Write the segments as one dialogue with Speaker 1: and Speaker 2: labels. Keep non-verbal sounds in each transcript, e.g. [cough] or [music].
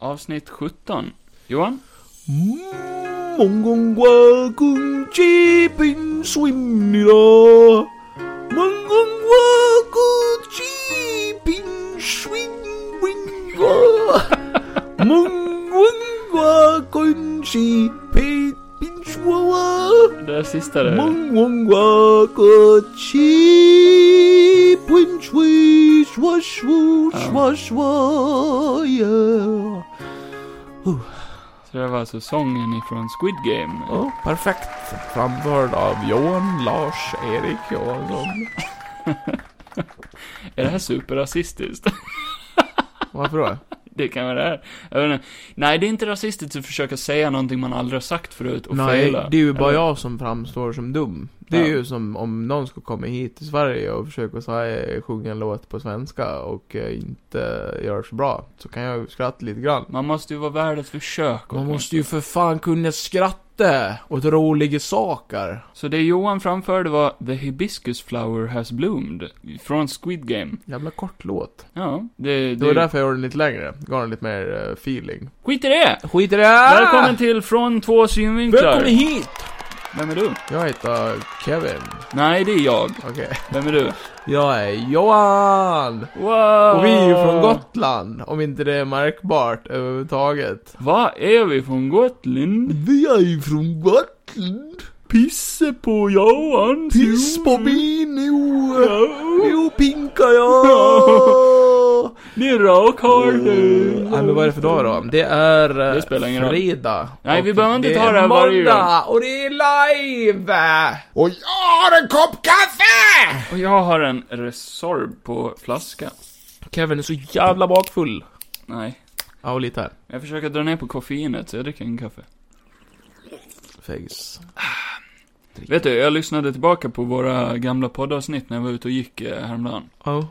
Speaker 1: avsnitt 17. Johan?
Speaker 2: 몽공과군지빈수입니다. 몽공과군지빈수입니다. 몽공과군지빈수와
Speaker 1: Det sista där.
Speaker 2: 몽공과군지빈수와수와수와수와
Speaker 1: Så det var alltså sången ifrån Squid Game.
Speaker 2: Ja, perfekt. Framförd av Johan Lars Erik Johansson.
Speaker 1: Är det här superrasistiskt? [laughs]
Speaker 2: Varför då?
Speaker 1: Det kan vara det här. Jag vet inte. Nej, det är inte rasistiskt att försöka säga någonting man aldrig har sagt förut och
Speaker 2: Nej,
Speaker 1: fejla.
Speaker 2: det är ju bara
Speaker 1: Eller?
Speaker 2: jag som framstår som dum. Det är
Speaker 1: Ja.
Speaker 2: ju som om någon skulle komma hit till Sverige och försöka så här, eh, sjunga en låt på svenska och eh, inte gör så bra. Så kan jag ju skratta lite grann.
Speaker 1: Man måste ju vara värd ett försök.
Speaker 2: Man måste ju för fan kunna skratta åt roliga saker.
Speaker 1: Så det Johan framförde var The Hibiscus Flower Has Bloomed, från Squid Game.
Speaker 2: Jävla kort låt.
Speaker 1: Ja, det...
Speaker 2: Det var därför jag gjorde den lite längre. Gav den lite mer eh, feeling.
Speaker 1: Skit i det!
Speaker 2: Skit i det!
Speaker 1: Välkommen till Från två synvinklar.
Speaker 2: Ah! Välkommen hit!
Speaker 1: Vem är du?
Speaker 2: Jag heter Kevin.
Speaker 1: Nej, det är jag.
Speaker 2: Okej.
Speaker 1: Vem är du?
Speaker 2: [laughs] Jag är Johan!
Speaker 1: Wow!
Speaker 2: Och vi är ju från Gotland, om inte det är märkbart överhuvudtaget.
Speaker 1: Va? Är vi från Gotland?
Speaker 2: Vi är ju från Gotland!
Speaker 1: Pisse på Johan!
Speaker 2: Piss på mig nu!
Speaker 1: Ja.
Speaker 2: Nu pinkar jag!
Speaker 1: Det är rakhåll
Speaker 2: Oh, Nej men vad är det för dag då? Det är eh,
Speaker 1: Det spelar ingen roll.
Speaker 2: fredag.
Speaker 1: Nej, vi
Speaker 2: Och
Speaker 1: behöver inte ta det här varje
Speaker 2: Det är måndag och det är live! Och jag har en kopp kaffe!
Speaker 1: Och jag har en Resorb på flaska.
Speaker 2: Kevin är så jävla bakfull.
Speaker 1: Nej.
Speaker 2: Ja, och lite här.
Speaker 1: Jag försöker dra ner på koffeinet, så jag dricker en kaffe.
Speaker 2: Fegis.
Speaker 1: Vet du, jag lyssnade tillbaka på våra gamla poddavsnitt när jag var ute och gick eh, häromdagen.
Speaker 2: Ja.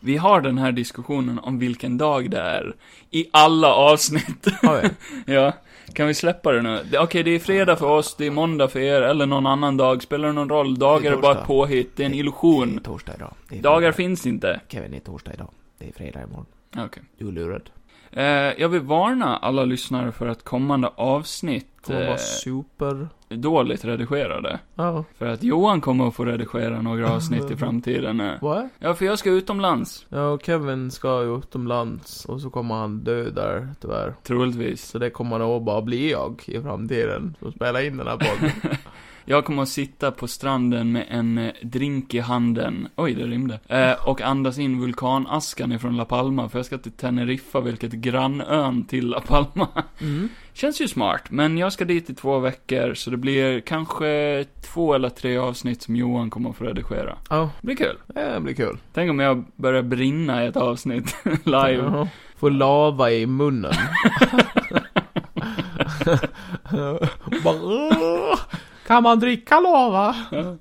Speaker 1: Vi har den här diskussionen om vilken dag det är. I alla avsnitt. [laughs]
Speaker 2: Ja, [laughs] ja.
Speaker 1: ja. Kan vi släppa det nu? Det- Okej, det är fredag för oss, det är måndag för er, eller någon annan dag. Spelar det någon roll? Dagar
Speaker 2: Det
Speaker 1: är bara
Speaker 2: är torsdag.
Speaker 1: ett påhitt, det är en
Speaker 2: Det
Speaker 1: illusion.
Speaker 2: är torsdag idag. Det är
Speaker 1: Dagar
Speaker 2: fredag.
Speaker 1: finns inte.
Speaker 2: Kevin, det är torsdag idag. Det är fredag imorgon.
Speaker 1: Okej.
Speaker 2: Du är lurad.
Speaker 1: Eh, jag vill varna alla lyssnare för att kommande avsnitt
Speaker 2: Kommer
Speaker 1: eh,
Speaker 2: vara super...
Speaker 1: dåligt redigerade.
Speaker 2: Ja.
Speaker 1: För att Johan kommer att få redigera några avsnitt
Speaker 2: [laughs]
Speaker 1: i framtiden. eh.
Speaker 2: Vad?
Speaker 1: Ja, för jag ska utomlands.
Speaker 2: Ja, och Kevin ska ju utomlands och så kommer han dö där, tyvärr.
Speaker 1: Troligtvis.
Speaker 2: Så det kommer nog bara bli jag i framtiden som spelar in den här podden.
Speaker 1: Jag kommer att sitta på stranden med en eh, drink i handen. Oj, det rymde. Eh, och andas in vulkanaskan ifrån La Palma, för jag ska till Teneriffa, vilket är grannön till La Palma.
Speaker 2: [laughs]
Speaker 1: [laughs]
Speaker 2: Mm.
Speaker 1: Känns ju smart, men jag ska dit i två veckor, så det blir kanske två eller tre avsnitt som Johan kommer att få redigera.
Speaker 2: Ja,
Speaker 1: Det blir kul.
Speaker 2: det blir kul.
Speaker 1: Tänk om jag börjar brinna i ett avsnitt [laughs] live.
Speaker 2: Ja. Få lava i [laughs] munnen. Bara, kan man dricka lava?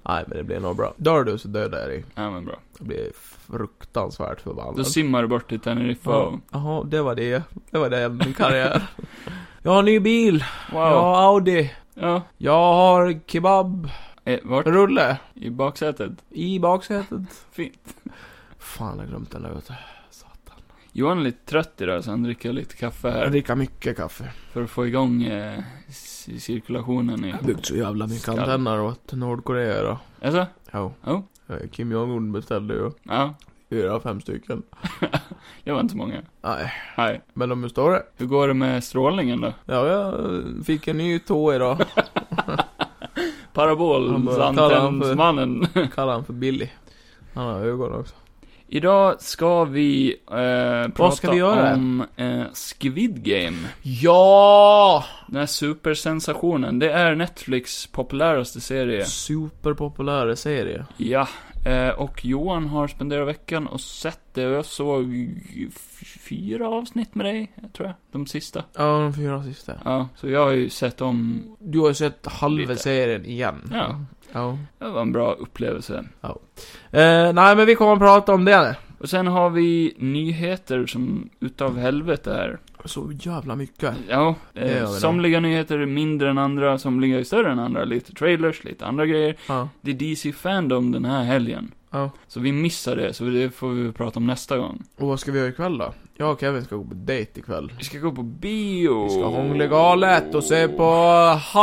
Speaker 2: Nej, men det blir nog bra. Dör du så dödar jag dig.
Speaker 1: Ja, men bra.
Speaker 2: Jag blir fruktansvärt förbannad.
Speaker 1: Då simmar du bort till Teneriffa och...
Speaker 2: Jaha, det var det. Det var det,
Speaker 1: [laughs]
Speaker 2: min karriär. jag har ny bil.
Speaker 1: Wow.
Speaker 2: Jag
Speaker 1: Ja.
Speaker 2: har Audi. Jag har kebabrulle
Speaker 1: Eh, vart? I baksätet?
Speaker 2: i baksätet.
Speaker 1: Fint.
Speaker 2: Fan, jag glömde den där ute.
Speaker 1: Johan är lite trött idag, så han dricker lite kaffe
Speaker 2: Jag
Speaker 1: här.
Speaker 2: dricker mycket kaffe.
Speaker 1: För att få igång eh, c- cirkulationen i...
Speaker 2: Jag har byggt så jävla mycket
Speaker 1: Skall.
Speaker 2: antenner åt Nordkorea idag.
Speaker 1: Alltså?
Speaker 2: Jo.
Speaker 1: Jo.
Speaker 2: Eh, Kim Jong-Un beställde ju
Speaker 1: Ja.
Speaker 2: fyra, fem stycken.
Speaker 1: Det var inte så många.
Speaker 2: Nej,
Speaker 1: Nej.
Speaker 2: men de är större.
Speaker 1: Hur går det med strålningen då?
Speaker 2: Ja, jag fick en ny
Speaker 1: [laughs]
Speaker 2: tå idag. Han bara kallar han för-
Speaker 1: Parabolsantennsmannen.
Speaker 2: Kallar han för Billy. Han har ögon också.
Speaker 1: [laughs] Idag ska vi eh, prata
Speaker 2: ska vi göra?
Speaker 1: om eh, Squid Game.
Speaker 2: Ja!
Speaker 1: Den här supersensationen. Det är Netflix populäraste serie.
Speaker 2: Superpopulär serie.
Speaker 1: Ja. Eh, och Johan har spenderat veckan och sett det. Och jag såg f- fyra avsnitt med dig, tror jag. De sista.
Speaker 2: Ja, de fyra sista.
Speaker 1: Ja, så jag har ju sett om...
Speaker 2: Du har ju sett halva
Speaker 1: Lite.
Speaker 2: serien igen.
Speaker 1: Ja.
Speaker 2: Ja.
Speaker 1: Det var en bra upplevelse.
Speaker 2: Eh, nej, men vi kommer att prata om det.
Speaker 1: Och sen har vi nyheter som utav helvete här.
Speaker 2: Så jävla mycket.
Speaker 1: Ja,
Speaker 2: gör vi
Speaker 1: eh,
Speaker 2: då.
Speaker 1: somliga nyheter är mindre än andra, somliga är större än andra. Lite trailers, lite andra grejer.
Speaker 2: Ja.
Speaker 1: Det är DC Fandom den här helgen.
Speaker 2: ja.
Speaker 1: Så vi missar det, så det får vi prata om nästa gång.
Speaker 2: Och vad ska vi göra ikväll då? Jag och Kevin ska gå på dejt ikväll.
Speaker 1: Vi ska gå på bio!
Speaker 2: Vi ska hångla galet och se på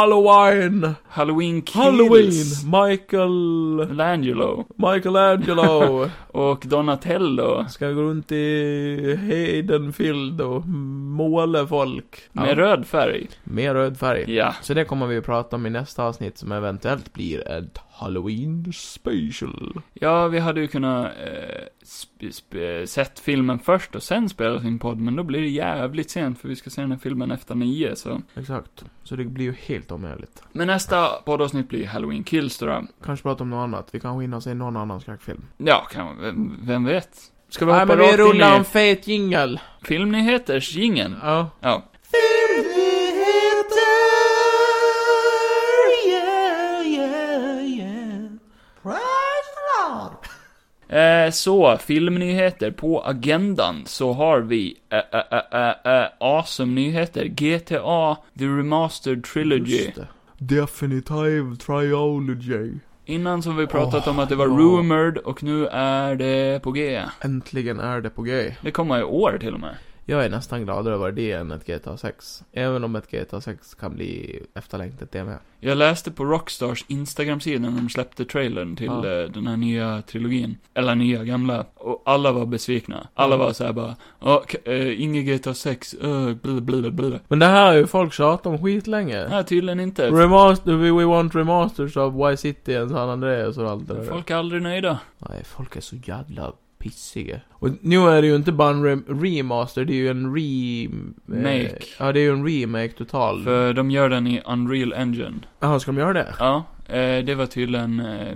Speaker 2: Halloween!
Speaker 1: Halloween Kills!
Speaker 2: Halloween! Michael...
Speaker 1: Langelo.
Speaker 2: Michelangelo! [laughs]
Speaker 1: Och Donatello.
Speaker 2: Ska gå runt i Heidenfield och måla folk.
Speaker 1: Med
Speaker 2: Ja,
Speaker 1: röd färg.
Speaker 2: med röd färg.
Speaker 1: Ja.
Speaker 2: Så det kommer vi att prata om i nästa avsnitt som eventuellt blir ett Halloween special.
Speaker 1: Ja, vi hade ju kunnat eh, sp- sp- eh, sett filmen först och sen spela sin podd, men då blir det jävligt sent för vi ska se den här filmen efter nio, så.
Speaker 2: Exakt. Så det blir ju helt omöjligt.
Speaker 1: Men nästa poddavsnitt blir Halloween Kills då. då.
Speaker 2: Kanske prata om något annat. Vi kanske hinner se någon annan skräckfilm.
Speaker 1: Ja, kan, vem, vem vet? Ska vi
Speaker 2: Nej
Speaker 1: hoppa
Speaker 2: men vi
Speaker 1: rakt in
Speaker 2: rullar en
Speaker 1: i
Speaker 2: fet jingel.
Speaker 1: filmnyheters jingeln?
Speaker 2: Ja.
Speaker 1: Ja. Eh, så, filmnyheter. På agendan så har vi eh, eh, eh, eh, eh, Awesome Nyheter. GTA The Remastered Trilogy.
Speaker 2: Just det. Definitive Triology.
Speaker 1: Innan så har vi pratat
Speaker 2: Åh,
Speaker 1: om att det var
Speaker 2: ja.
Speaker 1: rumored och nu är det på G.
Speaker 2: Äntligen är det på G.
Speaker 1: Det kommer i år till och med.
Speaker 2: Jag är nästan gladare över det än ett GTA 6. Även om ett GTA 6 kan bli efterlängtat det med.
Speaker 1: Jag läste på Rockstars Instagram-sida när de släppte trailern till
Speaker 2: Ja.
Speaker 1: eh, den här nya trilogin. Eller nya, gamla. Och alla var besvikna. Alla
Speaker 2: Ja.
Speaker 1: var såhär bara, ja, k- eh, inget GTA 6, uh, bla bla bla bla.
Speaker 2: Men det här har ju folk tjatat om skitlänge.
Speaker 1: Nej, tydligen inte.
Speaker 2: Remaster, we, we want remasters of Vice City and San Andreas och allt det där.
Speaker 1: Folk är aldrig nöjda.
Speaker 2: Nej, folk är så jävla pissiga. Och nu är det ju inte bara en rem- remaster, det är ju en re...
Speaker 1: Make.
Speaker 2: Eh, ja, det är ju en remake total.
Speaker 1: För de gör den i Unreal Engine.
Speaker 2: Jaha, ska de göra det?
Speaker 1: Ja, eh, det var tydligen, eh,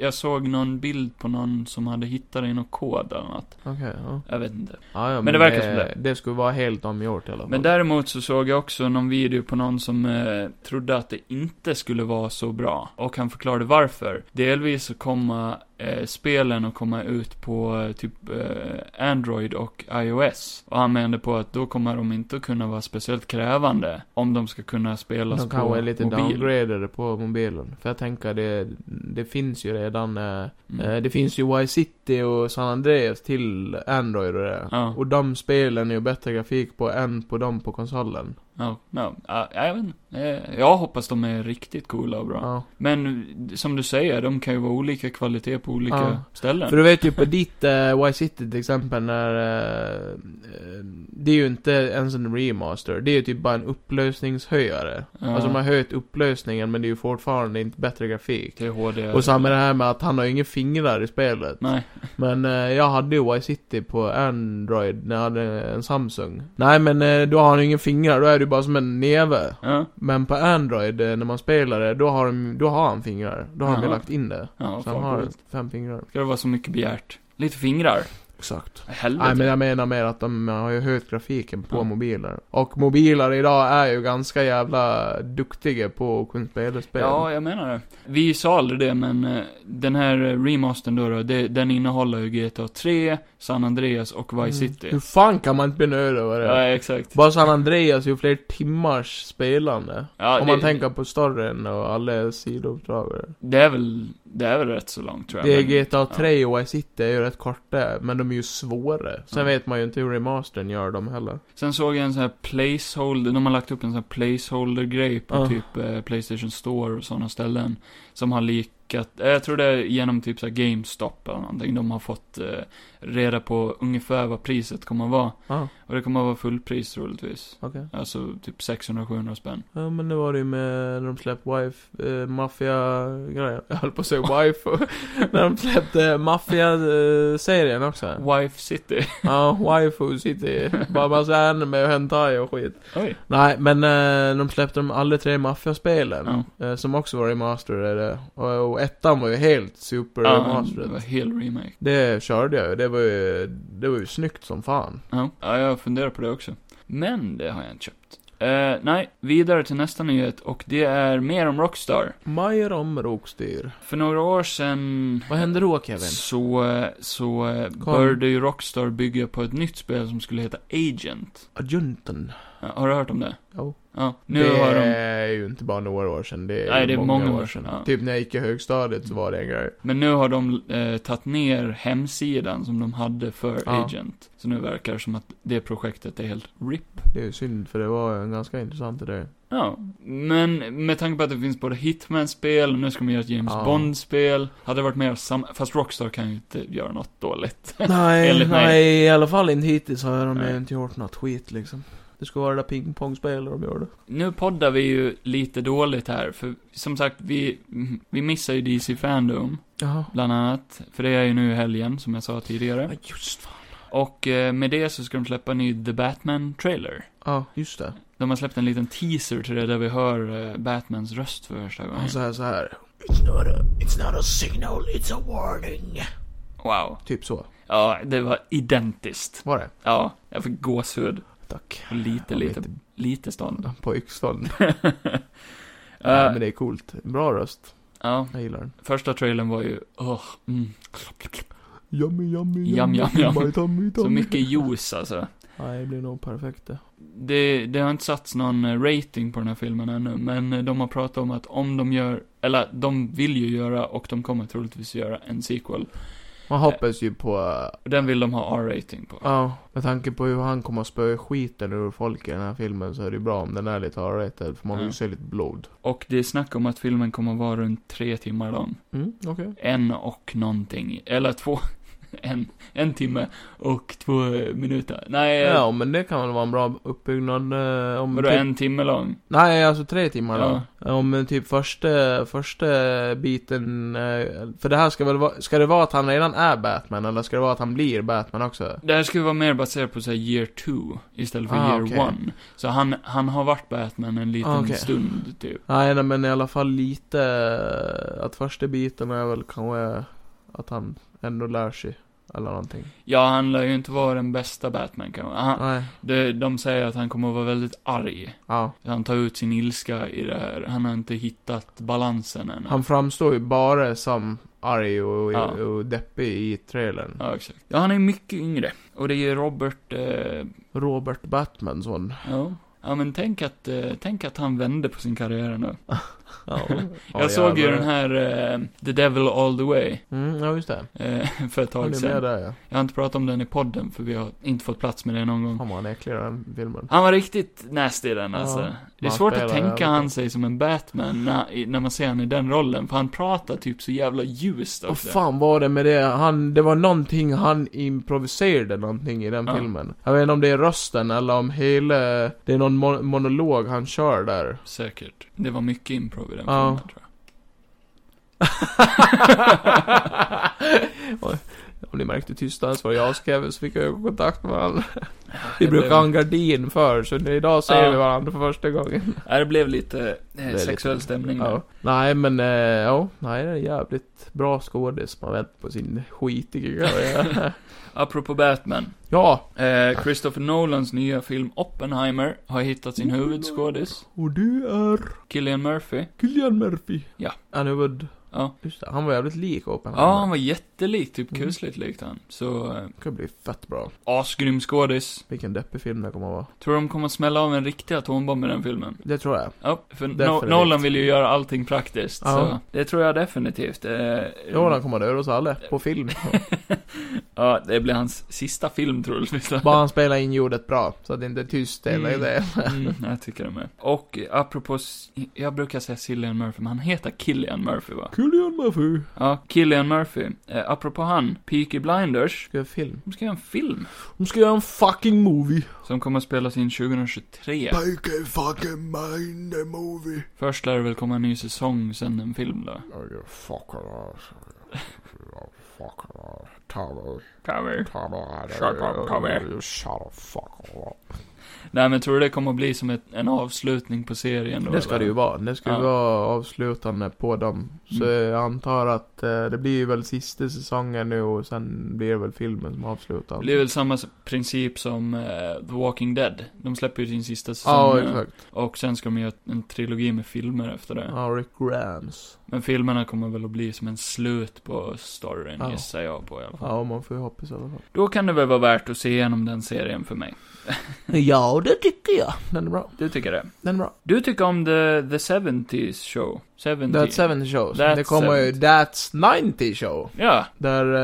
Speaker 1: jag såg någon bild på någon som hade hittat det i någon kod eller något.
Speaker 2: Okej, ja.
Speaker 1: Jag vet inte.
Speaker 2: ja. ja,
Speaker 1: Men det verkar som det.
Speaker 2: det. skulle vara helt omgjort i alla fall.
Speaker 1: Men däremot så såg jag också någon video på någon som eh, trodde att det inte skulle vara så bra. Och han förklarade varför. Delvis så kommer eh, spelen att komma ut på eh, typ eh, Android och iOS. Och han menade på att då kommer de inte att kunna vara speciellt krävande om de ska kunna spelas
Speaker 2: De
Speaker 1: på
Speaker 2: kanske är lite
Speaker 1: mobil.
Speaker 2: downgradade på mobilen. För jag tänker det, det finns ju redan, eh,
Speaker 1: Mm.
Speaker 2: eh, det finns ju Vice City och San Andreas till Android och det.
Speaker 1: Ja.
Speaker 2: Och de spelen är ju bättre grafik på än på dem på konsolen.
Speaker 1: Ja, ja, ja, jag vet inte. Eh, Jag hoppas de är riktigt coola och bra.
Speaker 2: Ja.
Speaker 1: Men som du säger, de kan ju vara olika kvalitet på olika
Speaker 2: Ja.
Speaker 1: ställen.
Speaker 2: För du vet ju på ditt eh, Vice City till exempel när, eh, eh, det är ju inte ens en remaster. Det är ju typ bara en upplösningshöjare.
Speaker 1: ja,
Speaker 2: Alltså de har höjt upplösningen men det är ju fortfarande inte bättre grafik.
Speaker 1: till HD.
Speaker 2: Och samma det här med att han har ju inga fingrar i spelet.
Speaker 1: Nej,
Speaker 2: Men eh, jag hade ju Vice City på Android när jag hade en Samsung. Nej men eh, då har han ju ingen fingrar, då är det ju bara som en neve.
Speaker 1: ja,
Speaker 2: Men på Android, eh, när man spelar det, då har, de, då har han fingrar. Då har de ju
Speaker 1: Jaha.
Speaker 2: lagt in det.
Speaker 1: ja,
Speaker 2: Så han
Speaker 1: fan
Speaker 2: har
Speaker 1: coolt.
Speaker 2: fem fingrar.
Speaker 1: Ska det vara så mycket begärt? Lite fingrar?
Speaker 2: Exakt.
Speaker 1: Helvete.
Speaker 2: Nej men jag menar mer att de har ju höjt grafiken på
Speaker 1: Ja.
Speaker 2: mobiler. Och mobiler idag är ju ganska jävla duktiga på att kunna spela spel.
Speaker 1: Ja, jag menar det. Vi sa aldrig det, men eh, den här eh, remastern då, då det, den innehåller ju GTA 3, San Andreas och Vice City.
Speaker 2: Mm. Hur fan kan man inte bli nöjd över det?
Speaker 1: Ja, exakt.
Speaker 2: Bara San Andreas är ju fler timmars spelande.
Speaker 1: Ja,
Speaker 2: Om man
Speaker 1: det,
Speaker 2: tänker på storyn och alla sidouppdrag.
Speaker 1: det är väl, det är väl rätt så långt tror jag.
Speaker 2: Det är
Speaker 1: men-
Speaker 2: GTA 3 och Vice City är ju rätt korta, men de är ju svåra. Sen
Speaker 1: Ja.
Speaker 2: vet man ju inte hur remastern gör dem heller.
Speaker 1: Sen såg jag en sån här placeholder, de har lagt upp en sån här placeholder-grej på
Speaker 2: Ja.
Speaker 1: typ eh, Playstation Store och sådana ställen. Som har likat, eh, jag tror det är genom typ så här GameStop eller någonting. De har fått eh, reda på ungefär vad priset kommer att vara.
Speaker 2: Ja,
Speaker 1: Och det kommer att vara fullpris troligtvis.
Speaker 2: okej.
Speaker 1: Alltså typ 600-700 spänn.
Speaker 2: Ja men det var det ju med när de släppte wife, eh, maffia grejer. Jag höll på att säga wife. [laughs] när de släppte maffia eh, serien också.
Speaker 1: Wife City.
Speaker 2: Ja, waifu city. Bara massa anime och hentai och skit.
Speaker 1: Oj.
Speaker 2: Nej, men eh, de släppte de alla tre maffiaspelen.
Speaker 1: Ja.
Speaker 2: Eh, som också var remasterade. Och, och ettan var ju helt super
Speaker 1: Ja, det var
Speaker 2: remastered.
Speaker 1: hel remake.
Speaker 2: Det körde jag ju. Det var ju, det var ju snyggt som fan.
Speaker 1: Ja. ja, jag funderar på det också. Men det har jag inte köpt. Eh, nej, vidare till nästa nyhet och det är mer om Rockstar.
Speaker 2: Majer om rokstyr.
Speaker 1: För några år sedan
Speaker 2: Vad hände då Kevin?
Speaker 1: Så, eh, så eh,
Speaker 2: Kom.
Speaker 1: började ju Rockstar bygga på ett nytt spel som skulle heta Agent.
Speaker 2: Adjunten.
Speaker 1: Ja, Har du hört om det?
Speaker 2: Jo.
Speaker 1: Ja. Nu
Speaker 2: det
Speaker 1: har de...
Speaker 2: är ju inte bara några år sedan, det är,
Speaker 1: Nej,
Speaker 2: ju
Speaker 1: det är
Speaker 2: många,
Speaker 1: många
Speaker 2: år
Speaker 1: år
Speaker 2: sedan.
Speaker 1: sedan, ja.
Speaker 2: Typ när jag gick i högstadiet så var det en grej.
Speaker 1: Men nu har de eh, tagit ner hemsidan som de hade för
Speaker 2: Ja.
Speaker 1: Agent. Så nu verkar det som att det projektet är helt RIP.
Speaker 2: Det är ju synd, för det var en ganska intressant idé.
Speaker 1: Ja, men med tanke på att det finns både Hitman-spel, och nu ska man göra ett James
Speaker 2: Ja.
Speaker 1: Bond-spel. Hade det varit mer sam... Fast Rockstar kan ju inte göra något dåligt.
Speaker 2: [laughs] Nej,
Speaker 1: Enligt mig.
Speaker 2: nej, i alla fall inte hittills har de
Speaker 1: Nej.
Speaker 2: ju inte gjort något skit liksom. Det ska vara det där pingpongspelet de gjorde.
Speaker 1: Nu poddar vi ju lite dåligt här, för som sagt, vi, vi missar ju DC Fandom,
Speaker 2: Jaha.
Speaker 1: bland annat. För det är ju nu i helgen, som jag sa tidigare.
Speaker 2: Ja, just fan.
Speaker 1: Och eh, med det så ska de släppa en ny The Batman-trailer.
Speaker 2: Ja, just det.
Speaker 1: De har släppt en liten teaser till det där vi hör eh, Batmans röst för första gången.
Speaker 2: Han så här, så här. It's not, a, it's not a signal, it's a warning.
Speaker 1: Wow.
Speaker 2: Typ så.
Speaker 1: Ja, det var identiskt.
Speaker 2: Var det?
Speaker 1: Ja, jag fick gåshud.
Speaker 2: Tack.
Speaker 1: Och lite, lite, lite stånd. [laughs]
Speaker 2: På yxstånd. Nej,
Speaker 1: Eh,
Speaker 2: men det är coolt. Bra röst.
Speaker 1: Ja,
Speaker 2: Jag gillar den.
Speaker 1: första trailern var ju, åh, mm,
Speaker 2: Yummy, yummy,
Speaker 1: Yum, yum, yum.
Speaker 2: my tummy,
Speaker 1: så
Speaker 2: tummy.
Speaker 1: mycket juice alltså.
Speaker 2: Nej, det blir nog perfekt det.
Speaker 1: Det, det har inte satts någon eh, rating på den här filmen ännu, men eh, de har pratat om att om de gör, eller de vill ju göra och de kommer troligtvis göra en sequel.
Speaker 2: Man hoppas ju på, eh,
Speaker 1: Och Den vill de ha R-rating på.
Speaker 2: ja, med tanke på hur han kommer att spöa skiten ur folk i den här filmen så är det ju bra om den är lite R-rated, för man vill ju
Speaker 1: Ja.
Speaker 2: se lite blod.
Speaker 1: Och det är snack om att filmen kommer vara runt tre timmar lång.
Speaker 2: Mm, okej.
Speaker 1: En och någonting, eller två, [laughs] en, en timme och två eh, minuter. Nej, eh,
Speaker 2: Ja, men det kan väl vara en bra uppbyggnad eh, om...
Speaker 1: vadå
Speaker 2: typ-
Speaker 1: en timme lång?
Speaker 2: Nej, alltså tre timmar
Speaker 1: Ja.
Speaker 2: då. Om eh, typ första, första biten, eh, för det här ska väl vara, ska det vara att han redan är Batman, eller ska det vara att han blir Batman också?
Speaker 1: Det här skulle vara mer baserat på så här year 2 istället för
Speaker 2: Ah,
Speaker 1: year 1.
Speaker 2: okej.
Speaker 1: Så han, han har varit Batman en liten
Speaker 2: Ah, okej.
Speaker 1: stund, typ.
Speaker 2: Nej, nej, men i alla fall lite, eh, att första biten är väl kanske att han ändå lär sig, eller någonting.
Speaker 1: Ja, han lär ju inte vara den bästa Batman kanske. Han,
Speaker 2: Nej.
Speaker 1: de, de säger att han kommer att vara väldigt arg.
Speaker 2: Ja,
Speaker 1: Han tar ut sin ilska i det här. Han har inte hittat balansen än.
Speaker 2: han framstår ju bara som arg och,
Speaker 1: Ja.
Speaker 2: och deppig i trailern.
Speaker 1: Ja, exakt. Ja, han är mycket yngre. Och det är Robert, eh,
Speaker 2: Robert Batmanson.
Speaker 1: ja. Ja, men tänk att, eh, tänk att han vände på sin karriär nu.
Speaker 2: [laughs] Ja,
Speaker 1: Jag såg ju
Speaker 2: jävlar.
Speaker 1: den här, eh, The Devil All The Way,
Speaker 2: Mm, ja, just det.
Speaker 1: eh, [laughs] för ett
Speaker 2: Han
Speaker 1: tag
Speaker 2: är med
Speaker 1: sedan.
Speaker 2: där ja.
Speaker 1: Jag har inte pratat om den i podden, för vi har inte fått plats med det någon gång.
Speaker 2: Fan vad han är äcklig i den filmen.
Speaker 1: Han var riktigt nasty i den
Speaker 2: Ja,
Speaker 1: alltså. det är
Speaker 2: man
Speaker 1: svårt att
Speaker 2: spelar
Speaker 1: tänka
Speaker 2: jävligt
Speaker 1: han
Speaker 2: bra.
Speaker 1: sig som en Batman när, i- när man ser han i den rollen, för han pratar typ så jävla ljust
Speaker 2: Vad
Speaker 1: också.
Speaker 2: fan var det med det? Han, det var någonting han improviserade någonting i den
Speaker 1: Ja.
Speaker 2: filmen. Jag vet inte om det är rösten eller om hela... Det är någon mon- monolog han kör där.
Speaker 1: Säkert. Det var mycket improv i den
Speaker 2: Ja.
Speaker 1: filmen tror jag.
Speaker 2: Oj, [laughs] om ni märkte tystnaden så var det jag som skrev, så fick jag ögonkontakt med varandra. Vi
Speaker 1: det
Speaker 2: brukar
Speaker 1: blev-
Speaker 2: ha en gardin för så idag ser
Speaker 1: Ja.
Speaker 2: vi varandra för första gången.
Speaker 1: Ja, det blev lite eh,
Speaker 2: är
Speaker 1: sexuell
Speaker 2: lite-
Speaker 1: stämning där.
Speaker 2: Ja. Nej men, eh, ja. Nej, det är en jävligt bra skådis som har vänt på sin
Speaker 1: [laughs]
Speaker 2: skitiga karriär.
Speaker 1: Apropå Batman.
Speaker 2: Ja,
Speaker 1: Eh, Christopher Nolans nya film Oppenheimer har hittat sin huvudskådis.
Speaker 2: och du är
Speaker 1: Killian Murphy.
Speaker 2: Killian Murphy.
Speaker 1: Ja.
Speaker 2: Han är väl...
Speaker 1: Ja.
Speaker 2: Just det, han var jävligt lik Oppenheimer.
Speaker 1: Ja, han var jättelik, typ
Speaker 2: Mm.
Speaker 1: kusligt likt han. Så, eh,
Speaker 2: Det kan bli fett bra.
Speaker 1: asgrym skådis.
Speaker 2: Vilken deppig film det kommer att vara.
Speaker 1: Tror de kommer smälla av en riktig atombomb i den filmen?
Speaker 2: Det tror jag.
Speaker 1: Ja, för no-
Speaker 2: Definitivt.
Speaker 1: Nolan vill ju göra allting praktiskt,
Speaker 2: Ja.
Speaker 1: så det tror jag definitivt. Eh,
Speaker 2: Jo, han kommer att döda oss alla.
Speaker 1: [laughs]
Speaker 2: På film.
Speaker 1: ja, det blir hans sista film troligtvis.
Speaker 2: [laughs] Bara han spelar in ljudet bra. Så att det inte är tyst eller
Speaker 1: Mm.
Speaker 2: det.
Speaker 1: Mm, jag tycker det med. Och eh, apropå, s- jag brukar säga Cillian Murphy, men han heter Killian Murphy va?
Speaker 2: Killian Murphy.
Speaker 1: Ja, Killian Murphy. Eh, apropå han, Peaky Blinders,
Speaker 2: Ska göra film.
Speaker 1: de ska göra en film
Speaker 2: De ska göra en fucking movie.
Speaker 1: som kommer att spelas in 2023.
Speaker 2: Make a fucking mind the movie.
Speaker 1: Först lär det väl komma en ny säsong, sen en film då.
Speaker 3: Oh, you fucker ass. You fucker ass. Tommy.
Speaker 1: Cover.
Speaker 3: Tommy.
Speaker 1: Shut up, Tommy.
Speaker 3: You shut the fuck up.
Speaker 1: Nej men tror du det kommer att bli som ett, en avslutning på serien då?
Speaker 2: Det ska
Speaker 1: eller?
Speaker 2: det ju vara. Det ska ju
Speaker 1: Ja.
Speaker 2: vara avslutande på dem. Så jag antar att eh, det blir väl sista säsongen nu och sen blir det väl filmen som avslutar.
Speaker 1: Det är väl samma s- princip som eh, The Walking Dead. De släpper ju sin sista säsong
Speaker 2: Ja,
Speaker 1: nu.
Speaker 2: exakt.
Speaker 1: Och sen ska de göra en trilogi med filmer efter det.
Speaker 2: Ja, Rick Grams.
Speaker 1: Men filmerna kommer väl att bli som en slut på storyn,
Speaker 2: Ja.
Speaker 1: gissar jag på i alla fall.
Speaker 2: Ja, man får ju hoppas i alla fall.
Speaker 1: Då kan det väl vara värt att se igenom den serien för mig.
Speaker 2: Ja, det tycker jag. Den är bra.
Speaker 1: Du tycker det.
Speaker 2: Den är bra.
Speaker 1: Du tycker om the, the 70s show. 70.
Speaker 2: That 70 shows.
Speaker 1: That's
Speaker 2: det kommer ju
Speaker 1: 70.
Speaker 2: That's 90 show.
Speaker 1: Ja,
Speaker 2: Där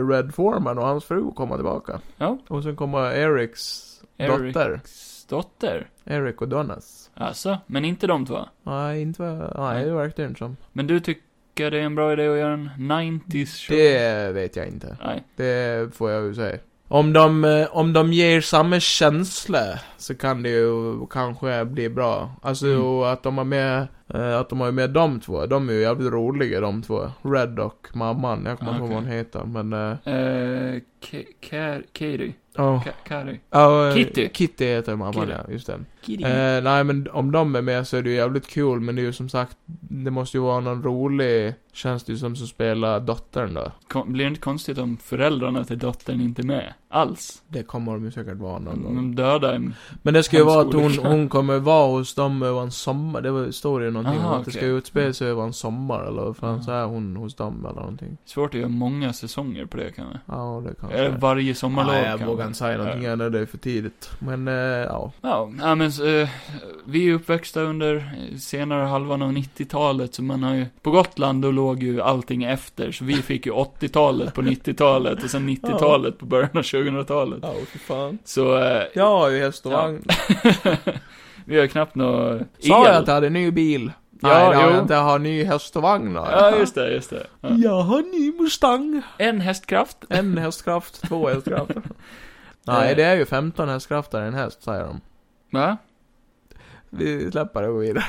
Speaker 2: eh, Red Foreman och hans fru kommer tillbaka.
Speaker 1: Ja.
Speaker 2: Och sen kommer Erics
Speaker 1: Eric.
Speaker 2: dotter.
Speaker 1: Dotter.
Speaker 2: Eric och Donas.
Speaker 1: Alltså, men inte de två.
Speaker 2: Nej, inte vad... Nej, det verkar inte som.
Speaker 1: Men du tycker det är en bra idé att göra en 90s show?
Speaker 2: Det vet jag inte.
Speaker 1: Nej.
Speaker 2: Det får jag ju säga. Om de, eh, om de ger samma känsla så kan det ju kanske bli bra. Alltså
Speaker 1: Mm.
Speaker 2: och att de har med, eh, att de har med de två. De är ju jävligt roliga de två. Red och mamman. Jag kommer inte ihåg vad
Speaker 1: Ah, Okej.
Speaker 2: hon heter men... eh,
Speaker 1: Eh, Ka- Ka- Katie?
Speaker 2: ja.
Speaker 1: Ka- Kari?
Speaker 2: Ja, eh,
Speaker 1: Kitty.
Speaker 2: Kitty heter mamman
Speaker 1: Kitty. Mm.
Speaker 2: ja, just det.
Speaker 1: Kitty?
Speaker 2: Eh, nej men om de är med så är det ju jävligt kul men det är ju som sagt, det måste ju vara någon rolig, känns det ju som, som spelar dottern då.
Speaker 1: Kon- Blir det inte konstigt om föräldrarna till dottern inte är med? Alls?
Speaker 2: Det kommer de ju säkert vara någon gång.
Speaker 1: De dödar en...
Speaker 2: Men det ska ju vara att hon,
Speaker 1: Hemskoleklass.
Speaker 2: hon kommer vara hos dem över en sommar, det var- står det ju någonting
Speaker 1: Aha,
Speaker 2: om att det
Speaker 1: okej. Mm.
Speaker 2: ska utspela sig över en sommar eller vad fan
Speaker 1: Ah.
Speaker 2: så är hon hos dem eller någonting.
Speaker 1: Svårt att göra många säsonger på det kanske.
Speaker 2: Ja, det kanske
Speaker 1: Eller varje sommarlov
Speaker 2: Nej, jag
Speaker 1: kanske.
Speaker 2: vågar inte säga någonting ännu, det är för tidigt. Men, eh, ja.
Speaker 1: Eh, Ja, ja men eh, vi är uppväxta under eh, senare halvan av 90-talet, så man har ju, på Gotland då låg ju allting efter, så vi fick ju 80-talet på 90-talet och sen 90-talet på början av 2000-talet.
Speaker 2: Ja, fy fan.
Speaker 1: Så, eh, [laughs]
Speaker 2: Jag har ju häst och
Speaker 1: Ja. [laughs]
Speaker 2: vagn.
Speaker 1: vi har knappt nå el.
Speaker 2: Sa jag att jag hade ny bil?
Speaker 1: Ja,
Speaker 2: Nej, det har
Speaker 1: jo.
Speaker 2: jag inte. Jag har ny häst och vagn har jag.
Speaker 1: Ja, just det, just det. Ja.
Speaker 2: Jag har ny Mustang.
Speaker 1: En hästkraft.
Speaker 2: En hästkraft,
Speaker 1: [laughs]
Speaker 2: två hästkrafter.
Speaker 1: Eh.
Speaker 2: Nej, det är ju 15 hästkrafter i en häst, säger de.
Speaker 1: Va?
Speaker 2: Vi släpper det och går vidare.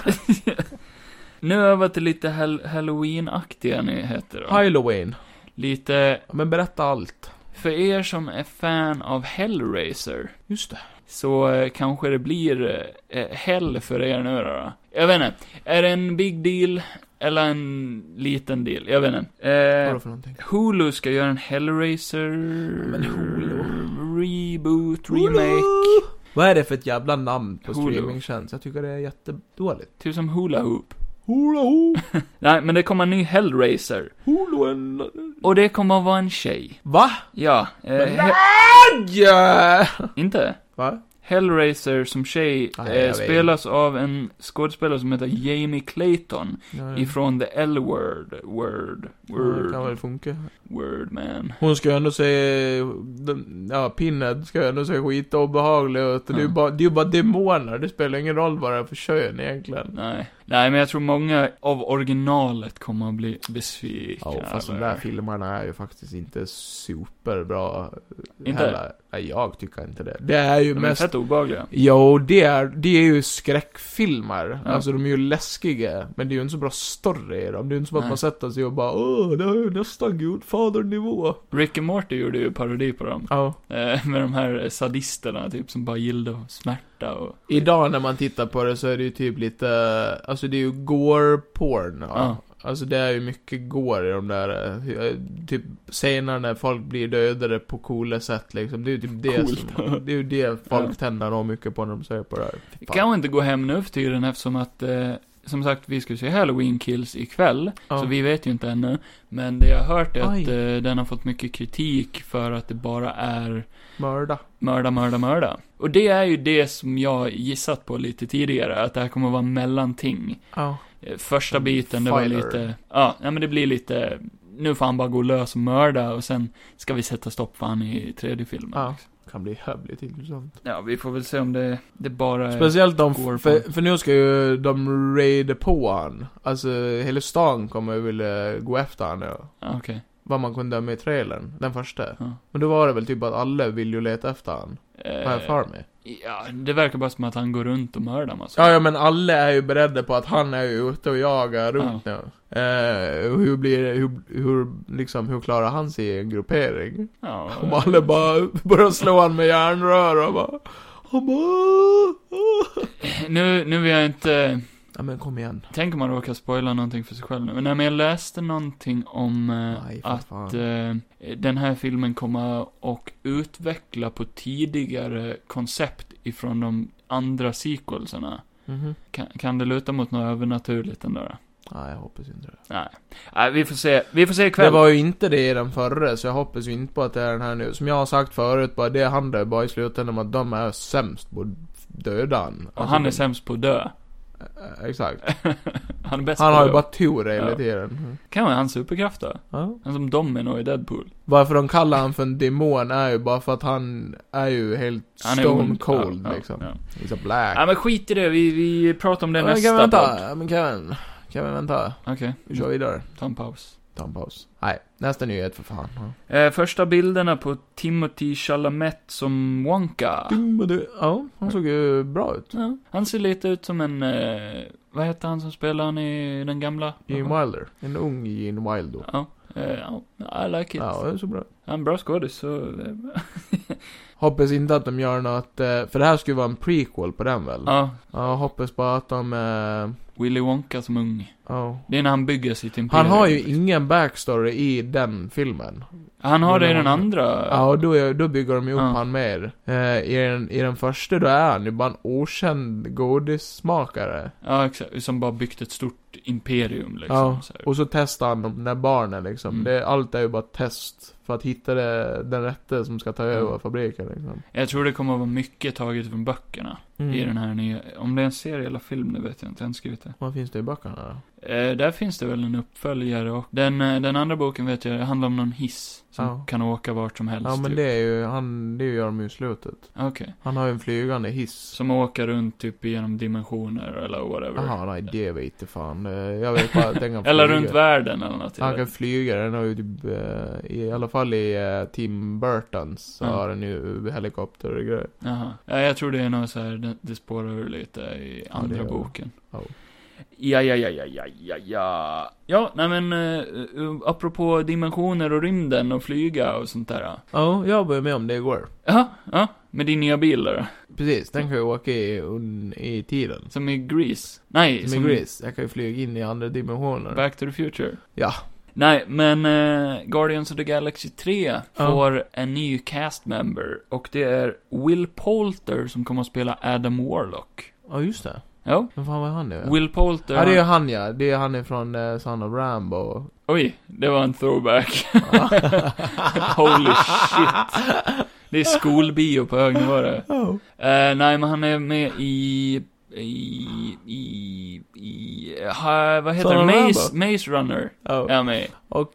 Speaker 1: Nu över till lite hall- halloween-aktiga nyheter då.
Speaker 2: Halloween.
Speaker 1: Lite,
Speaker 2: Men berätta allt.
Speaker 1: för er som är fan av Hellraiser,
Speaker 2: Just det.
Speaker 1: Så eh, kanske det blir eh, hell för er nu då. Jag vet inte. Är det en big deal? Eller en liten deal? Jag vet inte.
Speaker 2: Vad är
Speaker 1: Eh,
Speaker 2: det för någonting?
Speaker 1: Hulu ska göra en Hellraiser...
Speaker 2: men Hulu.
Speaker 1: Reboot, remake.
Speaker 2: Vad är det för ett jävla namn på
Speaker 1: Hulu.
Speaker 2: streamingtjänst? Jag tycker det är jättedåligt.
Speaker 1: Typ som Hula Hoop.
Speaker 2: Hula ho,
Speaker 1: Nej, men det kommer en ny Hellraiser.
Speaker 2: hula en...
Speaker 1: Och det kommer att vara en tjej.
Speaker 2: Va?
Speaker 1: Ja. Eh, he-
Speaker 2: Yeah!
Speaker 1: inte?
Speaker 2: Va?
Speaker 1: Hellraiser som tjej
Speaker 2: Ah, jag
Speaker 1: eh,
Speaker 2: vet.
Speaker 1: spelas av en skådespelare som heter Jamie Clayton. Ifrån The L-Word. Word.
Speaker 2: Mm. Det kan
Speaker 1: Word.
Speaker 2: väl funka.
Speaker 1: Word man.
Speaker 2: Hon ska ju ändå se... den- Ja, Pinhead ska ju ändå se skit och obehaglig ut. Det är ju
Speaker 1: Mm.
Speaker 2: bara, det är ju bara demoner. Det spelar ingen roll vad det är för kön egentligen.
Speaker 1: Nej. Nej, men jag tror många av originalet kommer att bli besvikna.
Speaker 2: Ja, fast de
Speaker 1: över.
Speaker 2: där filmerna är ju faktiskt inte superbra.
Speaker 1: Inte?
Speaker 2: heller. Nej, jag tycker inte det. Det är ju
Speaker 1: De är
Speaker 2: mest...
Speaker 1: fett obehagliga.
Speaker 2: Jo, det är, det är ju skräckfilmer.
Speaker 1: Ja.
Speaker 2: Alltså de är ju läskiga, men det är ju inte så bra story i dem. Det är ju inte som att
Speaker 1: Nej.
Speaker 2: man sätter sig och bara åh, det är ju nästan Gudfader-nivå.
Speaker 1: Rick and Morty gjorde ju parodi på dem.
Speaker 2: Ja.
Speaker 1: Eh, med de här sadisterna, typ, som bara gillade smärta och...
Speaker 2: Idag när man tittar på det så är det ju typ lite, alltså det är ju gore-porn. Ja.
Speaker 1: Ja.
Speaker 2: Alltså det är ju mycket gore i de där, eh, typ scener när folk blir dödade på coola sätt liksom. Det är ju typ det
Speaker 1: Coolt.
Speaker 2: som, det är ju det folk
Speaker 1: Ja.
Speaker 2: tänder av mycket på när de ser på det här. Fy fan.
Speaker 1: Kan man inte gå hem nu för tiden eftersom att, eh, som sagt, vi ska ju se Halloween Kills ikväll.
Speaker 2: Ja.
Speaker 1: Så vi vet ju inte ännu. Men det jag har hört är att
Speaker 2: Aj.
Speaker 1: eh, den har fått mycket kritik för att det bara är
Speaker 2: Mörda.
Speaker 1: Mörda, mörda, mörda. Och det är ju det som jag gissat på lite tidigare, att det här kommer att vara mellanting.
Speaker 2: Ja.
Speaker 1: Eh, Första
Speaker 2: Som
Speaker 1: biten, det var
Speaker 2: fighter.
Speaker 1: lite, ja, nej men det blir lite, nu får han bara gå lös och mörda och sen ska vi sätta stopp för han i tredje filmen.
Speaker 2: Ja.
Speaker 1: liksom.
Speaker 2: Kan bli jävligt intressant.
Speaker 1: ja vi får väl se om det, det bara är...
Speaker 2: Speciellt de,
Speaker 1: Eh, går
Speaker 2: för,
Speaker 1: på.
Speaker 2: för nu ska ju de raida på han. Alltså hela stan kommer ju vilja gå efter han nu.
Speaker 1: Ja, Okej.
Speaker 2: Vad man kunde döma i trailern, den första.
Speaker 1: Ja.
Speaker 2: Men då var det väl typ att alla vill ju leta efter han. Har
Speaker 1: Eh,
Speaker 2: jag för mig?
Speaker 1: ja, det verkar bara som att han går runt och mördar massor.
Speaker 2: Ja, ja men alla är ju beredda på att han är ju ute och jagar runt nu. Eh, och hur blir det, hur, hur, liksom, hur klarar han sig i en gruppering?
Speaker 1: Ja,
Speaker 2: Om alla bara börjar slå han med järnrör och bara... Han bara...
Speaker 1: Nu, nu vill jag inte...
Speaker 2: Ja men kom igen.
Speaker 1: Tänk om man råkar spoila någonting för sig själv nu. Men nej, men jag läste någonting om eh,
Speaker 2: Nej, för
Speaker 1: att
Speaker 2: fan.
Speaker 1: eh, den här filmen kommer att utveckla på tidigare koncept ifrån de andra sequelserna.
Speaker 2: Mhm.
Speaker 1: Kan, kan det luta mot något övernaturligt ändå då?
Speaker 2: Nej, jag hoppas inte det.
Speaker 1: Nej, vi får se, vi får se
Speaker 2: Det
Speaker 1: ikväll.
Speaker 2: var ju inte det i den förre, så jag hoppas ju inte på att det är den här nu. Som jag har sagt förut, bara det handlar bara i slutändan om att de är sämst på att döda han.
Speaker 1: Och
Speaker 2: Alltså,
Speaker 1: han är
Speaker 2: de-
Speaker 1: sämst på att dö. [laughs]
Speaker 2: Eh, Exakt.
Speaker 1: Han är bäst
Speaker 2: Han
Speaker 1: på
Speaker 2: har
Speaker 1: att
Speaker 2: ju
Speaker 1: dö.
Speaker 2: bara tur hela
Speaker 1: Ja.
Speaker 2: tiden. Mm.
Speaker 1: Kan vara hans superkraft då?
Speaker 2: Ja.
Speaker 1: Han som Domino i Deadpool.
Speaker 2: Varför de kallar han för en demon är ju bara för att han är ju helt
Speaker 1: Han är
Speaker 2: stone
Speaker 1: ond.
Speaker 2: cold
Speaker 1: Ja, ja,
Speaker 2: liksom.
Speaker 1: Ja.
Speaker 2: He's a black.
Speaker 1: ja, men skit i det. Vi, vi pratar om det
Speaker 2: men kan
Speaker 1: nästa
Speaker 2: vi vänta?
Speaker 1: podd.
Speaker 2: Ja, Men Kevin, Kevin vänta.
Speaker 1: Okej,
Speaker 2: Vi kör vidare.
Speaker 1: ta en paus.
Speaker 2: Ta en paus. Nej, nästa nyhet för fan. Ja.
Speaker 1: Eh, första bilderna på Timothy Chalamet som Wonka.
Speaker 2: Dum och du- Ja, han såg ju bra ut.
Speaker 1: Ja, han ser lite ut som en, eh, vad heter han som spelar han i den gamla?
Speaker 2: Gene Wilder. En ung Gene Wilder.
Speaker 1: Ja, eh, ja, I like it.
Speaker 2: Ja, det är så bra.
Speaker 1: Han är en bra skådis, så... eh,
Speaker 2: Hoppas inte att de gör något, eh, för det här skulle vara en prequel på den väl? Ja.
Speaker 1: Ja,
Speaker 2: hoppas bara att de, eh,
Speaker 1: Willy Wonka som ung.
Speaker 2: ja.
Speaker 1: Det är när han bygger sitt imperium.
Speaker 2: Han har ju ingen backstory i den filmen.
Speaker 1: Han har det i den
Speaker 2: Willy Wonka.
Speaker 1: andra.
Speaker 2: Ja, och då, är- då bygger de ju upp
Speaker 1: Ja.
Speaker 2: han mer. Eh, i, den, I den första då är han ju bara en okänd godissmakare.
Speaker 1: Ja, exakt. Som bara byggt ett stort imperium liksom.
Speaker 2: Ja,
Speaker 1: Så här.
Speaker 2: och så testar han de där barnen liksom.
Speaker 1: Mm.
Speaker 2: Det, allt är ju bara test för att hitta det, den rätte som ska ta över
Speaker 1: Mm.
Speaker 2: fabriken liksom.
Speaker 1: Jag tror det kommer att vara mycket taget från böckerna.
Speaker 2: Mm.
Speaker 1: I den här nya. Om det är en serie eller film, det vet jag inte. Jag har inte skrivit det.
Speaker 2: Vad finns det i böckerna då?
Speaker 1: Eh, där finns det väl en uppföljare och den, eh, den andra boken vet jag, det handlar om någon hiss. Som
Speaker 2: Ja.
Speaker 1: kan åka vart som helst.
Speaker 2: Ja men
Speaker 1: typ.
Speaker 2: det är ju, han, det gör de ju i slutet.
Speaker 1: Okej.
Speaker 2: Han har ju en flygande hiss.
Speaker 1: Som åker runt typ genom dimensioner eller whatever.
Speaker 2: Jaha, nej det vet jag fan. Eh, Jag vet bara att den
Speaker 1: [laughs]
Speaker 2: kan
Speaker 1: Eller
Speaker 2: flyga.
Speaker 1: runt världen eller något. jag
Speaker 2: Han kan
Speaker 1: vet.
Speaker 2: flyga, den har ju typ, eh, i alla fall i eh, Tim Burtons, så
Speaker 1: Ja.
Speaker 2: har den ju helikopter och grejer.
Speaker 1: Jaha. Ja, jag tror det är något så här, det, det spårar ur lite i
Speaker 2: Ja, det
Speaker 1: andra
Speaker 2: gör det.
Speaker 1: boken.
Speaker 2: Ja.
Speaker 1: Ja, ja, ja, ja, ja, ja, ja. Ja, nej men, eh, apropå dimensioner och rymden och flyga och sånt där.
Speaker 2: Ja, jag var ju med om det igår.
Speaker 1: Ja, ja. Med din nya bil där.
Speaker 2: Precis, den kan ju åka i, un, i tiden.
Speaker 1: Som i Grease. Nej,
Speaker 2: Som i Grease, jag kan ju flyga in i andra dimensioner.
Speaker 1: Back to the Future.
Speaker 2: Ja.
Speaker 1: Nej, men eh, Guardians of the Galaxy 3
Speaker 2: Ja.
Speaker 1: får en ny cast member. Och det är Will Poulter som kommer att spela Adam Warlock.
Speaker 2: Ja, just det.
Speaker 1: Ja.
Speaker 2: Men fan vad är han nu?
Speaker 1: Will Poulter.
Speaker 2: Ja, det är ju han ja. Det är han ifrån eh, Son of Rambo.
Speaker 1: Oj, det var en throwback. [laughs] Holy shit. Det är skolbio på hög nivå det.
Speaker 2: Oh.
Speaker 1: Eh, nej, men han är med i... I... I... i ha, vad heter
Speaker 2: Son
Speaker 1: det?
Speaker 2: of
Speaker 1: Maze,
Speaker 2: Rambo.
Speaker 1: Maze Runner.
Speaker 2: Oh.
Speaker 1: Är han med i.
Speaker 2: Och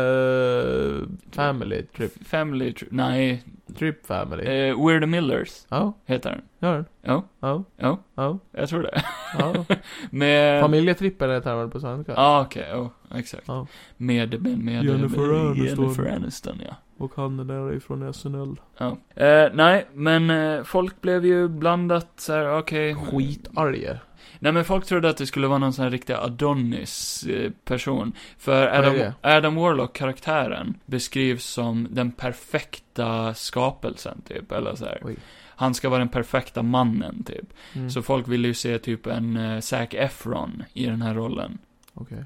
Speaker 2: eh, Family Trip.
Speaker 1: Family... Tr- nej.
Speaker 2: Trip Family.
Speaker 1: Eh, We're the Millers
Speaker 2: Ja,
Speaker 1: heter den.
Speaker 2: gör den.
Speaker 1: Ja,
Speaker 2: Ja,
Speaker 1: ja.
Speaker 2: ja,
Speaker 1: Jag tror det. [laughs]
Speaker 2: ja.
Speaker 1: Med...
Speaker 2: Familjetrippen heter den väl på svenska?
Speaker 1: Ja, ah, okej. ja, exakt.
Speaker 2: Ja.
Speaker 1: Med, med, med...
Speaker 2: Jennifer
Speaker 1: med,
Speaker 2: Aniston.
Speaker 1: Jennifer Aniston, ja.
Speaker 2: Och han är där ifrån SNL.
Speaker 1: Ja. Eh, nej, men eh, folk blev ju blandat så här, okej.
Speaker 2: Skitarge.
Speaker 1: Nej men folk trodde att det skulle vara någon sån här riktig Adonis-person. För
Speaker 2: är
Speaker 1: Adam,
Speaker 2: det?
Speaker 1: Adam Warlock-karaktären beskrivs som den perfekta skapelsen, typ. Eller så här.
Speaker 2: Oj.
Speaker 1: Han ska vara den perfekta mannen, typ.
Speaker 2: Mm.
Speaker 1: Så folk ville ju se typ en eh, Zac Efron i den här rollen.
Speaker 2: Okej.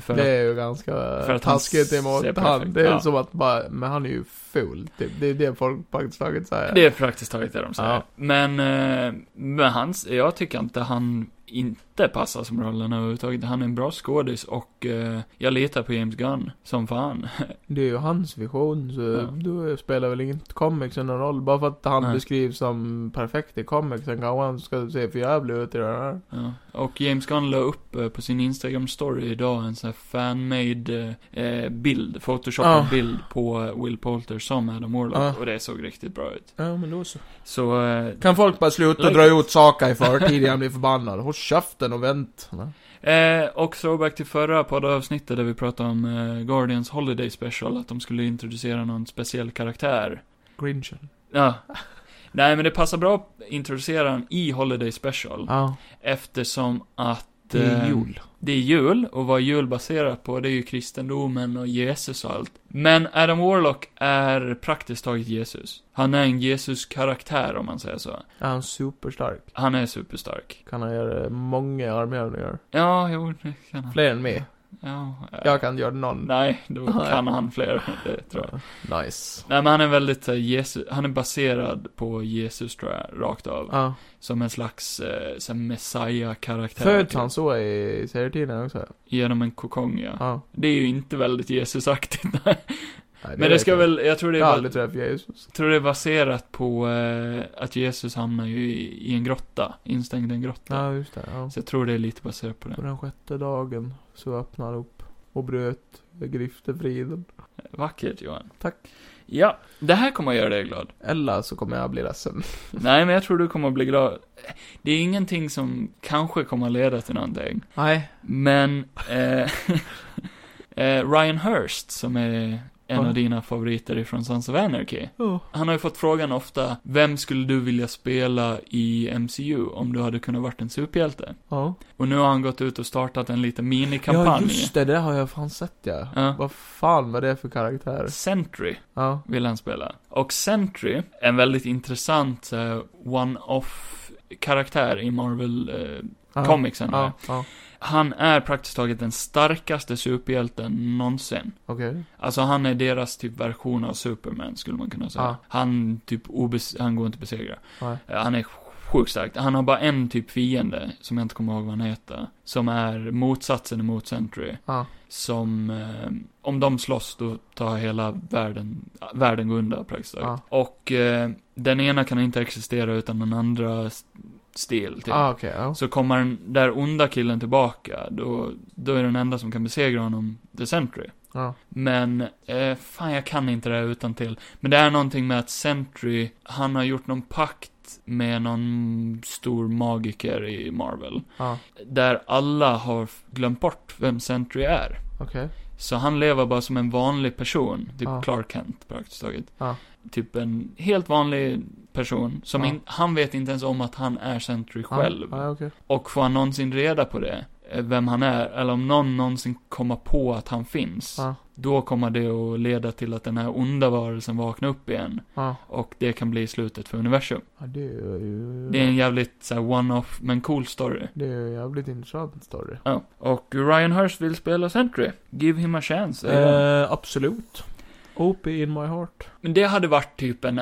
Speaker 1: För
Speaker 2: det
Speaker 1: att,
Speaker 2: är ju ganska
Speaker 1: för att han
Speaker 2: taskigt
Speaker 1: ser
Speaker 2: emot
Speaker 1: perfekt,
Speaker 2: han. Det är
Speaker 1: ja.
Speaker 2: som att bara, men han är ju full. Typ. Det är det folk praktiskt taget säger.
Speaker 1: det är praktiskt taget det de säger.
Speaker 2: Ja.
Speaker 1: Men, eh, men hans, jag tycker inte han inte passar som rollen överhuvudtaget. Han är en bra skådis och eh, jag litar på James Gunn som fan.
Speaker 2: Det är ju hans vision, så
Speaker 1: Ja.
Speaker 2: då spelar väl inget comicsen någon roll. Bara för att han
Speaker 1: Nej.
Speaker 2: beskrivs som perfekt i comicsen kanske han ska se för jävlig ut i den här.
Speaker 1: Ja, och James Gunn la upp eh, på sin Instagram story idag en sån här fan-made eh, eh, bild, photoshopad
Speaker 2: Ja.
Speaker 1: bild på eh, Will Poulter som Adam Warlock
Speaker 2: Ja.
Speaker 1: och det såg riktigt bra ut.
Speaker 2: Ja, men då så.
Speaker 1: Så, eh,
Speaker 2: Kan folk bara sluta
Speaker 1: Like
Speaker 2: dra ut saker i förtid, jag blir förbannad. Håll käften och vänt. Nej.
Speaker 1: eh, och throwback till förra poddavsnittet där vi pratade om eh, Guardians Holiday Special, att de skulle introducera någon speciell karaktär.
Speaker 2: Grinchen. [laughs]
Speaker 1: Ja. Nej men det passar bra att introducera den i Holiday Special,
Speaker 2: Ja,
Speaker 1: eftersom att
Speaker 2: det är
Speaker 1: eh,
Speaker 2: jul.
Speaker 1: Det är jul, och vad jul baserat på, det är ju kristendomen och Jesus och allt. Men Adam Warlock är praktiskt taget Jesus. Han är en Jesus-karaktär, om man säger så.
Speaker 2: Är han superstark?
Speaker 1: Han är superstark.
Speaker 2: Kan han göra eh, många armhävningar?
Speaker 1: Ja, jo, det kan han.
Speaker 2: Fler än mig?
Speaker 1: Ja, eh,
Speaker 2: Jag kan göra någon.
Speaker 1: Nej, då
Speaker 2: Nej.
Speaker 1: kan han fler, det tror jag.
Speaker 2: Nice.
Speaker 1: Nej men han är väldigt så här, Jesus, han är baserad på Jesus tror jag, rakt av.
Speaker 2: Ja.
Speaker 1: Som en slags eh, så här messiah-karaktär.
Speaker 2: Föds
Speaker 1: typ.
Speaker 2: han så i serietidningen också?
Speaker 1: Genom en kokong ja.
Speaker 2: Ja.
Speaker 1: Det är ju inte väldigt Jesusaktigt. [laughs] nej.
Speaker 2: Nej,
Speaker 1: men det
Speaker 2: vet
Speaker 1: ska
Speaker 2: jag.
Speaker 1: väl, jag tror det
Speaker 2: Jag har
Speaker 1: är,
Speaker 2: aldrig träffat Jesus.
Speaker 1: tror det är baserat på eh, att Jesus hamnar ju i, i en grotta, instängd i en grotta.
Speaker 2: Ja, just det. Ja.
Speaker 1: Så jag tror det är lite baserat på det.
Speaker 2: På den sjätte dagen så öppnade han upp och bröt griftefriden.
Speaker 1: Vackert Johan.
Speaker 2: Tack.
Speaker 1: Ja, det här kommer att göra dig glad.
Speaker 2: Eller så kommer jag bli ledsen.
Speaker 1: Nej, men jag tror du kommer att bli glad. Det är ingenting som kanske kommer att leda till någonting.
Speaker 2: Nej.
Speaker 1: Men, eh, [laughs] eh, Ryan Hurst, som är en
Speaker 2: Ja.
Speaker 1: av dina favoriter ifrån Sons of Anarchy.
Speaker 2: Ja.
Speaker 1: Han har ju fått frågan ofta, vem skulle du vilja spela i MCU om du hade kunnat varit en superhjälte?
Speaker 2: Ja.
Speaker 1: Och nu har han gått ut och startat en liten
Speaker 2: ja,
Speaker 1: minikampanj.
Speaker 2: just det. Det har jag fan sett ja.
Speaker 1: Ja.
Speaker 2: Vad fan var det för karaktär?
Speaker 1: Sentry
Speaker 2: Ja.
Speaker 1: vill han spela. Och Sentry, en väldigt intressant eh, one-off karaktär i Marvel eh,
Speaker 2: ja.
Speaker 1: comicsen.
Speaker 2: Ja. ja.
Speaker 1: Han är praktiskt taget den starkaste superhjälten någonsin.
Speaker 2: Okej.
Speaker 1: Alltså han är deras typ version av Superman skulle man kunna säga.
Speaker 2: Ja.
Speaker 1: Han typ obes- han går inte att besegra.
Speaker 2: Nej.
Speaker 1: Eh, Han är sjukt stark. Han har bara en typ fiende, som jag inte kommer ihåg vad han heter. Som är motsatsen emot Sentry.
Speaker 2: Ja.
Speaker 1: Som, eh, om de slåss då tar hela världen, världen går under praktiskt taget.
Speaker 2: Ja.
Speaker 1: Och eh, den ena kan inte existera utan den andra s- stil typ.
Speaker 2: Ah, okej. Ja.
Speaker 1: Så kommer den där onda killen tillbaka, då, då är den enda som kan besegra honom The Sentry.
Speaker 2: Ja.
Speaker 1: Men, eh, fan jag kan inte det här utan till. Men det är någonting med att Sentry, han har gjort någon pakt med någon stor magiker i Marvel.
Speaker 2: Ja.
Speaker 1: Där alla har f- glömt bort vem Sentry är.
Speaker 2: Okej.
Speaker 1: Så han lever bara som en vanlig person, typ
Speaker 2: Ja.
Speaker 1: Clark Kent praktiskt taget.
Speaker 2: Ja.
Speaker 1: Typ en helt vanlig person, som
Speaker 2: Ja.
Speaker 1: in, han vet inte ens om att han är Sentry
Speaker 2: Ja.
Speaker 1: själv.
Speaker 2: Ja, okej.
Speaker 1: Och får han någonsin reda på det, eh, vem han är, eller om någon någonsin kommer på att han finns,
Speaker 2: Ja.
Speaker 1: då kommer det att leda till att den här onda varelsen vaknar upp igen.
Speaker 2: Ja.
Speaker 1: Och det kan bli slutet för universum.
Speaker 2: Ja, det är ju...
Speaker 1: Det är en jävligt så här, one-off, men cool story.
Speaker 2: Det är ju jävligt intressant story.
Speaker 1: Ja. Och Ryan Hurst vill spela Sentry. Give him a chance. säger han.
Speaker 2: Eh, absolut. OP in my heart.
Speaker 1: Men det hade varit typ en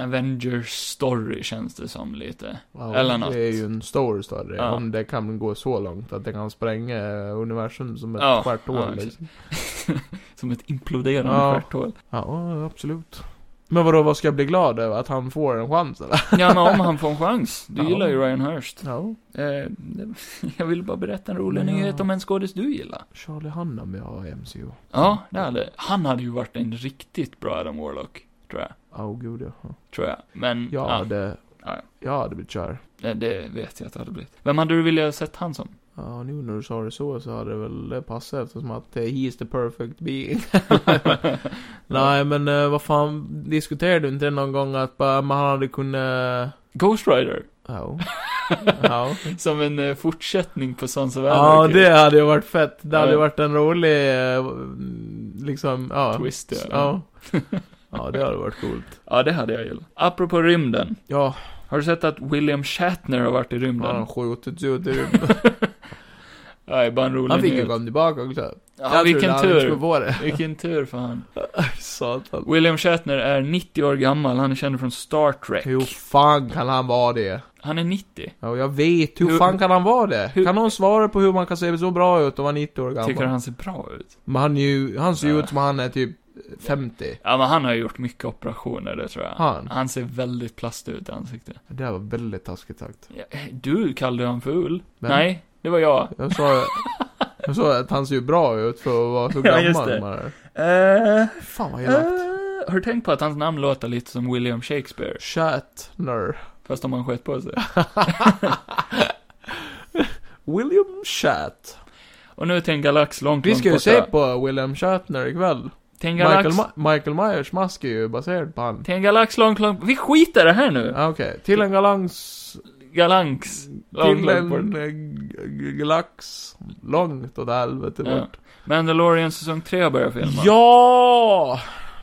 Speaker 1: Avengers-story, känns det som lite.
Speaker 2: Wow,
Speaker 1: Eller något.
Speaker 2: Det är ju en stor story.
Speaker 1: Ja.
Speaker 2: Om det kan gå så långt att det kan spränga eh, universum som ett
Speaker 1: Ja,
Speaker 2: stjärthål.
Speaker 1: ja, exakt.
Speaker 2: liksom.
Speaker 1: som ett imploderande
Speaker 2: Ja.
Speaker 1: stjärthål.
Speaker 2: ja, ja, absolut. Men vadå, vad ska jag bli glad över? Att han får en chans eller?
Speaker 1: Ja, men om han får en chans. Du
Speaker 2: Ja.
Speaker 1: gillar ju Ryan Hurst.
Speaker 2: Ja.
Speaker 1: Eh, [laughs] det- jag ville bara berätta en rolig
Speaker 2: Ja.
Speaker 1: nyhet om en skådis du gillar.
Speaker 2: Charlie Hunnam ja, MCU.
Speaker 1: Ja, det hade Han hade ju varit en riktigt bra Adam Warlock, tror jag.
Speaker 2: Åh oh, gud ja.
Speaker 1: Tror jag. Men,
Speaker 2: Jag
Speaker 1: ja,
Speaker 2: hade...
Speaker 1: Ja.
Speaker 2: Jag hade blivit kär.
Speaker 1: det, det vet jag att det hade blivit. Vem hade du velat sett han som?
Speaker 2: Ja, nu när du sa det så så hade det väl passat eftersom att eh, he is the perfect being.
Speaker 1: [laughs]
Speaker 2: Nej men eh, vad fan, diskuterade du inte det någon gång att bara, man hade kunnat...
Speaker 1: Ghost Rider. [laughs]
Speaker 2: Ja. Ja.
Speaker 1: Som en eh, fortsättning på Sons of
Speaker 2: Ja,
Speaker 1: Anarchy.
Speaker 2: det hade ju varit fett. Det hade ju
Speaker 1: Ja.
Speaker 2: varit en rolig, eh, liksom, ja.
Speaker 1: Twist, ja.
Speaker 2: ja. Ja, det hade varit coolt.
Speaker 1: Ja, det hade jag gillat. Apropå rymden.
Speaker 2: Ja,
Speaker 1: Har du sett att William Shatner har varit i
Speaker 2: han har
Speaker 1: rymden?
Speaker 2: skjutits ut i rymden.
Speaker 1: Nej, bara en rolig
Speaker 2: Han fick ju
Speaker 1: nyhet.
Speaker 2: komma tillbaka också.
Speaker 1: Ja,
Speaker 2: Jag trodde
Speaker 1: vilken
Speaker 2: han inte skulle
Speaker 1: tur.
Speaker 2: få det.
Speaker 1: Vilken tur för han.
Speaker 2: Satan.
Speaker 1: William Shatner är 90 år gammal, han är känd från Star Trek.
Speaker 2: Hur fan kan han vara det?
Speaker 1: Han är 90.
Speaker 2: Ja, jag vet. Hur,
Speaker 1: Hur-
Speaker 2: fan kan han vara det?
Speaker 1: hur-
Speaker 2: Kan någon svara på hur man kan se så bra ut om man är 90 år gammal?
Speaker 1: Tycker han ser bra ut?
Speaker 2: Men han, är ju, han ser ju
Speaker 1: Ja.
Speaker 2: ut som han är typ 50.
Speaker 1: Ja, men han har ju gjort mycket operationer, det tror jag.
Speaker 2: Han?
Speaker 1: Han ser väldigt plastig ut i ansiktet.
Speaker 2: Det här var väldigt taskigt sagt.
Speaker 1: Ja, eh, Du kallade han ful.
Speaker 2: Men-
Speaker 1: Nej, det var jag.
Speaker 2: Jag sa, jag sa att han ser ju bra ut för att [laughs] vara så
Speaker 1: Ja,
Speaker 2: gammal.
Speaker 1: just det.
Speaker 2: man.
Speaker 1: Eh,
Speaker 2: Fan vad
Speaker 1: eh,
Speaker 2: elakt.
Speaker 1: har du tänkt på att hans namn låter lite som William Shakespeare?
Speaker 2: Shatner.
Speaker 1: Fast om han skett på sig.
Speaker 2: William Shat.
Speaker 1: Och nu till en galax långt,
Speaker 2: Vi
Speaker 1: långt
Speaker 2: ska ju
Speaker 1: borta.
Speaker 2: se på William Shatner ikväll.
Speaker 1: Till en galax,
Speaker 2: Michael, Ma- Michael Myers mask är ju baserad på han.
Speaker 1: till en galax långt, långt... Vi skiter i det här nu!
Speaker 2: Ja, Okej, till en galans...
Speaker 1: Galax. Långt,
Speaker 2: Till
Speaker 1: långt
Speaker 2: en
Speaker 1: bort.
Speaker 2: eh, g- g- galax. Långt åt helvete
Speaker 1: Ja.
Speaker 2: bort.
Speaker 1: Mandalorian säsong 3 börjar filma.
Speaker 2: Ja!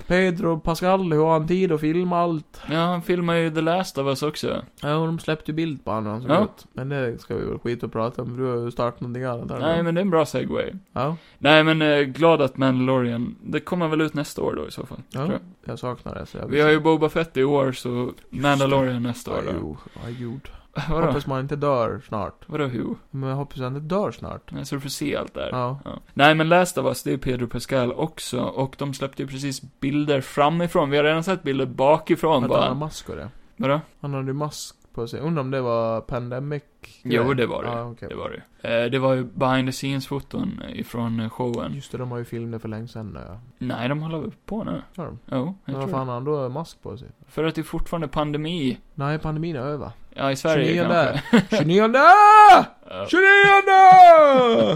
Speaker 2: Pedro Pascal, hur har han tid att filma allt?
Speaker 1: Ja, han filmar ju The Last of Us också.
Speaker 2: Ja, och de släppte ju bild på honom så
Speaker 1: Ja.
Speaker 2: gott. Men det ska vi väl skita och prata om, för du har ju startat någonting annat här nu.
Speaker 1: Nej, men det är en bra segway.
Speaker 2: Ja,
Speaker 1: Nej, men eh, glad att Mandalorian, det kommer väl ut nästa år då i så fall. tror
Speaker 2: ja.
Speaker 1: jag.
Speaker 2: Jag saknar det så jag
Speaker 1: Vi har ju Boba Fett i år, så Mandalorian nästa år då.
Speaker 2: då. Ja, gjort.
Speaker 1: [laughs] Vadå?
Speaker 2: Hoppas man inte dör snart.
Speaker 1: Vadå hur?
Speaker 2: Men jag hoppas han inte dör snart.
Speaker 1: Nej, Så du får se allt där.
Speaker 2: Ja.
Speaker 1: Ja. Nej men Last of Us, det är Pedro Pascal också, och de släppte ju precis bilder framifrån. Vi har redan sett bilder bakifrån
Speaker 2: Att han har
Speaker 1: bara.
Speaker 2: mask och det.
Speaker 1: Vadå?
Speaker 2: Han hade ju mask på sig. Undrar om det var pandemic?
Speaker 1: Jo, det var det.
Speaker 2: Ja, okej.
Speaker 1: Det var det ju. eh, Det var ju behind the scenes-foton ifrån eh, showen.
Speaker 2: Just det, de har ju filmer för länge sedan nu ja.
Speaker 1: Nej, de håller väl på nu?
Speaker 2: Har de?
Speaker 1: Jo, jag
Speaker 2: Men
Speaker 1: tror
Speaker 2: varför
Speaker 1: det.
Speaker 2: har han då mask på sig?
Speaker 1: För att det är fortfarande pandemi.
Speaker 2: Nej, pandemin
Speaker 1: [laughs]
Speaker 2: är över.
Speaker 1: Ja, i Sverige
Speaker 2: 29.
Speaker 1: kanske. [laughs]
Speaker 2: 29!
Speaker 1: Ja. [laughs]
Speaker 2: 29!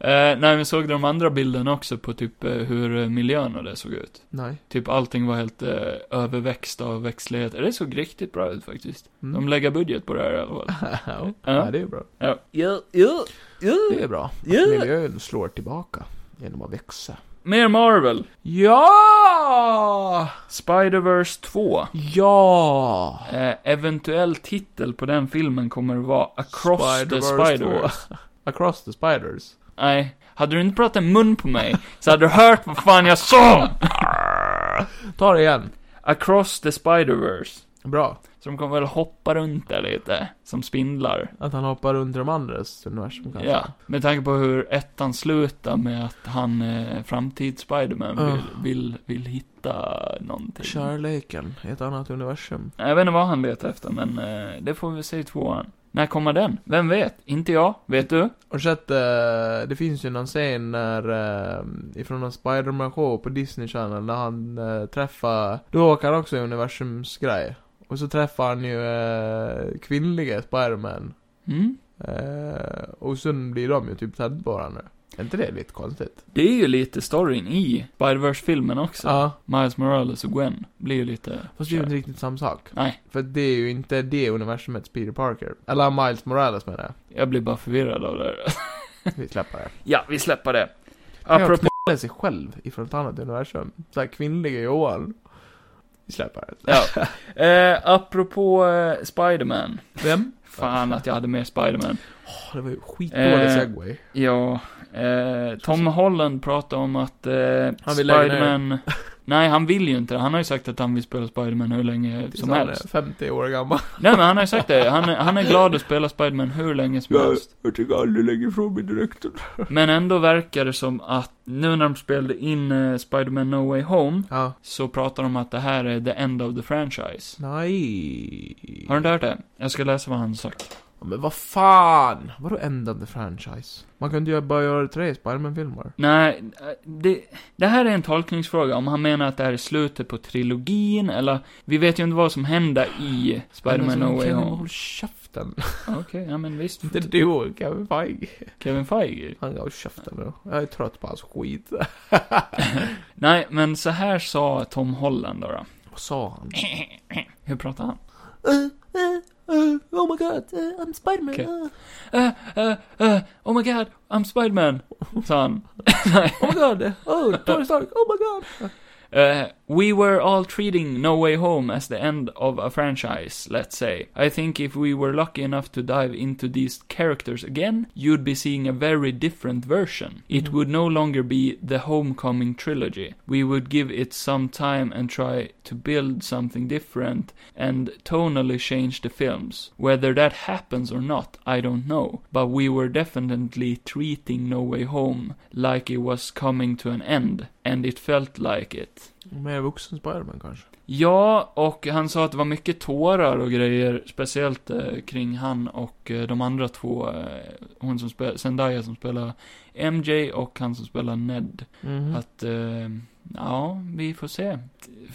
Speaker 1: Eh, nej, men såg de andra bilderna också på typ eh, hur eh, miljön och det såg ut?
Speaker 2: Nej.
Speaker 1: Typ allting var helt eh, överväxt av växtlighet. Det såg riktigt bra ut faktiskt.
Speaker 2: Mm.
Speaker 1: De lägger budget på det här i alla fall.
Speaker 2: [laughs] ja.
Speaker 1: Ja.
Speaker 2: Nej, det är bra.
Speaker 1: Ja.
Speaker 2: Det är bra. Att
Speaker 1: Ja.
Speaker 2: miljön slår tillbaka genom att växa.
Speaker 1: Mer Marvel.
Speaker 2: Ja!
Speaker 1: Spider-Verse 2.
Speaker 2: Ja!
Speaker 1: Eh, eventuell titel på den filmen kommer vara Across the
Speaker 2: Spider-Verse
Speaker 1: Spider.
Speaker 2: 2. [laughs] Across the Spiders.
Speaker 1: Nej, hade du inte pratat mun på mig så hade du hört vad fan jag sa!
Speaker 2: Ta det igen.
Speaker 1: Across the Spider-Verse.
Speaker 2: Bra.
Speaker 1: Så de kommer väl hoppa runt där lite, som spindlar.
Speaker 2: Att han hoppar under de andras universum kanske.
Speaker 1: Ja, med tanke på hur ettan slutar med att han, eh, framtids Spiderman,
Speaker 2: Ja.
Speaker 1: vill, vill, vill hitta någonting.
Speaker 2: Kärleken i ett annat universum.
Speaker 1: Nej, Jag vet inte vad han letar efter, men eh, det får vi se i tvåan. När kommer den? Vem vet? Inte jag. Vet du?
Speaker 2: Och sett, eh, det finns ju någon scen när, eh, ifrån en Spider-Man show på Disney Channel när han eh, träffar, då åker han också i universums grej. Och så träffar han ju eh, kvinnliga Spider-Man.
Speaker 1: Mm?
Speaker 2: Eh, och sen blir de ju typ tändbara Är inte det lite konstigt?
Speaker 1: Det är ju lite storyn i Spider-Verse-filmen också.
Speaker 2: Ja.
Speaker 1: Miles Morales och Gwen blir ju lite...
Speaker 2: Fast det är ju inte riktigt samma sak.
Speaker 1: Nej,
Speaker 2: För det är ju inte det universumet Peter Parker. Eller Miles Morales menar jag.
Speaker 1: jag blir bara förvirrad av det här. [laughs]
Speaker 2: [laughs] Vi släpper det.
Speaker 1: Ja, vi släpper det.
Speaker 2: Han
Speaker 1: Apropå...
Speaker 2: knullar sig själv ifrån ett annat universum. Såhär kvinnliga Johan. Vi släpper det.
Speaker 1: Ja. Eh, apropå eh, Spiderman.
Speaker 2: Vem?
Speaker 1: Fan att jag hade med Spiderman.
Speaker 2: Åh, det var ju skitdålig
Speaker 1: Eh,
Speaker 2: segway.
Speaker 1: Ja, eh, Tom Holland pratade om att eh,
Speaker 2: Han vill lägga ner. [laughs]
Speaker 1: Spiderman... Nej, han vill ju inte det. Han har ju sagt att han vill spela Spiderman hur länge
Speaker 2: Tills
Speaker 1: som
Speaker 2: han är
Speaker 1: helst.
Speaker 2: 50
Speaker 1: [laughs]
Speaker 2: år gammal.
Speaker 1: Nej, men han har ju sagt det. Han, är- han är glad att spela Spiderman hur länge som helst.
Speaker 2: jag tycker aldrig lägger ifrån mig direkten.
Speaker 1: Men ändå verkar det som att nu när de spelade in eh, Spiderman No Way Home
Speaker 2: Ja.
Speaker 1: så pratar de om att det här är the end of the franchise.
Speaker 2: Nej.
Speaker 1: Har du inte hört det? Jag ska läsa vad han sagt.
Speaker 2: Ja, Men vad fan! Vadå end of the franchise? Man kan inte göra- bara göra tre Spiderman-filmer.
Speaker 1: Nej, eh, det, det här är en tolkningsfråga. Om han menar att det här är slutet på trilogin eller... Vi vet ju inte vad som händer i Spiderman No Way
Speaker 2: Kenny,
Speaker 1: Home.
Speaker 2: Håll käften. [laughs]
Speaker 1: Okej, ja men visst.
Speaker 2: Inte du, Kevin Feige.
Speaker 1: Kevin Feige.
Speaker 2: Han gav käften nu. Jag är trött på hans skit.
Speaker 1: Nej, men så här sa Tom Holland då. då.
Speaker 2: Vad
Speaker 1: [laughs]
Speaker 2: sa han? Eh,
Speaker 1: Hur pratar han?
Speaker 2: Uh, uh, uh, oh my god, uh, I'm Spiderman.
Speaker 1: Okej.
Speaker 2: Uh.
Speaker 1: Uh, uh, uh, oh my god, I'm Spiderman, sa han.
Speaker 2: Oh my god, oh Tony Stark, oh my god.
Speaker 1: Uh, we were all treating No Way Home as the end of a franchise, let's say. I think if we were lucky enough to dive into these characters again, you'd be seeing a very different version. It
Speaker 2: Mhm.
Speaker 1: would no longer be the Homecoming trilogy. We would give it some time and try to build something different and tonally change the films. Whether that happens or not, I don't know. But we were definitely treating No Way Home like it was coming to an end, and it felt like it.
Speaker 2: Mer vuxen Spiderman kanske.
Speaker 1: Ja, och han sa att det var mycket tårar och grejer, speciellt eh, kring han och eh, de andra två, eh, hon som spelar, Zendaya som spelar MJ och han som spelar Ned.
Speaker 2: mm
Speaker 1: Att, eh, ja, vi får se.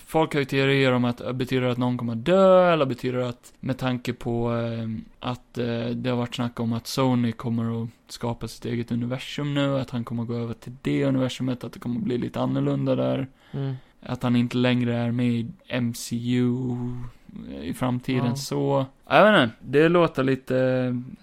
Speaker 1: Folk har ju teorier om att eh, betyder det att någon kommer att dö, eller betyder det att, med tanke på eh, att eh, det har varit snack om att Sony kommer att skapa sitt eget universum nu, att han kommer att gå över till det universumet, att det kommer att bli lite annorlunda där.
Speaker 2: Mm.
Speaker 1: Att han inte längre är med i MCU eh, i framtiden
Speaker 2: Ja.
Speaker 1: så... Jag vet inte, det låter lite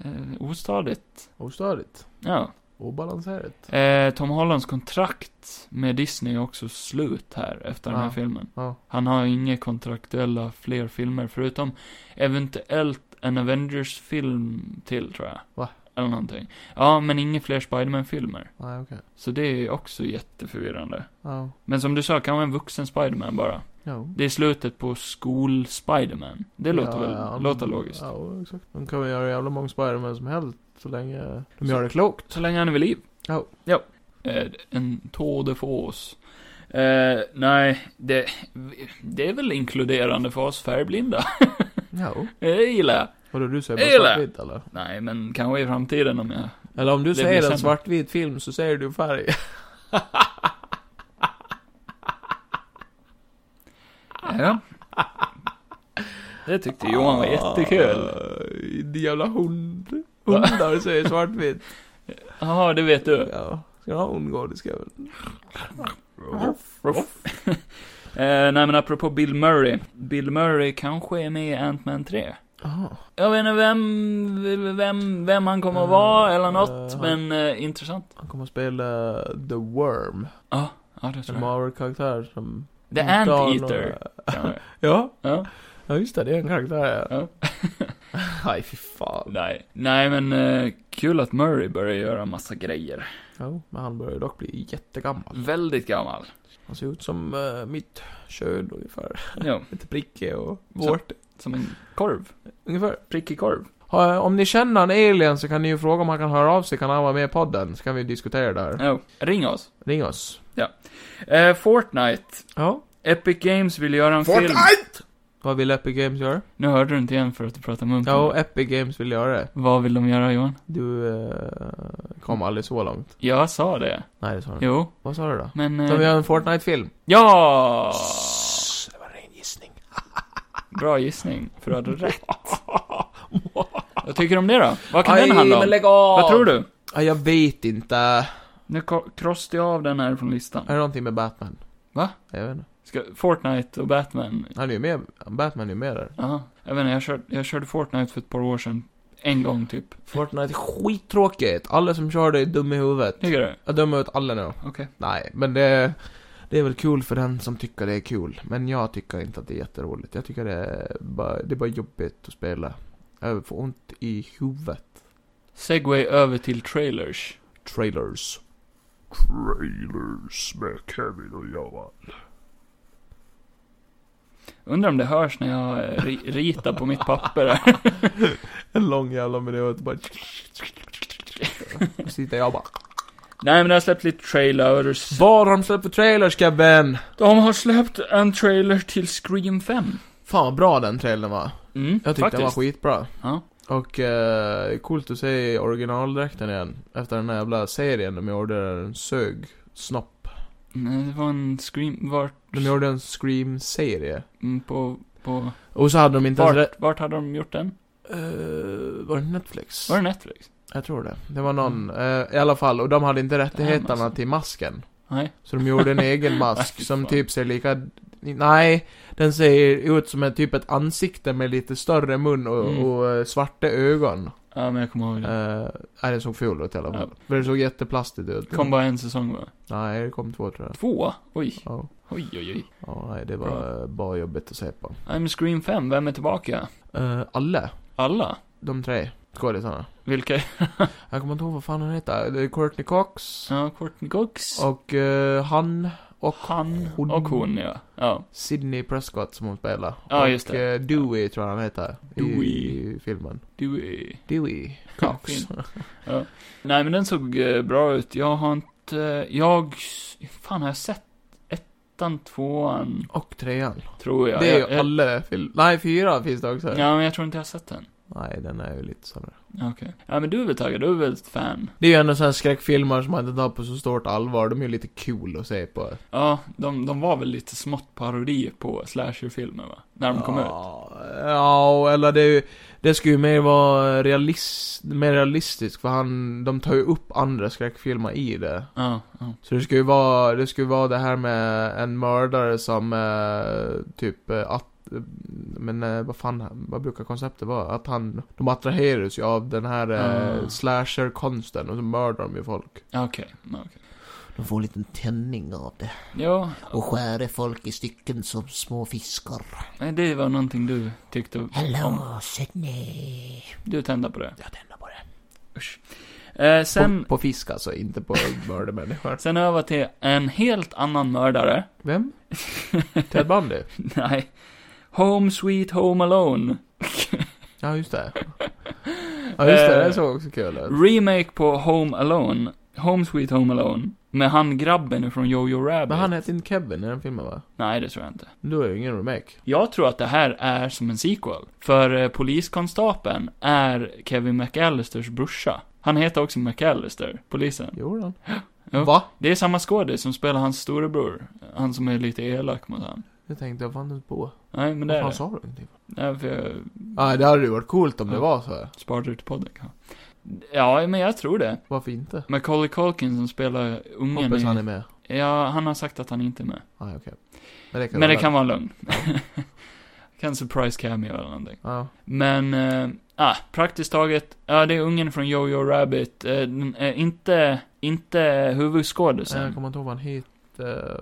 Speaker 1: eh, ostadigt.
Speaker 2: Ostadigt.
Speaker 1: Ja.
Speaker 2: Obalanserat.
Speaker 1: Eh, Tom Hollands kontrakt med Disney är också slut här efter den här
Speaker 2: Ja.
Speaker 1: filmen.
Speaker 2: Ja.
Speaker 1: Han har inga kontraktuella fler filmer förutom eventuellt en Avengers-film till tror jag.
Speaker 2: Va?
Speaker 1: Eller någonting. Ja, men inga fler Spiderman-filmer.
Speaker 2: Nej, okej.
Speaker 1: Så det är också jätteförvirrande.
Speaker 2: Ja.
Speaker 1: Men som du sa, kanske en vuxen Spiderman bara.
Speaker 2: Ja.
Speaker 1: Det är slutet på skol-Spiderman. Det låter
Speaker 2: ja,
Speaker 1: väl,
Speaker 2: ja,
Speaker 1: låter
Speaker 2: men-
Speaker 1: logiskt.
Speaker 2: Ja, exakt. De kan väl göra jävla många Spiderman som helst så länge de
Speaker 1: Så-
Speaker 2: gör det klokt.
Speaker 1: Så länge han är vid liv.
Speaker 2: Ja.
Speaker 1: Ja. Eh, en tå de fås. Eh, nej, det, det är väl inkluderande för oss färgblinda.
Speaker 2: [laughs]
Speaker 1: [laughs]
Speaker 2: Ja.
Speaker 1: Jag gillar jag.
Speaker 2: Vadå, du säger
Speaker 1: Eller?
Speaker 2: bara svartvit eller?
Speaker 1: Nej, men kanske i framtiden om jag...
Speaker 2: Eller om du
Speaker 1: Det blir
Speaker 2: säger
Speaker 1: sämre.
Speaker 2: en svartvit film så säger du [laughs] färg.
Speaker 1: Ja. Det tyckte Johan var jättekul.
Speaker 2: Ah, Din jävla hund. Hundar säger svartvitt.
Speaker 1: Jaha, det vet du.
Speaker 2: [laughs] Ja. Ska du ha hundgård? Ska jag väl.
Speaker 1: Eh, nej, men apropå Bill Murray. Bill Murray kanske är med i Ant-Man 3.
Speaker 2: Jaha.
Speaker 1: Jag vet inte vem, vem, vem han kommer att
Speaker 2: Eh,
Speaker 1: vara eller något,
Speaker 2: eh,
Speaker 1: men eh, intressant.
Speaker 2: Han kommer att spela The Worm.
Speaker 1: Ja, ja det
Speaker 2: En
Speaker 1: tror jag.
Speaker 2: Marvel-karaktär som...
Speaker 1: The
Speaker 2: inte har
Speaker 1: Anteater.
Speaker 2: några-
Speaker 1: kanske.
Speaker 2: Mm. [laughs] Ja.
Speaker 1: Ja,
Speaker 2: Ja, just det. Det är en karaktär
Speaker 1: Ja.
Speaker 2: [laughs] Nej, fy fan.
Speaker 1: nej. Nej, men eh, kul att Murray börjar göra massa grejer.
Speaker 2: Ja, men han börjar ju dock bli
Speaker 1: Mm.
Speaker 2: jättegammal.
Speaker 1: Väldigt gammal.
Speaker 2: Han ser ut som eh, mitt kön ungefär. [laughs]
Speaker 1: Ja,
Speaker 2: Lite prickig och
Speaker 1: Så-
Speaker 2: vårt.
Speaker 1: som en korv.
Speaker 2: Ungefär.
Speaker 1: Prickig korv.
Speaker 2: Ja, Om ni känner en alien så kan ni ju fråga om han kan höra av sig, kan han vara med i podden? Så kan vi diskutera det här.
Speaker 1: Ja, ring oss.
Speaker 2: Ring oss.
Speaker 1: Eh, Fortnite.
Speaker 2: Ja.
Speaker 1: Epic Games vill göra en film.
Speaker 2: Vad vill Epic Games göra?
Speaker 1: Nu hörde du inte igen för att du pratade mun på
Speaker 2: Ja, eh.
Speaker 1: mig.
Speaker 2: Epic Games vill göra det.
Speaker 1: Vad vill de göra, Johan?
Speaker 2: Du eh, kom aldrig så långt.
Speaker 1: Jag sa det.
Speaker 2: Nej, det sa du inte.
Speaker 1: Jo,
Speaker 2: Vad sa du då?
Speaker 1: men...
Speaker 2: De
Speaker 1: Eh,
Speaker 2: gör en Fortnite-film.
Speaker 1: ja!
Speaker 2: Det var en ren gissning.
Speaker 1: Bra gissning, för du hade
Speaker 2: [laughs]
Speaker 1: rätt. Vad tycker du om det då? Vad kan den handla om?
Speaker 2: men lägg av!
Speaker 1: Vad tror du?
Speaker 2: Ja, jag vet inte.
Speaker 1: Nu ko- krossade jag av den här från listan.
Speaker 2: Är det någonting med Batman?
Speaker 1: Va?
Speaker 2: Jag vet inte.
Speaker 1: Ska, Fortnite och Batman.
Speaker 2: Han är ju med. Batman är ju med där.
Speaker 1: Ja, jag vet inte, jag körde, jag körde Fortnite för ett par år sedan. En gång typ.
Speaker 2: Fortnite är skittråkigt. Alla som kör det är dumma i huvudet.
Speaker 1: Tycker du?
Speaker 2: Jag dömer ut alla nu.
Speaker 1: Okej.
Speaker 2: Nej, men det, det är väl kul för den som tycker det är kul. Men jag tycker inte att det är jätteroligt. Jag tycker det är bara, det är bara jobbigt att spela. Jag får ont i huvudet.
Speaker 1: Segway över till trailers.
Speaker 2: Trailers.
Speaker 3: Trailers med Kevin och Johan.
Speaker 1: Undrar om det hörs när jag eh, ri- ritar på mitt papper här. [laughs]
Speaker 2: En lång jävla minut bara... Och sitter jag bara...
Speaker 1: Nej men det har släppt lite trailers.
Speaker 2: Vad har de släppt för trailers, Kevin?
Speaker 1: De har släppt en trailer till Scream 5.
Speaker 2: Fan vad bra den trailern var.
Speaker 1: Mm,
Speaker 2: Jag tyckte
Speaker 1: faktiskt.
Speaker 2: den var skitbra.
Speaker 1: Ja.
Speaker 2: Och eh, det är coolt att se originaldräkten igen. Efter den här jävla serien de gjorde där den sög snopp.
Speaker 1: Nej, det var en Scream... Vart?
Speaker 2: De gjorde en Scream-serie.
Speaker 1: mm, På... på
Speaker 2: Och så hade de inte ens
Speaker 1: vart, vart hade de gjort den?
Speaker 2: Eh, var det Netflix?
Speaker 1: Var det Netflix?
Speaker 2: Jag tror det. Det var någon, eh, i alla fall. Och de hade inte rättigheterna
Speaker 1: alltså.
Speaker 2: till masken.
Speaker 1: Nej.
Speaker 2: Så
Speaker 1: [laughs]
Speaker 2: de gjorde en egen mask
Speaker 1: Nej,
Speaker 2: som
Speaker 1: fan.
Speaker 2: typ ser lika... Nej, den ser ut som ett, typ ett ansikte med lite större mun och,
Speaker 1: Mm.
Speaker 2: och eh, svarta ögon.
Speaker 1: Ja, men jag kommer ihåg det.
Speaker 2: Eh, nej, den såg ful ut i alla fall.
Speaker 1: Ja.
Speaker 2: Men den såg jätteplastigt ut.
Speaker 1: Kom bara en säsong va?
Speaker 2: Nej, det kom två tror jag.
Speaker 1: Två? Oj,
Speaker 2: Ja,
Speaker 1: oj, oj, oj.
Speaker 2: ja nej, det var eh, bara jobbigt att se på.
Speaker 1: Nej men Scream 5, vem är tillbaka?
Speaker 2: Eh, alla,
Speaker 1: Alla?
Speaker 2: de tre skådisarna.
Speaker 1: Vilka?
Speaker 2: Jag kommer inte ihåg vad fan han heter. Det är Courtney Cox.
Speaker 1: Ja, Courtney Cox.
Speaker 2: Och eh, han. Och
Speaker 1: han.
Speaker 2: hon.
Speaker 1: Och hon ja. Ja.
Speaker 2: Sidney Prescott som hon spelar.
Speaker 1: Ja,
Speaker 2: och,
Speaker 1: just det.
Speaker 2: eh, Dewey tror jag han heter. I,
Speaker 1: Dewey.
Speaker 2: I filmen.
Speaker 1: Du är...
Speaker 2: Dewey Cox.
Speaker 1: Fin. Nej men den såg eh, bra ut. Jag har inte... Jag... Fan har jag sett ettan, tvåan?
Speaker 2: och trean.
Speaker 1: Tror jag.
Speaker 2: det är
Speaker 1: jag,
Speaker 2: ju
Speaker 1: jag...
Speaker 2: alla film. Nej, fyra finns det också.
Speaker 1: Ja men jag tror inte jag har sett den.
Speaker 2: Nej, den är ju lite sämre.
Speaker 1: Okej. Ja men du är väl taggad? Du är väl ett fan?
Speaker 2: Det är ju ändå sådana skräckfilmer som man inte tar på så stort allvar. De är ju lite cool att se på.
Speaker 1: Ja, de, de var väl lite smått parodi på slasherfilmer va? När de kom ut.
Speaker 2: Ja, eller det, är ju- det ska ju mer vara realist, mer realistiskt för han, de tar ju upp andra skräckfilmer i det.
Speaker 1: Ja, ja.
Speaker 2: Så det ska ju vara, det ska ju vara det här med en mördare som eh, typ eh, att eh, Men eh, vad fan, vad brukar konceptet vara? Att han, de attraheras ju av den här eh,
Speaker 1: Ah.
Speaker 2: slasher-konsten och så mördar de ju folk.
Speaker 1: Ja, Okej, ja, okej.
Speaker 4: De får en liten tändning av det.
Speaker 1: Ja,
Speaker 4: Och skär folk i stycken som små fiskar.
Speaker 1: nej, det var någonting du tyckte om.
Speaker 4: Hello Sydney.
Speaker 1: Du tände på det.
Speaker 4: Jag tänder på det.
Speaker 1: Usch. Eh, sen,
Speaker 2: På, på fisk alltså, inte
Speaker 1: [laughs]
Speaker 2: på mördarmänniskor.
Speaker 1: sen över till en helt annan mördare. [laughs]
Speaker 2: Vem? Ted Bundy?
Speaker 1: Nej. Home Sweet Home Alone.
Speaker 2: Ja, just det. Ja, just det.
Speaker 1: Eh,
Speaker 2: Det såg också kul ut.
Speaker 1: Remake på Home Alone. Home Sweet Home Alone. Med han grabben från Jojo Rabbit.
Speaker 2: Men han hette inte Kevin i den filmen va?
Speaker 1: Nej, det tror jag inte.
Speaker 2: Då är det ju ingen remake.
Speaker 1: Jag tror att det här är som en sequel. För eh, poliskonstapeln är Kevin McAllisters brorsa. Han heter också McAllister, polisen.
Speaker 2: Jo då.
Speaker 1: Ja.
Speaker 2: Va?
Speaker 1: Det är samma skådis som spelar hans storebror. Han som är lite elak mot han.
Speaker 2: Jag tänkte, jag fann inte på.
Speaker 1: Nej, men det
Speaker 2: Vad
Speaker 1: är
Speaker 2: fan
Speaker 1: det.
Speaker 2: sa du inte?
Speaker 1: Nej, för jag
Speaker 2: Nej, det hade ju varit coolt om det
Speaker 1: Ja.
Speaker 2: var så här.
Speaker 1: sparade det till podden kanske. Ja, men jag tror det.
Speaker 2: Varför inte?
Speaker 1: Macaulay Culkin som spelar ungen
Speaker 2: Hoppas
Speaker 1: i-
Speaker 2: han är med.
Speaker 1: Ja, han har sagt att han inte är med.
Speaker 2: Nej, okej. Men det kan
Speaker 1: Men det
Speaker 2: vara-
Speaker 1: kan vara en lögn. [laughs] kan surprise cameo eller någonting.
Speaker 2: Ja.
Speaker 1: Men, eh, ah, praktiskt taget, ja det är ungen från Jojo Rabbit, eh, den, eh, inte, inte
Speaker 2: Nej, Jag
Speaker 1: huvudskådisen.
Speaker 2: kommer inte ihåg vad han heter.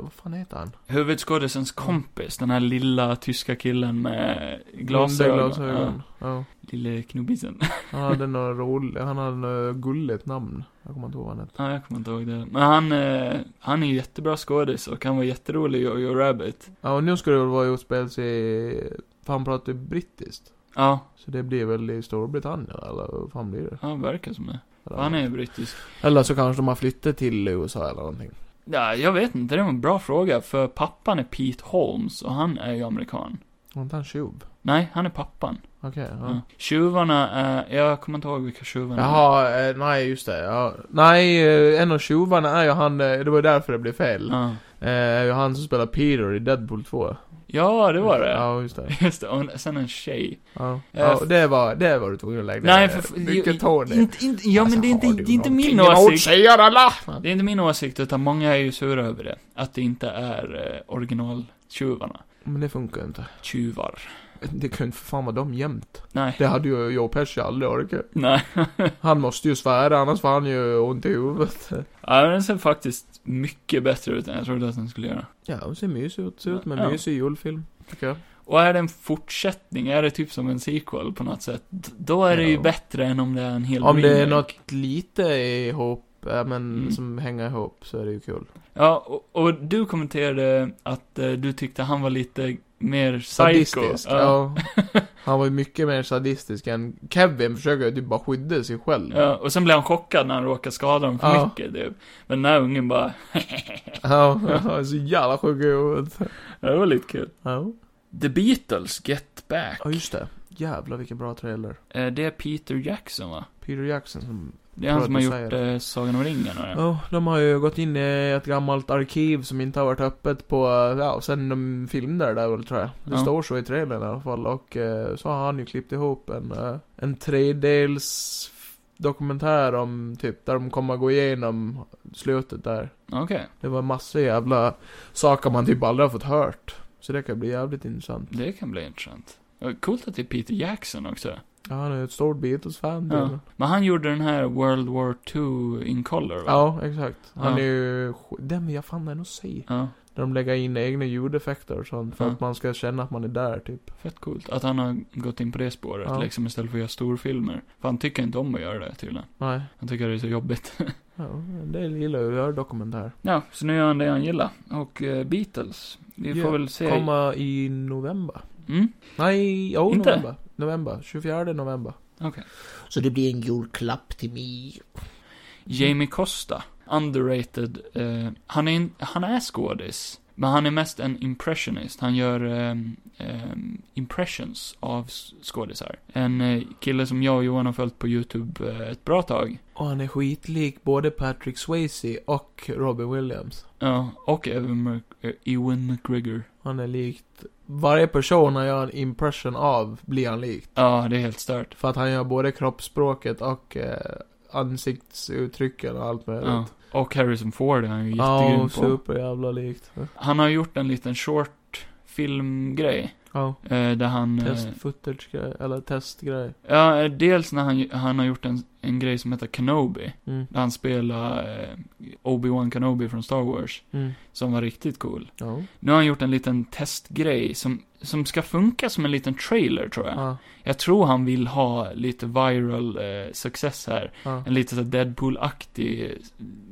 Speaker 2: Vad fan heter han?
Speaker 1: Huvudskådisens kompis, den här lilla tyska killen med glasögon.
Speaker 2: Blonda glasögon. Ja.
Speaker 1: Ja, lille knubbisen. [laughs]
Speaker 2: Han hade något roligt, han hade något gulligt namn. Jag kommer inte ihåg vad han hette.
Speaker 1: ja, jag kommer inte ihåg det. Men han, eh, han är ju jättebra skådis och kan vara jätterolig i Jojo Rabbit.
Speaker 2: Ja, och nu ska det väl vara utspels i... För han pratar ju brittiskt.
Speaker 1: Ja,
Speaker 2: Så det blir väl i Storbritannien, eller vad fan blir det?
Speaker 1: han verkar som det.
Speaker 2: Eller,
Speaker 1: Han är ju brittisk.
Speaker 2: eller så kanske de har flyttat till USA eller någonting.
Speaker 1: Ja, jag vet inte, det var en bra fråga, för pappan är Pete Holmes och han är ju amerikan.
Speaker 2: Var inte han tjuv?
Speaker 1: Nej, han är pappan.
Speaker 2: Okej, ja.
Speaker 1: Ja. Tjuvarna är, jag kommer inte ihåg vilka tjuvarna är.
Speaker 2: Jaha, eh, nej just det. Ja. Nej, eh, en av tjuvarna är ju han, eh, det var ju därför det blev fel.
Speaker 1: Ja.
Speaker 2: Eh, är ju han som spelar Peter i Deadpool 2.
Speaker 1: ja, det var det.
Speaker 2: Ja, just det.
Speaker 1: Just det, och sen en tjej.
Speaker 2: Ja.
Speaker 1: Eh,
Speaker 2: Ja, och det var, det var du tvungen att lägga
Speaker 1: Nej,
Speaker 2: ner.
Speaker 1: för...
Speaker 2: Mycket Tony.
Speaker 1: Inte, inte, ja,
Speaker 2: Alltså,
Speaker 1: men det är inte,
Speaker 2: har
Speaker 1: det
Speaker 2: du
Speaker 1: är inte min
Speaker 2: någonting emot
Speaker 1: åsikt.
Speaker 2: tjejer, alla?
Speaker 1: Det är inte min åsikt, utan många är ju sura över det. Att det inte är eh, originaltjuvarna.
Speaker 2: Men det funkar ju inte.
Speaker 1: Tjuvar.
Speaker 2: Det kan ju inte för fan vara dem jämt.
Speaker 1: Nej.
Speaker 2: Det hade ju Joe Pesci aldrig orkat.
Speaker 1: [laughs] Nej. [laughs]
Speaker 2: Han måste ju svära, annars får han ju ont i huvudet.
Speaker 1: ja, men den ser faktiskt mycket bättre ut än jag trodde att den skulle göra.
Speaker 2: Ja, hon ser mysig ut. Ser ut som en
Speaker 1: Ja.
Speaker 2: mysig julfilm, tycker jag.
Speaker 1: Och är det en fortsättning, är det typ som en sequel på något sätt, d- då är det ju
Speaker 2: Ja.
Speaker 1: bättre än om det är en hel
Speaker 2: Om det är
Speaker 1: remake.
Speaker 2: något lite ihop, ja, men
Speaker 1: Mm.
Speaker 2: som hänger ihop, så är det ju kul.
Speaker 1: Ja, och, och du kommenterade att eh, du tyckte han var lite mer psycho.
Speaker 2: Sadistisk. Ja. Han var ju mycket mer sadistisk än Kevin försöker ju typ bara skydda sig själv.
Speaker 1: Ja, och sen blev han chockad när han råkade skada dem för
Speaker 2: Ja.
Speaker 1: mycket, typ. Men den här ungen bara,
Speaker 2: Ja, [laughs] han är så jävla sjuk i huvudet.
Speaker 1: det var lite kul.
Speaker 2: Ja.
Speaker 1: The Beatles, Get Back.
Speaker 2: ja, just det. Jävlar vilken bra trailer.
Speaker 1: Eh, Det är Peter Jackson, va?
Speaker 2: Peter Jackson som...
Speaker 1: Det är han
Speaker 2: Bra
Speaker 1: som har
Speaker 2: att du
Speaker 1: gjort
Speaker 2: säger
Speaker 1: eh, Sagan om ringen och det.
Speaker 2: Ja, de har ju gått in i ett gammalt arkiv som inte har varit öppet på, ja, sen de filmade det där väl tror jag. Det
Speaker 1: Ja.
Speaker 2: står så i trailern i alla fall och eh, så har han ju klippt ihop en, eh, en tredels dokumentär om typ, där de kommer gå igenom slutet där.
Speaker 1: Okej,
Speaker 2: Det var massa jävla saker man typ aldrig har fått hört. Så det kan bli jävligt intressant.
Speaker 1: det kan bli intressant. Eh, Coolt att det är Peter Jackson också.
Speaker 2: Ja, han är ju ett stort Beatles-fan.
Speaker 1: Ja.
Speaker 2: Ja.
Speaker 1: Men han gjorde den här World War 2 in color, va?
Speaker 2: ja, exakt. Han
Speaker 1: Ja.
Speaker 2: är ju... sk- Den vill jag fan ändå se.
Speaker 1: Ja,
Speaker 2: Där de lägger in egna ljudeffekter och sånt. För
Speaker 1: Ja.
Speaker 2: att man ska känna att man är där, typ.
Speaker 1: fett coolt. Att han har gått in på det spåret,
Speaker 2: Ja.
Speaker 1: liksom, istället för att göra storfilmer. För han tycker inte om att göra det, tydligen.
Speaker 2: Nej.
Speaker 1: Han tycker det är så jobbigt. [laughs]
Speaker 2: Ja, det gillar jag. Jag dokumentär.
Speaker 1: ja, så nu gör han det han gillar. Och eh, Beatles, vi
Speaker 2: Ja,
Speaker 1: får väl se.
Speaker 2: Komma i november.
Speaker 1: Mm,
Speaker 2: Nej, jo,
Speaker 1: Inte?
Speaker 2: november. November. 24 november.
Speaker 1: okej.
Speaker 4: Så det blir en julklapp till mig.
Speaker 1: Jamie Costa, underrated. Eh, han, är en, han är skådis, men han är mest en impressionist. Han gör ehm, ehm, impressions av s- skådisar. En eh, kille som jag och Johan har följt på YouTube eh, ett bra tag.
Speaker 2: Och han är skitlik både Patrick Swayze och Robin Williams.
Speaker 1: Ja, och Evan, Mc- eh, Ewan McGregor.
Speaker 2: Han är likt... Varje person han gör en impression av blir han likt.
Speaker 1: Ja, det är helt stört.
Speaker 2: För att han gör både kroppsspråket och eh, ansiktsuttrycken och allt möjligt.
Speaker 1: Ja. Och Harrison Ford är han ju
Speaker 2: Ja,
Speaker 1: jättegrym
Speaker 2: och
Speaker 1: på.
Speaker 2: superjävla likt.
Speaker 1: Han har gjort en liten short filmgrej.
Speaker 2: Ja.
Speaker 1: Eh, där han... eh,
Speaker 2: Test footage grej, eller testgrej.
Speaker 1: Ja, eh, dels när han, han har gjort en, en grej som heter Kenobi.
Speaker 2: Mm.
Speaker 1: Där han spelar eh, Obi-Wan Kenobi från Star Wars.
Speaker 2: Mm.
Speaker 1: Som var riktigt cool.
Speaker 2: Ja.
Speaker 1: Nu har han gjort en liten testgrej som, som ska funka som en liten trailer tror jag.
Speaker 2: Ja.
Speaker 1: Jag tror han vill ha lite viral eh, success här.
Speaker 2: Ja.
Speaker 1: En lite så här Deadpool-aktig, eh,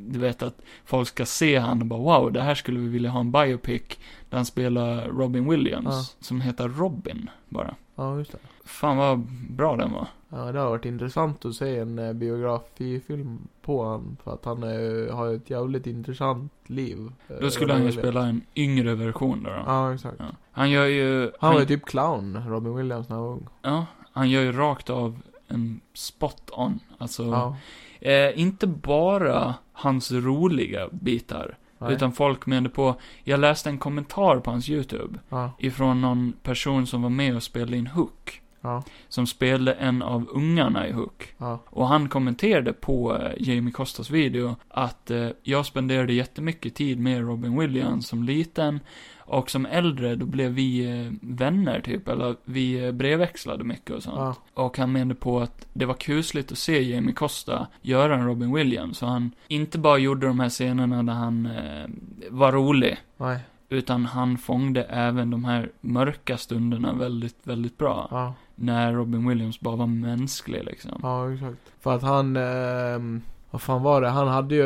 Speaker 1: du vet att folk ska se han och bara wow, det här skulle vi vilja ha en biopic. Där han spelar Robin Williams, som heter Robin bara.
Speaker 2: ja, just det.
Speaker 1: Fan vad bra den var.
Speaker 2: Ja, det har varit intressant att se en eh, biografifilm på han för att han eh, har ju ett jävligt intressant liv. Eh,
Speaker 1: Då skulle han ju
Speaker 2: Robin
Speaker 1: spela en yngre version då. då.
Speaker 2: Williams. Ja, exakt.
Speaker 1: Ja. Han gör ju...
Speaker 2: Han var ju typ clown, Robin Williams, när han var ung.
Speaker 1: Ja, han gör ju rakt av en spot on. Alltså,
Speaker 2: Ja.
Speaker 1: eh, inte bara hans roliga bitar.
Speaker 2: Nej.
Speaker 1: Utan folk menade på, jag läste en kommentar på hans YouTube.
Speaker 2: Ja.
Speaker 1: Ifrån någon person som var med och spelade in Hook.
Speaker 2: Ja.
Speaker 1: Som spelade en av ungarna i Hook.
Speaker 2: Ja.
Speaker 1: Och han kommenterade på eh, Jamie Costas video att eh, jag spenderade jättemycket tid med Robin Williams som liten. Och som äldre, då blev vi eh, vänner typ, eller vi eh, brevväxlade mycket och sånt.
Speaker 2: Ja.
Speaker 1: Och han menade på att det var kusligt att se Jamie Costa göra en Robin Williams. Så han inte bara gjorde de här scenerna där han eh, var rolig,
Speaker 2: Nej.
Speaker 1: utan han fångade även de här mörka stunderna väldigt, väldigt bra.
Speaker 2: Ja.
Speaker 1: När Robin Williams bara var mänsklig liksom.
Speaker 2: Ja, exakt. För att han, ehm, vad fan var det? Han hade ju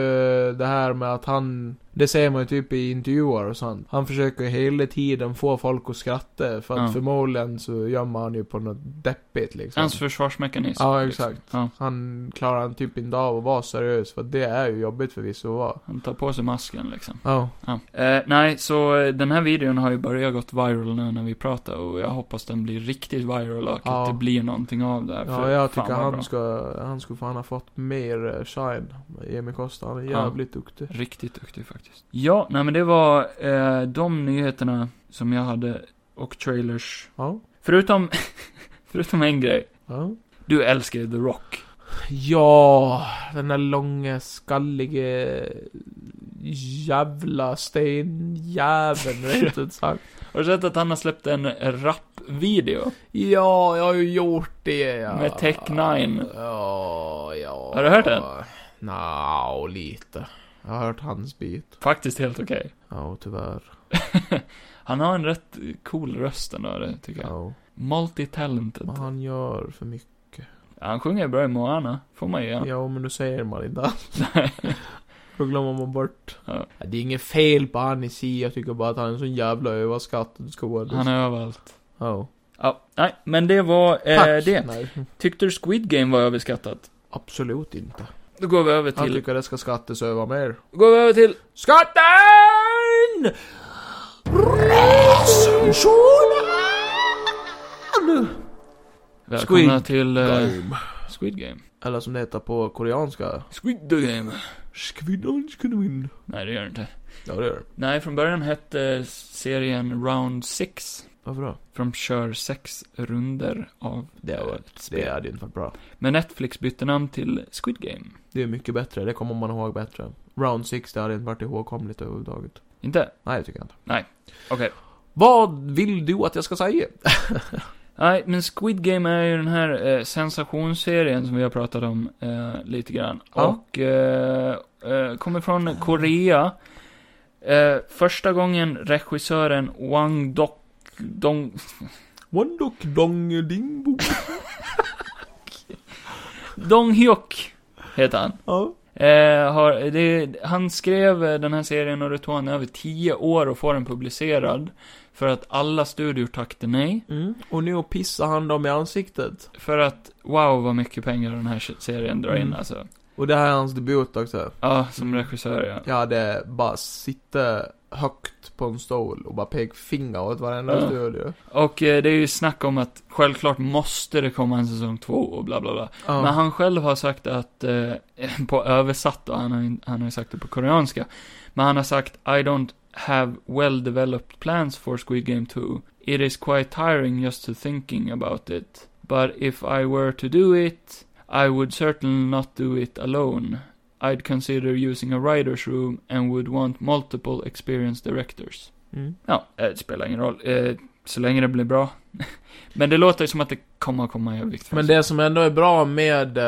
Speaker 2: det här med att han, det säger man ju typ i intervjuer och sånt. Han försöker ju hela tiden få folk att skratta. För att
Speaker 1: Ja.
Speaker 2: förmodligen så gömmer han ju på något deppigt liksom.
Speaker 1: Hans försvarsmekanism.
Speaker 2: Ja,
Speaker 1: liksom.
Speaker 2: exakt.
Speaker 1: Ja,
Speaker 2: Han klarar han typ inte av att vara seriös, för det är ju jobbigt förvisso att vara.
Speaker 1: han tar på sig masken liksom.
Speaker 2: Ja.
Speaker 1: Ja. Eh, nej, så eh, den här videon har ju börjat gått viral nu när vi pratar och jag hoppas den blir riktigt viral och
Speaker 2: Ja.
Speaker 1: att det blir någonting av det här.
Speaker 2: Ja,
Speaker 1: för
Speaker 2: jag
Speaker 1: fan
Speaker 2: tycker
Speaker 1: vad
Speaker 2: han
Speaker 1: bra.
Speaker 2: ska, han skulle fan ha fått mer eh, shine. Jimmy Costa, han är
Speaker 1: Ja.
Speaker 2: jävligt duktig.
Speaker 1: Riktigt duktig faktiskt. Ja, nej men det var eh, de nyheterna som jag hade och trailers.
Speaker 2: Ja.
Speaker 1: Förutom, [laughs] förutom en grej.
Speaker 2: Ja.
Speaker 1: Du älskar ju The Rock.
Speaker 2: Ja, den där långa, skallige jävla stenjäveln,
Speaker 1: [laughs]
Speaker 2: rent ut sagt.
Speaker 1: Har du sett att han har släppt en rap-video?
Speaker 2: Ja, jag har ju gjort det. Ja.
Speaker 1: Med Tech Nine.
Speaker 2: Ja, ja.
Speaker 1: Har du hört den?
Speaker 2: Nja, lite. Jag har hört hans bit.
Speaker 1: Faktiskt helt okej.
Speaker 2: Ja, tyvärr.
Speaker 1: Han har en rätt cool röst ändå, det tycker jag.
Speaker 2: Ja.
Speaker 1: Multi-talented.
Speaker 2: Men han gör för mycket.
Speaker 1: Han sjunger bra i Moana, får man ju
Speaker 2: Ja,
Speaker 1: göra.
Speaker 2: men då säger man
Speaker 1: [laughs]
Speaker 2: inte allt. Då glömmer man bort.
Speaker 1: Ja.
Speaker 2: Ja, Det är inget fel på han i sig, jag tycker bara att han är en så jävla överskattad skådis.
Speaker 1: Han är överallt.
Speaker 2: Ja.
Speaker 1: Ja, nej, men det var eh,
Speaker 2: Tack!
Speaker 1: det.
Speaker 2: Nej.
Speaker 1: Tyckte du Squid Game var överskattat?
Speaker 2: Absolut inte.
Speaker 1: Då går vi över
Speaker 2: Han
Speaker 1: till...
Speaker 2: tycker det ska skattas över mer.
Speaker 1: Då går vi över till...
Speaker 2: Skatten! Recensionen!
Speaker 1: Välkomna
Speaker 2: Squid
Speaker 1: till... eh, Squid Game.
Speaker 2: Eller som det heter på koreanska.
Speaker 1: Squid Game.
Speaker 2: Skvinnan skvinnan.
Speaker 1: Nej, det gör det inte.
Speaker 2: Ja, det gör det.
Speaker 1: Nej, från början hette serien Round 6.
Speaker 2: Varför då?
Speaker 1: För de kör sex runder av
Speaker 2: Det,
Speaker 1: eh,
Speaker 2: var,
Speaker 1: ett
Speaker 2: det
Speaker 1: spel.
Speaker 2: hade ju inte varit bra.
Speaker 1: Men Netflix bytte namn till Squid Game.
Speaker 2: Det är mycket bättre, det kommer man ihåg bättre. Round 6, det hade inte varit ihågkomligt överhuvudtaget.
Speaker 1: Inte?
Speaker 2: Nej, det tycker jag inte.
Speaker 1: Okej.
Speaker 2: Vad vill du att jag ska säga?
Speaker 1: Nej, men Squid Game är ju den här eh, sensationsserien som vi har pratat om eh, lite grann.
Speaker 2: Ja.
Speaker 1: Och eh, eh, kommer från Korea. Eh, första gången regissören Wang Dok... Dong,
Speaker 2: One dock dong ding bo.
Speaker 1: Dong Hyuk heter han.
Speaker 2: Ja.
Speaker 1: Eh, har, det, han skrev eh, den här serien och det tog han över tio år att få den publicerad. För att alla studior tackade nej.
Speaker 2: Mm. Och nu pissar han dem i ansiktet.
Speaker 1: För att, wow vad mycket pengar den här serien drar in
Speaker 2: Mm.
Speaker 1: alltså.
Speaker 2: Och det här är hans debut också.
Speaker 1: Ja, som regissör ja.
Speaker 2: Jag hade bara sitta högt på en stol och bara peka finger åt varenda
Speaker 1: Ja.
Speaker 2: studio.
Speaker 1: Och eh, det är ju snack om att självklart måste det komma en säsong två och bla bla bla.
Speaker 2: Ja.
Speaker 1: Men han själv har sagt att, eh, [laughs] på översatt då, han har, ju- han har ju sagt det på koreanska. Men han har sagt I don't have well developed plans for Squid Game 2. It is quite tiring just to thinking about it. But if I were to do it, I would certainly not do it alone. I'd consider using a writer's room and would want multiple experienced directors.
Speaker 2: Mm.
Speaker 1: Ja, eh, det spelar ingen roll. Eh, Så länge det blir bra. [laughs] Men det låter ju som att det kommer att komma i övervikt.
Speaker 2: Men det som ändå är bra med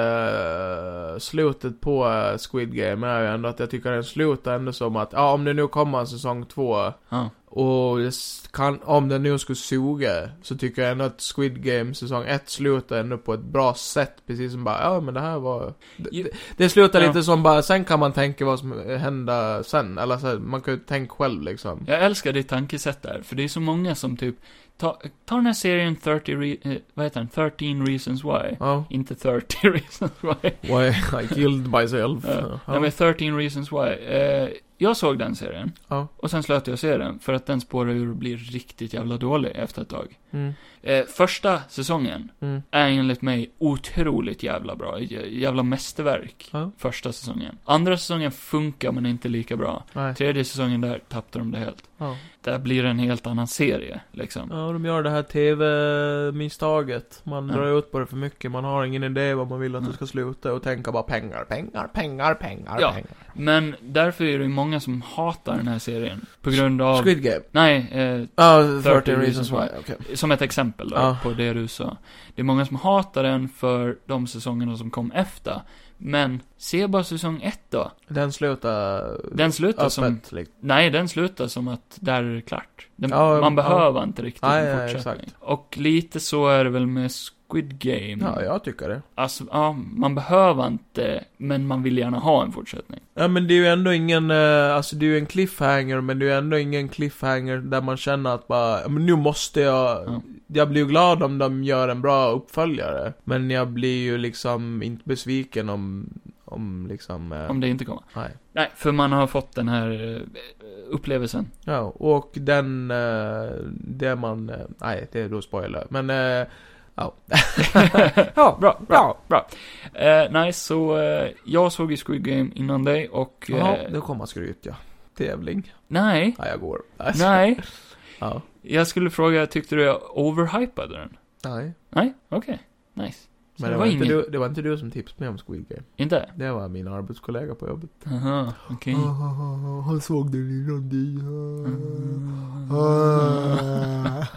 Speaker 2: eh, slutet på eh, Squid Game är ju ändå att jag tycker den slutar ändå som att, ja om det nu kommer en säsong två
Speaker 1: Ja.
Speaker 2: och det s- kan, om den nu skulle suga, så tycker jag ändå att Squid Game säsong ett slutar ändå på ett bra sätt, precis som bara, ja men det här var... Det,
Speaker 1: Ju-
Speaker 2: det, det slutar
Speaker 1: Ja.
Speaker 2: lite som bara, sen kan man tänka vad som händer sen, eller så här, man kan ju tänka själv liksom.
Speaker 1: Jag älskar ditt tankesätt där, för det är så många som typ, ta, ta den här serien 30, re, eh, vad heter den, 13 reasons why.
Speaker 2: Ja.
Speaker 1: Inte 30 [laughs] reasons why.
Speaker 2: Why I killed myself.
Speaker 1: Ja.
Speaker 2: Ja.
Speaker 1: Nej men 13 reasons why. Eh, jag såg den serien.
Speaker 2: Ja.
Speaker 1: Och sen slöt jag se den, för att den spårar ur och blir riktigt jävla dålig efter ett tag.
Speaker 2: Mm,
Speaker 1: Eh, första säsongen
Speaker 2: mm,
Speaker 1: är enligt mig otroligt jävla bra. J- Jävla mästerverk.
Speaker 2: Ja.
Speaker 1: Första säsongen. Andra säsongen funkar men inte lika bra.
Speaker 2: nej.
Speaker 1: Tredje säsongen där tappade de det helt.
Speaker 2: Ja.
Speaker 1: Där blir det en helt annan serie, liksom.
Speaker 2: Ja, de gör det här TV-misstaget. Man
Speaker 1: Ja.
Speaker 2: drar ut på det för mycket, man har ingen idé vad man vill att
Speaker 1: Nej.
Speaker 2: det ska sluta och tänka bara pengar, pengar, pengar, pengar,
Speaker 1: Ja.
Speaker 2: pengar.
Speaker 1: Men därför är det ju många som hatar den här serien. På grund av...
Speaker 2: Squid Game.
Speaker 1: Nej, eh,
Speaker 2: Ja,
Speaker 1: 13
Speaker 2: 13
Speaker 1: reasons
Speaker 2: reasons
Speaker 1: why.
Speaker 2: why. Okej.
Speaker 1: som ett exempel då,
Speaker 2: Ja.
Speaker 1: på det du sa. Det är många som hatar den för de säsongerna som kom efter. Men, se bara säsong ett då.
Speaker 2: Den slutar
Speaker 1: Den slutar som...
Speaker 2: öppet. Liksom.
Speaker 1: Nej, den slutar som att där är det klart. Den,
Speaker 2: Ja,
Speaker 1: man
Speaker 2: ja.
Speaker 1: behöver inte riktigt
Speaker 2: Nej,
Speaker 1: en
Speaker 2: nej,
Speaker 1: fortsättning. Och lite så är det väl med Squid Game.
Speaker 2: Ja, jag tycker det.
Speaker 1: Alltså, ja, man behöver inte, men man vill gärna ha en fortsättning.
Speaker 2: Ja men det är ju ändå ingen, eh, alltså det är ju en cliffhanger men det är ju ändå ingen cliffhanger där man känner att bara, "Ja, men nu måste jag,
Speaker 1: Ja.
Speaker 2: jag blir ju glad om de gör en bra uppföljare. Men jag blir ju liksom inte besviken om, om liksom, eh,
Speaker 1: Om det inte kommer.
Speaker 2: nej.
Speaker 1: Nej, för man har fått den här eh, upplevelsen.
Speaker 2: Ja, och den, eh, det man, eh, nej det är då spoiler, men eh,
Speaker 1: [laughs]
Speaker 2: ja. ja,
Speaker 1: Bra,
Speaker 2: bra.
Speaker 1: Eh, nej, så eh, jag såg ju Squid Game innan dig och... Eh,
Speaker 2: Jaha, nu kommer skryt ja. Tävling.
Speaker 1: nej,
Speaker 2: Nej, jag går. Alltså,
Speaker 1: nej.
Speaker 2: Ja.
Speaker 1: Jag skulle fråga, tyckte du jag overhypade den?
Speaker 2: Nej.
Speaker 1: Nej, okej. Nice. Så
Speaker 2: Men det var, inte du, det var inte du som tipsade mig om Squid Game.
Speaker 1: Inte?
Speaker 2: Det var min arbetskollega på jobbet.
Speaker 1: Aha, okej.
Speaker 2: Ah, han såg den innan dig. Ah.
Speaker 1: Mm.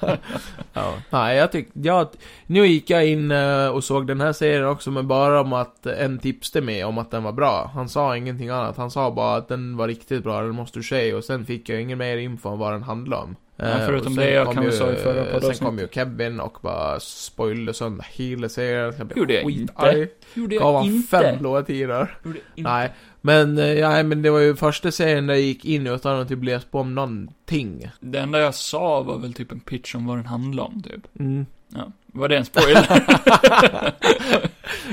Speaker 1: Ah. [laughs]
Speaker 2: ja. Nej, jag tyckte, jag, nu gick jag in eh, och såg den här serien också, men bara om att en tipste mig om att den var bra. Han sa ingenting annat, han sa bara att den var riktigt bra, den måste du se, och sen fick jag ingen mer info om vad den handlade om.
Speaker 1: Nej,
Speaker 2: Eh,
Speaker 1: förutom
Speaker 2: och sen
Speaker 1: det jag
Speaker 2: kom
Speaker 1: kan väl
Speaker 2: ju-
Speaker 1: sa i förra
Speaker 2: Sen
Speaker 1: poddavsnittet.
Speaker 2: kom ju Kevin och bara spoilade sönder hela serien. Jag blev
Speaker 1: Gjorde jag
Speaker 2: skitarg.
Speaker 1: Gjorde
Speaker 2: Gav
Speaker 1: jag
Speaker 2: han
Speaker 1: inte?
Speaker 2: fem blåa tirar.
Speaker 1: Gjorde jag inte?
Speaker 2: Nej, men, eh, ja, men det var ju första serien där jag gick in utan att typ läsa på om någonting.
Speaker 1: Det enda jag sa var väl typ en pitch om vad den handlade om, typ.
Speaker 2: [laughs] Mm.
Speaker 1: Ja. Var det en
Speaker 2: [laughs]
Speaker 1: spoiler?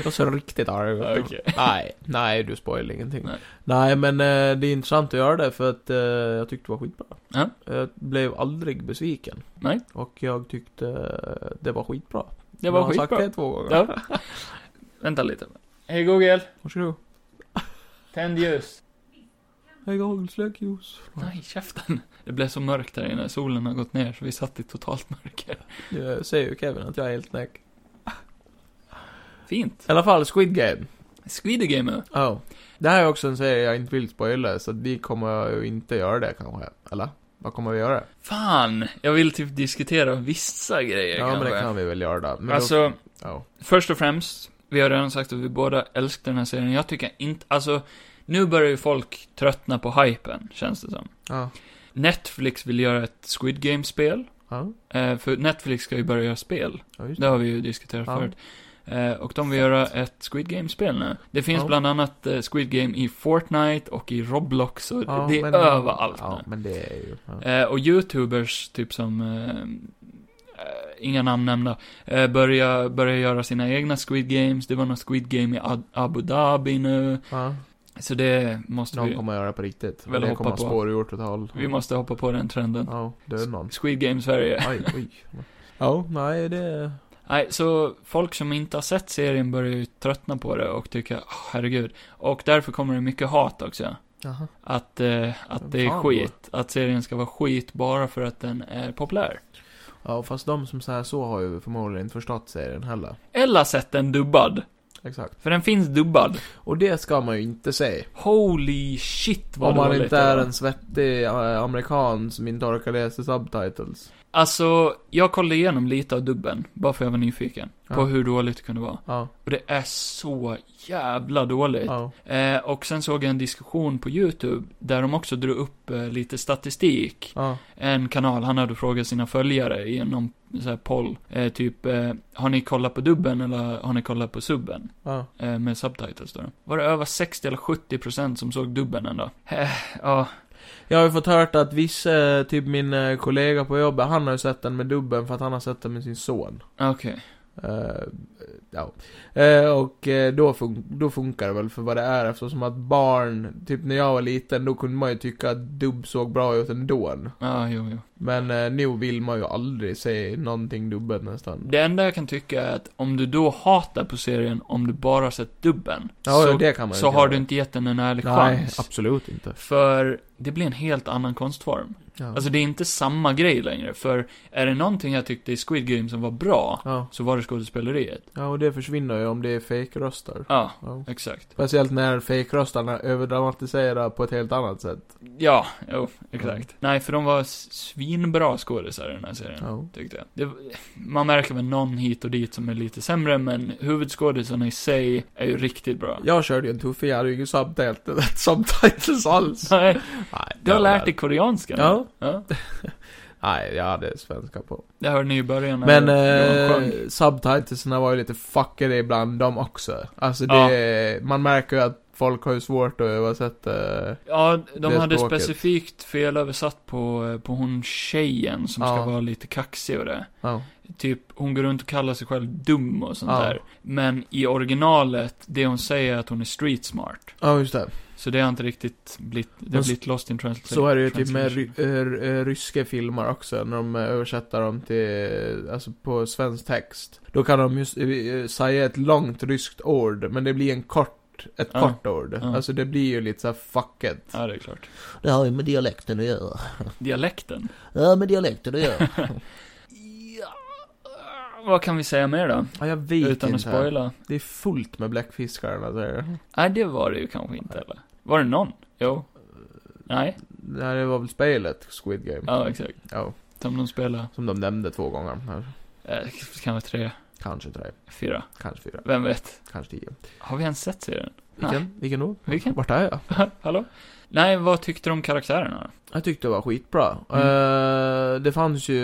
Speaker 2: Och så riktigt arg. vet du.
Speaker 1: Okej.
Speaker 2: Nej, nej, du spoilar ingenting.
Speaker 1: Nej.
Speaker 2: Nej, men eh, det är intressant att göra det för att eh, jag tyckte det var skitbra.
Speaker 1: Ja.
Speaker 2: Jag blev aldrig besviken.
Speaker 1: Nej.
Speaker 2: Och jag tyckte eh, det var skitbra.
Speaker 1: Det var
Speaker 2: jag har sagt
Speaker 1: skitbra.
Speaker 2: det två gånger.
Speaker 1: Ja. Vänta lite. Hej Google,
Speaker 2: Varsågod.
Speaker 1: tänd ljus.
Speaker 2: Jag har släck ljus.
Speaker 1: Nej, käften. Det blev så mörkt där inne, solen har gått ner så vi satt i totalt mörker.
Speaker 2: Jag säger ju Kevin att jag är helt näck.
Speaker 1: Fint.
Speaker 2: I alla fall, Squid Game.
Speaker 1: Squid Game nu.
Speaker 2: Ja. Oh. Det här är också en serie jag inte vill spoila, så vi kommer ju inte göra det kanske. Eller? Vad kommer vi göra?
Speaker 1: Fan, jag vill typ diskutera vissa grejer
Speaker 2: ja,
Speaker 1: kanske.
Speaker 2: men det kan vi väl göra då. Men
Speaker 1: Alltså,
Speaker 2: Då, ja.
Speaker 1: först och främst, vi har redan sagt att vi båda älskar den här serien. Jag tycker inte, alltså, nu börjar ju folk tröttna på hypen, känns det som.
Speaker 2: Ja.
Speaker 1: Netflix vill göra ett Squid Game-spel.
Speaker 2: Ja.
Speaker 1: Eh, för Netflix ska ju börja göra spel.
Speaker 2: ja, just
Speaker 1: Det har vi ju diskuterat
Speaker 2: Ja.
Speaker 1: förut. Eh, och de vill göra ett Squid Game-spel nu. Det finns
Speaker 2: Ja.
Speaker 1: bland annat eh, Squid Game i Fortnite och i Roblox och
Speaker 2: Ja,
Speaker 1: det är
Speaker 2: men-
Speaker 1: överallt
Speaker 2: Ja,
Speaker 1: nu.
Speaker 2: men det är ju... Ja.
Speaker 1: Eh, och YouTubers, typ som, eh, eh, inga namn nämnda, eh, börjar börjar göra sina egna Squid Games. Det var något Squid Game i Ad- Abu Dhabi nu.
Speaker 2: Ja.
Speaker 1: Så det måste
Speaker 2: Någon
Speaker 1: vi,
Speaker 2: kommer att göra det på riktigt.
Speaker 1: Väl
Speaker 2: det
Speaker 1: hoppa
Speaker 2: kommer
Speaker 1: på.
Speaker 2: spåra åt ett håll.
Speaker 1: vi måste hoppa på den trenden.
Speaker 2: Ja, det är någon.
Speaker 1: Squid Game Sverige.
Speaker 2: Aj, oj. Ja, nej det...
Speaker 1: Nej, så folk som inte har sett serien börjar ju tröttna på det och tycka, "Åh, herregud. Och därför kommer det mycket hat också.
Speaker 2: Jaha.
Speaker 1: Att, eh, att det är
Speaker 2: Fan.
Speaker 1: skit. Att serien ska vara skit bara för att den är populär.
Speaker 2: Ja, fast de som säger så har ju förmodligen inte förstått serien heller.
Speaker 1: Eller sett den dubbad.
Speaker 2: Exakt.
Speaker 1: För den finns dubbad.
Speaker 2: Och det ska man ju inte säga.
Speaker 1: Holy shit vad
Speaker 2: Om man
Speaker 1: dåligt
Speaker 2: inte
Speaker 1: det
Speaker 2: är
Speaker 1: var.
Speaker 2: en svettig eh, amerikan som inte orkar läsa subtitles.
Speaker 1: Alltså, jag kollade igenom lite av dubben, bara för jag var nyfiken. På
Speaker 2: Ja.
Speaker 1: hur dåligt det kunde vara.
Speaker 2: Ja,
Speaker 1: Och det är så jävla dåligt.
Speaker 2: ja.
Speaker 1: Eh, och sen såg jag en diskussion på YouTube, där de också drog upp eh, lite statistik.
Speaker 2: ja.
Speaker 1: En kanal, han hade frågat sina följare i någon så här poll, eh, typ, eh, har ni kollat på dubben eller har ni kollat på subben?
Speaker 2: ja.
Speaker 1: Eh, med subtitles då. Var det över 60 eller 70% som såg dubben ändå? Eh, ja.
Speaker 2: Jag har ju fått hört att vissa, typ min eh, kollega på jobbet, han har ju sett den med dubben för att han har sett den med sin son.
Speaker 1: Okej.
Speaker 2: Eh, ja. Eh, och eh, då, fun- då funkar det väl för vad det är eftersom att barn, typ när jag var liten, då kunde man ju tycka att dubb såg bra ut ändå.
Speaker 1: Ja, jo, jo.
Speaker 2: Men eh, nu vill man ju aldrig se någonting dubbelt nästan.
Speaker 1: Det enda jag kan tycka är att om du då hatar på serien, om du bara sett dubben,
Speaker 2: Ja,
Speaker 1: så,
Speaker 2: det kan man ju
Speaker 1: så
Speaker 2: inte
Speaker 1: har
Speaker 2: göra.
Speaker 1: du inte gett den en ärlig
Speaker 2: Nej,
Speaker 1: chans.
Speaker 2: absolut inte.
Speaker 1: För det blir en helt annan konstform.
Speaker 2: Ja.
Speaker 1: Alltså det är inte samma grej längre, för är det någonting jag tyckte i Squid Game som var bra,
Speaker 2: ja.
Speaker 1: så var det skådespeleriet.
Speaker 2: ja, och det försvinner ju om det är fejkröster.
Speaker 1: Ja,
Speaker 2: Ja.
Speaker 1: exakt.
Speaker 2: Speciellt när fejkröstarna överdramatiserar på ett helt annat sätt.
Speaker 1: Ja, jo, exakt. Nej, för de var s- svinbra skådisar i den här serien.
Speaker 2: Ja.
Speaker 1: Tyckte jag. Det, man märker väl någon hit och dit som är lite sämre, men huvudskådisarna i sig är ju riktigt bra.
Speaker 2: Jag körde ju en tuffing, jag hade ju ingen [laughs] subtitles,
Speaker 1: [laughs]
Speaker 2: subtitles alls.
Speaker 1: Nej,
Speaker 2: Nej,
Speaker 1: du har
Speaker 2: det
Speaker 1: lärt dig koreanska nu.
Speaker 2: Ja.
Speaker 1: ja.
Speaker 2: Nej, jag hade svenska på.
Speaker 1: Det hörde ni i början när
Speaker 2: Men
Speaker 1: Johan
Speaker 2: eh,
Speaker 1: sjöng.
Speaker 2: subtitlesna var ju lite fuckade ibland de också. Alltså
Speaker 1: Ja.
Speaker 2: det, man märker ju att folk har ju svårt att översätta. eh,
Speaker 1: Ja, de
Speaker 2: det
Speaker 1: hade
Speaker 2: språket.
Speaker 1: specifikt felöversatt på, eh, på hon tjejen som ska
Speaker 2: Ja.
Speaker 1: vara lite kaxig och det.
Speaker 2: Ja.
Speaker 1: Typ, hon går runt och kallar sig själv dum och sånt
Speaker 2: Ja.
Speaker 1: där. Men i originalet, det hon säger är att hon är street smart.
Speaker 2: Ja, just det.
Speaker 1: Så det har inte riktigt blivit, det har
Speaker 2: Men s-
Speaker 1: blivit lost in translation.
Speaker 2: Så är det ju typ med ry- r- r- ryska filmer också, när de eh, översätter dem till, alltså på svensk text. Då kan de just eh, säga ett långt ryskt ord, men det blir en kort, ett
Speaker 1: Ja.
Speaker 2: kort ord.
Speaker 1: Ja.
Speaker 2: Alltså det blir ju lite såhär fuck it.
Speaker 1: Ja, det är klart.
Speaker 4: Det har ju med dialekten att göra.
Speaker 1: Dialekten.
Speaker 4: Ja, med dialekten att göra.
Speaker 1: Ja, vad kan vi säga mer då?
Speaker 2: Ja, jag vet
Speaker 1: Utan att
Speaker 2: inte. Mm.
Speaker 1: spoila.
Speaker 2: Det är fullt med bläckfiskar alltså. eller så.
Speaker 1: Nej, det var det ju kanske inte eller? Var det någon? Jo. Nej.
Speaker 2: Nej, det var väl spelet, Squid Game.
Speaker 1: Ja, exakt.
Speaker 2: Ja,
Speaker 1: Som de spelar,
Speaker 2: som de nämnde två gånger. här.
Speaker 1: eh, kan vara tre,
Speaker 2: Kanske tre,
Speaker 1: fyra,
Speaker 2: kanske fyra,
Speaker 1: vem vet?
Speaker 2: kanske tio.
Speaker 1: Har vi ens sett serien?
Speaker 2: Vilken? Vilken då?
Speaker 1: Vilken?
Speaker 2: Vart är jag?
Speaker 1: Hallå? Nej, vad tyckte du om karaktärerna?
Speaker 2: Jag tyckte det var skitbra.
Speaker 1: Mm.
Speaker 2: Eh, det fanns ju,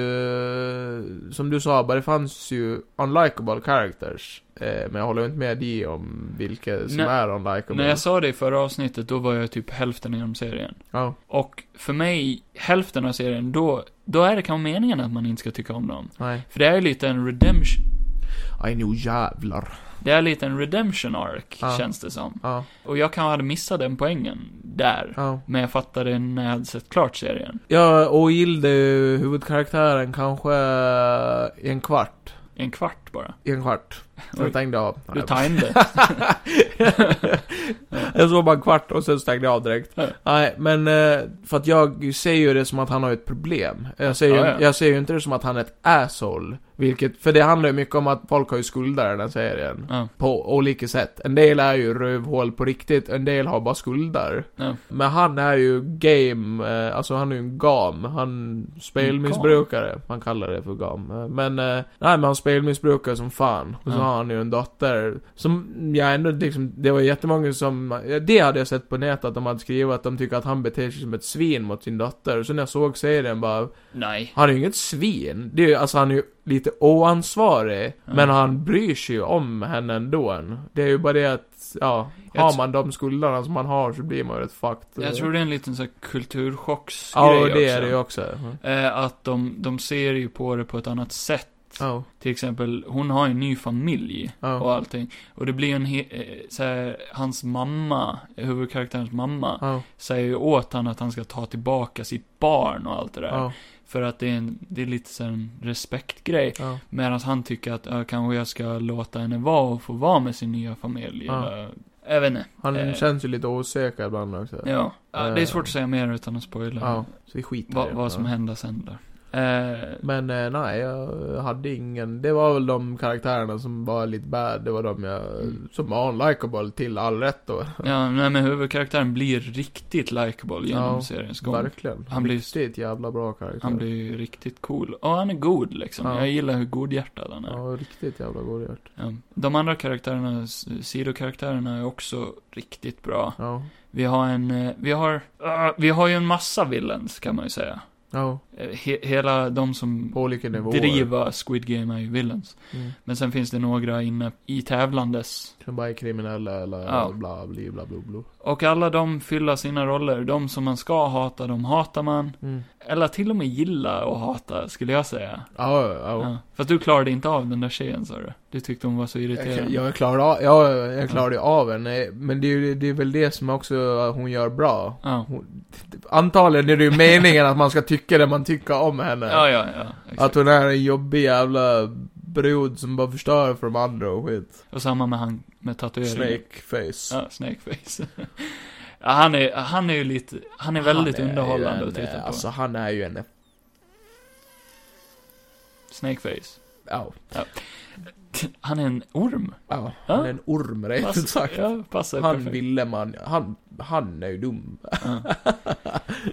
Speaker 2: som du sa, bara det fanns ju unlikable characters. Eh, men jag håller inte med dig om vilka som
Speaker 1: Nej.
Speaker 2: är unlikable.
Speaker 1: När jag sa det i förra avsnittet, då var jag typ hälften genom serien.
Speaker 2: Ja,
Speaker 1: Och för mig, hälften av serien, då, då är det kanske meningen att man inte ska tycka om dem.
Speaker 2: nej.
Speaker 1: För det är ju lite en redemption,
Speaker 2: Aj, nu jävlar.
Speaker 1: det är lite en redemption arc,
Speaker 2: Ja.
Speaker 1: känns det som.
Speaker 2: Ja,
Speaker 1: Och jag kanske hade missat den poängen, där.
Speaker 2: ja.
Speaker 1: Men jag fattade när jag hade sett klart serien.
Speaker 2: Jag ogillade ju huvudkaraktären kanske i en kvart.
Speaker 1: En kvart bara.
Speaker 2: I en kvart. Så
Speaker 1: Oj.
Speaker 2: jag tänkte av.
Speaker 1: Du
Speaker 2: Nej,
Speaker 1: tajmade.
Speaker 2: [laughs] jag såg bara en kvart och sen stängde jag av direkt.
Speaker 1: Ja.
Speaker 2: Nej, men eh, för att jag ser ju det som att han har ett problem. Jag ser, ju,
Speaker 1: Ja, ja.
Speaker 2: jag ser ju inte det som att han är ett asshole. Vilket, för det handlar ju mycket om att folk har ju skulder i den här serien.
Speaker 1: ja.
Speaker 2: På olika sätt. En del är ju rövhål på riktigt, en del har bara skulder.
Speaker 1: Ja.
Speaker 2: Men han är ju game, eh, alltså han är ju en gam. Han spelmissbrukare. Man kallar det för gam. Eh, Men, eh, nej men han spelmissbrukare som fan. Och så
Speaker 1: Ja.
Speaker 2: har han ju en dotter. Som, jag ändå liksom, det var jättemånga som, det hade jag sett på nätet att de hade skrivit att de tycker att han beter sig som ett svin mot sin dotter. Så när jag såg serien bara,
Speaker 1: [laughs] Nej.
Speaker 2: han är ju inget svin. Det är ju, alltså han är ju lite oansvarig.
Speaker 1: Ja.
Speaker 2: Men han bryr sig ju om henne ändå. Det är ju bara det att, ja,
Speaker 1: Jag
Speaker 2: har
Speaker 1: tr-
Speaker 2: man de skulderna som man har så blir man ju rätt fucked.
Speaker 1: Jag tror det är en liten så här kulturchocksgrej
Speaker 2: Ja, och det är
Speaker 1: också.
Speaker 2: det ju också. Ja.
Speaker 1: Eh, att de, de ser ju på det på ett annat sätt.
Speaker 2: Ja,
Speaker 1: Till exempel, hon har ju en ny familj och
Speaker 2: ja,
Speaker 1: allting. Och det blir ju en he- eh, så här, hans mamma, huvudkaraktärens mamma,
Speaker 2: ja,
Speaker 1: säger ju åt han att han ska ta tillbaka sitt barn och allt det där.
Speaker 2: ja,
Speaker 1: För att det är, en, det är lite så här en respektgrej.
Speaker 2: ja.
Speaker 1: Medan han tycker att, ja, kanske jag ska låta henne vara och få vara med sin nya familj.
Speaker 2: Ja.
Speaker 1: Eller, jag vet inte.
Speaker 2: Han
Speaker 1: Eh.
Speaker 2: känns ju lite osäker ibland också.
Speaker 1: Ja. Ja, Det är
Speaker 2: Eh.
Speaker 1: svårt att säga mer utan att spoila.
Speaker 2: Ja, så vi skiter i
Speaker 1: vad,
Speaker 2: det.
Speaker 1: vad som
Speaker 2: Ja.
Speaker 1: händer sen där. Eh,
Speaker 2: Men eh, nej, jag hade ingen. Det var väl de karaktärerna som var lite bad. Det var de jag,
Speaker 1: Mm.
Speaker 2: som var unlikable till all rätt då.
Speaker 1: ja, nej men huvudkaraktären blir riktigt likeable genom
Speaker 2: Ja,
Speaker 1: seriens gång.
Speaker 2: Verkligen.
Speaker 1: Han blir-
Speaker 2: Riktigt jävla bra karaktär.
Speaker 1: Han blir ju riktigt cool. Ja, han är god liksom.
Speaker 2: Ja.
Speaker 1: Jag gillar hur godhjärtad han är.
Speaker 2: Ja, riktigt jävla godhjärt.
Speaker 1: Ja. De andra karaktärerna, s- sidokaraktärerna, är också riktigt bra.
Speaker 2: Ja.
Speaker 1: Vi har en, eh, vi har, ah, vi har ju en massa villains kan man ju säga.
Speaker 2: Ja,
Speaker 1: Eh, He, hela de som
Speaker 2: på olika nivåer.
Speaker 1: driver Squid Game är ju villains.
Speaker 2: Mm.
Speaker 1: Men sen finns det några inne i tävlandes.
Speaker 2: Som bara är kriminella eller
Speaker 1: Ja.
Speaker 2: bla, bli, bla, bla, bla.
Speaker 1: Och alla de fyller sina roller. De som man ska hata, de hatar man.
Speaker 2: Mm.
Speaker 1: Eller till och med gillar och hatar, skulle jag säga.
Speaker 2: Ja, ja, ja.
Speaker 1: Ja. Fast du klarade inte av den där tjejen, sa du. Du tyckte hon var så
Speaker 2: Jag,
Speaker 1: irriterande.
Speaker 2: jag klarade av, ja, jag klarade ju av henne. Men det är, ju- det är väl det som också hon gör bra.
Speaker 1: Ja.
Speaker 2: Antagligen är det ju meningen att man ska tycka det man tycker om henne.
Speaker 1: Ja, ja, ja.
Speaker 2: Att
Speaker 1: Exakt.
Speaker 2: hon är en jobbig jävla brud som bara förstör för de andra och skit.
Speaker 1: Och samma med han med tatueringen.
Speaker 2: Snakeface.
Speaker 1: Ja, Snakeface. [laughs] ja, han är, han är ju lite, han är väldigt
Speaker 2: Han är
Speaker 1: underhållande
Speaker 2: ju en,
Speaker 1: att titta
Speaker 2: eh,
Speaker 1: på.
Speaker 2: Alltså han är ju en...
Speaker 1: Snakeface.
Speaker 2: Ja.
Speaker 1: Han är en orm.
Speaker 2: ja. Han är en orm rent ut sagt.
Speaker 1: Alltså, Ja, passar
Speaker 2: Han
Speaker 1: perfekt.
Speaker 2: ville man... Han, han är ju dum.
Speaker 1: Ja.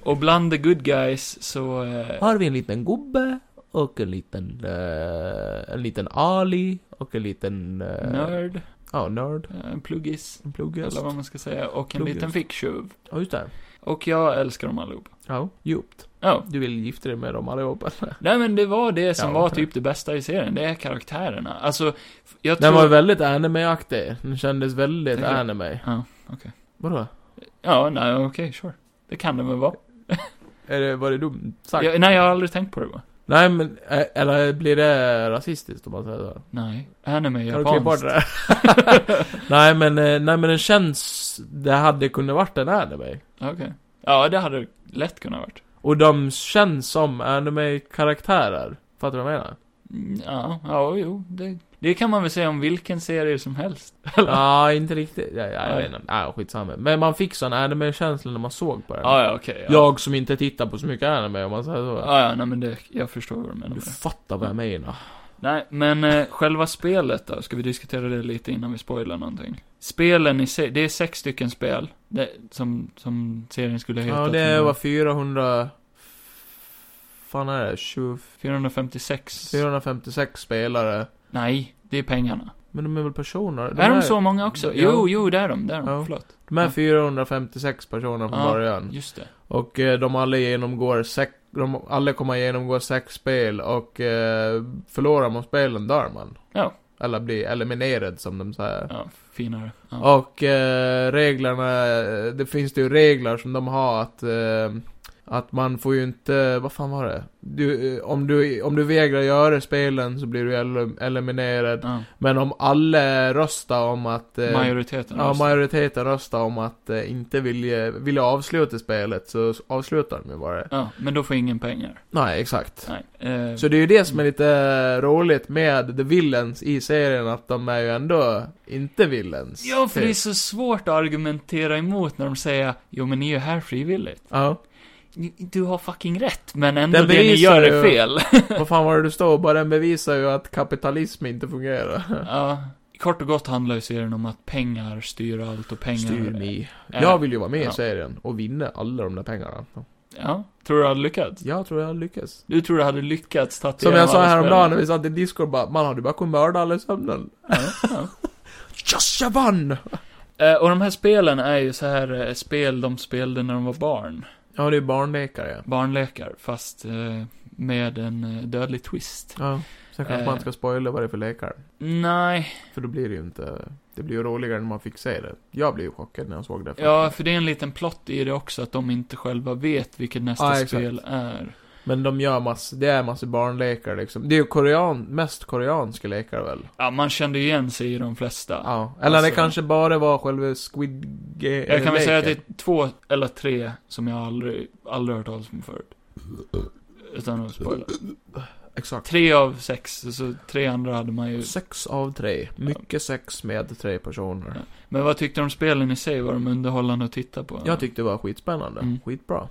Speaker 1: Och bland the good guys så, eh,
Speaker 4: Har vi en liten gubbe och en liten, eh, en liten Ali och en liten... eh,
Speaker 1: nörd,
Speaker 2: Ja, nörd.
Speaker 1: eh, pluggis,
Speaker 2: En pluggest.
Speaker 1: eller vad man ska säga, och en
Speaker 2: Pluggis.
Speaker 1: liten ficktjuv.
Speaker 2: Ja, just det.
Speaker 1: Och jag älskar dem allihopa.
Speaker 2: Ja, djupt.
Speaker 1: Ja.
Speaker 2: Du vill gifta dig med dem allihopa.
Speaker 1: Nej men det var det som
Speaker 2: Ja,
Speaker 1: var
Speaker 2: för-
Speaker 1: typ det bästa i serien, det är karaktärerna. Alltså, jag tror...
Speaker 2: Den var väldigt anime-aktig. Den kändes väldigt
Speaker 1: Tänker du?
Speaker 2: anime.
Speaker 1: Ja, okej.
Speaker 2: Vadå?
Speaker 1: Ja, nej okej, sure. Det kan det väl vara.
Speaker 2: Är det, var det dumt sagt?
Speaker 1: Jag, nej, jag har aldrig tänkt på det bara.
Speaker 2: Nej men, eh, eller blir det rasistiskt om man säger så?
Speaker 1: Nej, anime är
Speaker 2: Kan du klippa bort
Speaker 1: japanskt.
Speaker 2: det där?
Speaker 1: [laughs]
Speaker 2: [laughs] nej men, eh, nej men den känns, det hade kunnat varit en anime.
Speaker 1: Okej. Ja, det hade lätt kunnat varit.
Speaker 2: Och de känns som anime-karaktärer. Fattar du vad jag menar? [laughs]
Speaker 1: Mm, Ja, ja, jo, det, det kan man väl säga om vilken serie som helst.
Speaker 2: Ja, ah, inte riktigt. Ja, ja, jag
Speaker 1: Nej.
Speaker 2: vet inte. Ah, skitsamma. Men man fick sån anime-känsla när man såg på den.
Speaker 1: Ja, ja, okej. ja.
Speaker 2: Jag som inte tittar på så mycket anime om man säger så.
Speaker 1: Ja, ja, nej men det, jag förstår vad du menar
Speaker 2: Du
Speaker 1: med det.
Speaker 2: fattar vad jag menar.
Speaker 1: Nej, men eh, själva spelet då, ska vi diskutera det lite innan vi spoilar någonting? Spelen i sig, det är sex stycken spel, det, som, som serien skulle heta.
Speaker 2: Ja, det var 400... Fan är det? 20,
Speaker 1: 456.
Speaker 2: 456 spelare.
Speaker 1: Nej, det är pengarna.
Speaker 2: Men de är väl personer?
Speaker 1: är de så många också?
Speaker 2: Ja.
Speaker 1: Jo, jo, det är de, det är de,
Speaker 2: Ja. Mm.
Speaker 1: förlåt.
Speaker 2: De är 456 personer från
Speaker 1: Ja.
Speaker 2: början.
Speaker 1: Just det.
Speaker 2: Och eh, de alla genomgår sex... De alla kommer genomgå sex spel och eh, förlorar man spelen dör man.
Speaker 1: Ja.
Speaker 2: Eller blir eliminerad som de säger.
Speaker 1: Ja, finare. Ja.
Speaker 2: Och eh, reglerna, eh, det finns det ju regler som de har att, eh, att man får ju inte, vad fan var det? Du, eh, om, du, om du vägrar göra spelen så blir du el- eliminerad.
Speaker 1: Ja.
Speaker 2: Men om alla röstar om att... eh,
Speaker 1: Majoriteten
Speaker 2: Ja,
Speaker 1: röstar.
Speaker 2: majoriteten röstar om att eh, inte vilja, vilja avsluta spelet, så avslutar de ju bara det.
Speaker 1: Ja, men då får ingen pengar.
Speaker 2: Nej, exakt.
Speaker 1: Nej. Eh,
Speaker 2: Så det är ju det som är lite eh, roligt med The Villains i serien, att de är ju ändå inte villains.
Speaker 1: ja, för det är
Speaker 2: Typ.
Speaker 1: så svårt att argumentera emot när de säger Jo, men ni är ju här frivilligt.
Speaker 2: Ja.
Speaker 1: Ni- Du har fucking rätt, men ändå
Speaker 2: Den
Speaker 1: det ni
Speaker 2: bevisar
Speaker 1: gör är
Speaker 2: ju-
Speaker 1: fel.
Speaker 2: Vad fan var det du stod bara Den bevisar ju att kapitalism inte fungerar.
Speaker 1: Ja. Kort och gott handlar ju serien om att pengar styr allt och pengar...
Speaker 2: Styr mig.
Speaker 1: är-
Speaker 2: Jag vill ju vara med
Speaker 1: Ja.
Speaker 2: i serien och vinna alla de där pengarna.
Speaker 1: Ja. Tror du hade lyckats?
Speaker 2: Jag tror jag lyckas.
Speaker 1: Du tror du hade lyckats ta
Speaker 2: Som
Speaker 1: igenom
Speaker 2: jag sa
Speaker 1: alla
Speaker 2: häromdagen när
Speaker 1: spelen?
Speaker 2: vi satt i Discord bara, man hade bara kunnat mörda alla i sömnen.
Speaker 1: Ja, ja.
Speaker 2: [laughs] Yes, jag vann!
Speaker 1: Eh, och de här spelen är ju så här eh, spel de spelade när de var barn.
Speaker 2: Ja, det är barnlekar ja.
Speaker 1: Barnlekar, fast eh, med en eh, dödlig twist.
Speaker 2: Ja. Sen kanske
Speaker 1: Eh.
Speaker 2: man inte ska spoila vad det är för lekar.
Speaker 1: Nej,
Speaker 2: För då blir det ju inte, det blir ju roligare när man fick se det. Jag blev ju chockad när jag såg det.
Speaker 1: ja, för det är en liten plott i det också, att de inte själva vet vilket nästa
Speaker 2: Ja, exakt.
Speaker 1: spel är.
Speaker 2: Men de gör massor, det är massor barnlekar liksom. Det är ju korean, mest koreanska lekar väl?
Speaker 1: Ja, man kände ju igen sig i de flesta.
Speaker 2: Ja, eller det
Speaker 1: Alltså-
Speaker 2: kanske bara var själva Squid Game.
Speaker 1: Jag kan väl säga att det är två eller tre som jag aldrig, aldrig hört talas om förut. Utan att spoila.
Speaker 2: Exakt.
Speaker 1: Tre av sex, så tre andra hade man ju.
Speaker 2: Sex av tre. Mycket sex med tre personer.
Speaker 1: Ja. Men vad tyckte du om spelen i sig? Var de underhållande att titta på?
Speaker 2: Jag tyckte det var skitspännande.
Speaker 1: Mm.
Speaker 2: Skitbra.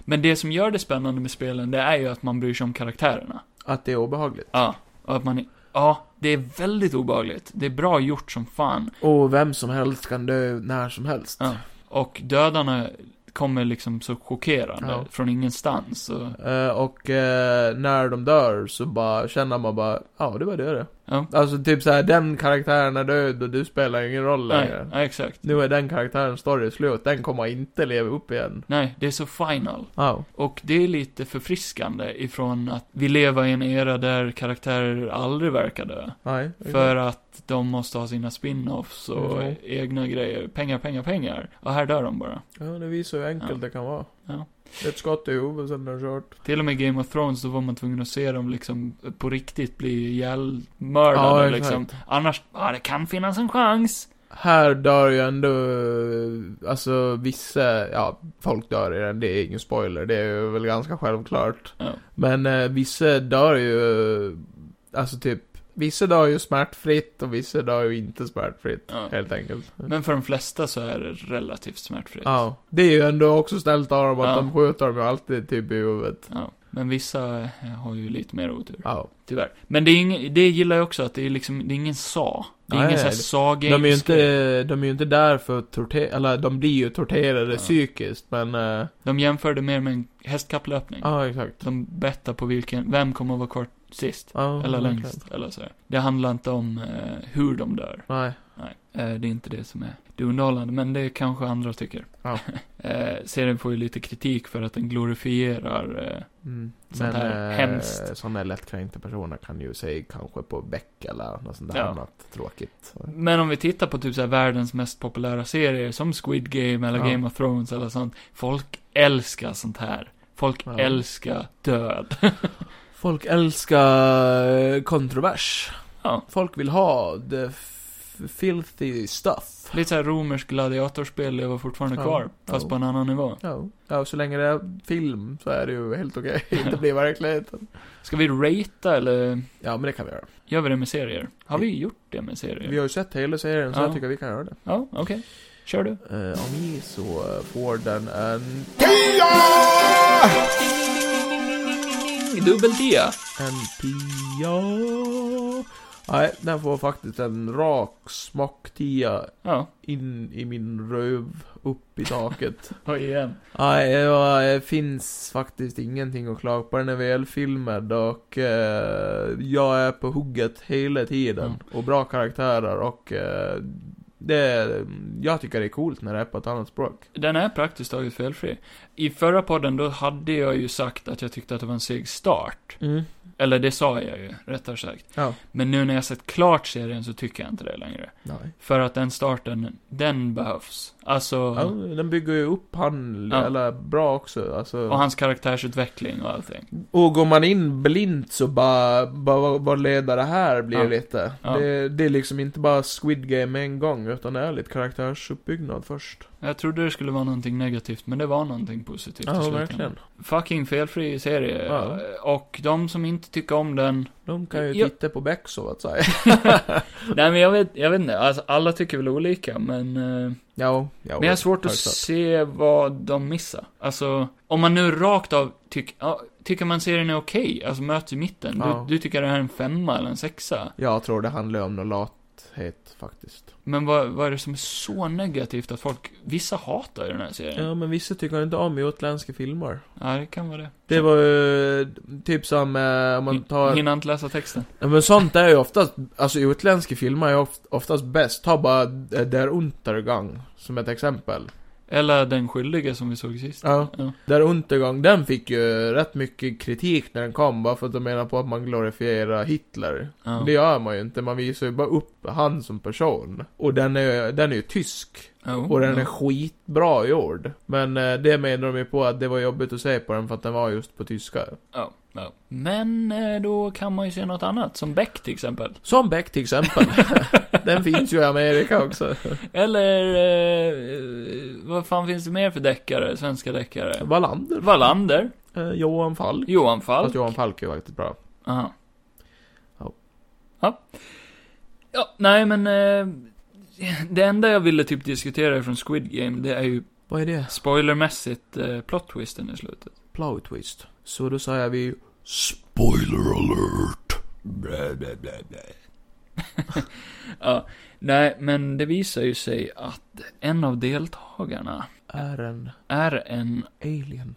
Speaker 1: Men det som gör det spännande med spelen, det är ju att man bryr sig om karaktärerna.
Speaker 2: Att det är obehagligt.
Speaker 1: Ja, och att man Ja, det är väldigt obehagligt. Det är bra gjort som fan.
Speaker 2: Och vem som helst kan dö när som helst.
Speaker 1: Ja. Och dödarna kommer liksom så chockerande
Speaker 2: Ja.
Speaker 1: från ingenstans. Och,
Speaker 2: Eh, och eh, när de dör så bara känner man bara, ja det var det det.
Speaker 1: ja.
Speaker 2: Alltså typ såhär, den karaktären är död och du spelar ingen roll
Speaker 1: Nej,
Speaker 2: längre.
Speaker 1: ja, exakt.
Speaker 2: Nu är den karaktären story slut, den kommer inte leva upp igen.
Speaker 1: Nej, det är så final.
Speaker 2: Ja.
Speaker 1: Och det är lite förfriskande ifrån att vi lever i en era där karaktärer aldrig verkar dö.
Speaker 2: Nej.
Speaker 1: För att de måste ha sina spin-offs och
Speaker 2: Mm.
Speaker 1: egna grejer. Pengar, pengar, pengar. Och här dör de bara.
Speaker 2: Ja, det visar hur enkelt
Speaker 1: Ja.
Speaker 2: det kan vara.
Speaker 1: Ja.
Speaker 2: Ett skott i huvudet sen är det kört.
Speaker 1: Till och med Game of Thrones, då var man tvungen att se dem liksom på riktigt bli
Speaker 2: Ja,
Speaker 1: ihjälmördade
Speaker 2: exakt.
Speaker 1: liksom. Annars, ja det kan finnas en chans.
Speaker 2: Här dör ju ändå, eh, alltså vissa, ja, folk dör i den, det är ingen spoiler, det är ju väl ganska självklart.
Speaker 1: Ja.
Speaker 2: Men eh, vissa dör ju, eh, alltså typ, vissa dör ju smärtfritt och vissa dör ju inte smärtfritt,
Speaker 1: Ja.
Speaker 2: helt enkelt.
Speaker 1: Men för de flesta så är det relativt smärtfritt.
Speaker 2: Ja, det är ju ändå också snällt av dem att
Speaker 1: Ja.
Speaker 2: de skjuter dem ju alltid typ i huvudet.
Speaker 1: Ja. Men vissa eh, har ju lite mer otur,
Speaker 2: Ja.
Speaker 1: tyvärr. Men det, är ing- det gillar jag också, att det är liksom, det är ingen sa. Det är
Speaker 2: Nej,
Speaker 1: ingen sån här
Speaker 2: nej, det-
Speaker 1: saga
Speaker 2: De är ju inte, de är ju inte där för att tortera, eller de blir ju torterade
Speaker 1: Ja.
Speaker 2: psykiskt, men... eh,
Speaker 1: De jämför det mer med en hästkapplöpning.
Speaker 2: Ja, exakt.
Speaker 1: De bettar på vilken, vem kommer att vara kvar sist.
Speaker 2: Ja,
Speaker 1: Eller
Speaker 2: verkligen.
Speaker 1: längst, eller så. Det handlar inte om eh, hur de dör.
Speaker 2: Nej.
Speaker 1: Nej, eh, det är inte det som är det underhållande, men det kanske andra tycker.
Speaker 2: Ja.
Speaker 1: [laughs] eh, serien får ju lite kritik för att den glorifierar, eh,
Speaker 2: Mm.
Speaker 1: Sånt här
Speaker 2: eh,
Speaker 1: hemskt.
Speaker 2: Sådana lättkränkta personer kan ju säga kanske på bäck eller något sånt där
Speaker 1: Ja. Mm.
Speaker 2: annat tråkigt.
Speaker 1: men om vi tittar på typ så här världens mest populära serier, som Squid Game eller
Speaker 2: Ja.
Speaker 1: Game of Thrones eller sånt. Folk älskar sånt här. Folk
Speaker 2: Ja.
Speaker 1: älskar död. [laughs]
Speaker 2: Folk älskar eh, kontrovers.
Speaker 1: ja.
Speaker 2: Folk vill ha the f- filthy stuff.
Speaker 1: Lite såhär romersk gladiatorspel lever fortfarande
Speaker 2: Ja.
Speaker 1: kvar, fast
Speaker 2: Ja.
Speaker 1: på en annan nivå.
Speaker 2: Ja, ja och så länge det är film så är det ju helt okej. [laughs] Inte blir verkligheten.
Speaker 1: Ska vi ratea eller?
Speaker 2: Ja, men det kan vi göra.
Speaker 1: Gör vi det med serier? Har vi gjort det med serier?
Speaker 2: Vi har ju sett hela serien så
Speaker 1: Ja.
Speaker 2: jag tycker vi kan göra det.
Speaker 1: Ja, okej. Kör du.
Speaker 2: Eh, om vi så eh, får den en...
Speaker 1: Dubbel D.
Speaker 2: En pia. Nej, den får faktiskt en rak smocktia
Speaker 1: Ja.
Speaker 2: in i min röv, upp i taket.
Speaker 1: Och igen.
Speaker 2: Nej, det var- det finns faktiskt ingenting att klaga på. Den är välfilmad och eh, jag är på hugget hela tiden.
Speaker 1: Mm.
Speaker 2: Och bra karaktärer och eh, det, jag tycker det är coolt när det är på ett annat språk.
Speaker 1: Den är praktiskt taget felfri. I förra podden, då hade jag ju sagt att jag tyckte att det var en seg start. Eller det sa jag ju, rättare sagt.
Speaker 2: Ja.
Speaker 1: Men nu när jag sett klart serien så tycker jag inte det längre.
Speaker 2: Nej.
Speaker 1: För att den starten, den behövs. Alltså,
Speaker 2: Ja, den bygger ju upp han,
Speaker 1: Ja.
Speaker 2: eller bra också. Alltså.
Speaker 1: och hans karaktärsutveckling och allting.
Speaker 2: Och går man in blint så bara, bara vad- vad leder det här blir
Speaker 1: Ja.
Speaker 2: lite.
Speaker 1: Ja.
Speaker 2: Det, det är liksom inte bara Squid Game med en gång, utan det är lite karaktärsuppbyggnad först.
Speaker 1: Jag trodde det skulle vara någonting negativt, men det var någonting positivt i slutändan. Fucking felfri serie.
Speaker 2: Ja.
Speaker 1: Och de som inte tycker om den,
Speaker 2: De kan ju
Speaker 1: Ja.
Speaker 2: titta på Beck så att säga.
Speaker 1: Nej men jag vet, jag vet inte, alltså, alla tycker väl olika men... Eh,
Speaker 2: ja, ja.
Speaker 1: men jag har svårt att
Speaker 2: självklart.
Speaker 1: se vad de missar. Alltså, om man nu rakt av tyck, ja, tycker man serien är okej, alltså möts i mitten.
Speaker 2: Ja.
Speaker 1: Du, du tycker det här är en femma eller en sexa.
Speaker 2: Jag tror det handlar om någon lathet faktiskt.
Speaker 1: Men vad, vad är det som är så negativt att folk, vissa hatar ju den här serien? Ja,
Speaker 2: men vissa tycker inte om utländska filmer.
Speaker 1: det kan vara det.
Speaker 2: Det var ju typ som eh, om man tar...
Speaker 1: Hinner inte läsa texten.
Speaker 2: Ja, men sånt är ju oftast, alltså utländska filmer är oft, oftast bäst. Ta bara eh, Der Untergang som ett exempel.
Speaker 1: Eller Den skyldige som vi såg sist.
Speaker 2: Ja. Der Untergang, den fick ju rätt mycket kritik när den kom bara för att de menar på att man glorifierar Hitler.
Speaker 1: Ja.
Speaker 2: Det gör man ju inte, man visar ju bara upp han som person. Och den är, den är ju tysk.
Speaker 1: Jo,
Speaker 2: Och den
Speaker 1: jo.
Speaker 2: är skitbra gjord. Men eh, det menar de ju på att det var jobbigt att se på den för att den var just på tyska.
Speaker 1: Ja, ja. Men eh, då kan man ju se något annat, som Beck till exempel.
Speaker 2: Som Beck
Speaker 1: [laughs]
Speaker 2: till exempel. den finns ju i Amerika också.
Speaker 1: Eller, eh, vad fan finns det mer för deckare, svenska deckare?
Speaker 2: Wallander.
Speaker 1: Wallander,
Speaker 2: Eh, Johan Falk.
Speaker 1: Johan Falk.
Speaker 2: Fast Johan Falk är ju faktiskt bra.
Speaker 1: Aha.
Speaker 2: Ja.
Speaker 1: Ja. Ja, nej men, eh, det enda jag ville typ diskutera från Squid Game, det är ju
Speaker 2: Vad är det?
Speaker 1: Spoilermässigt, eh, plot twisten i slutet.
Speaker 2: Plot twist. Så då säger vi...
Speaker 3: Spoiler alert. Blä, blä, blä, blä.
Speaker 1: Ja, nej, men det visar ju sig att en av deltagarna
Speaker 2: Är en
Speaker 1: är en...
Speaker 2: alien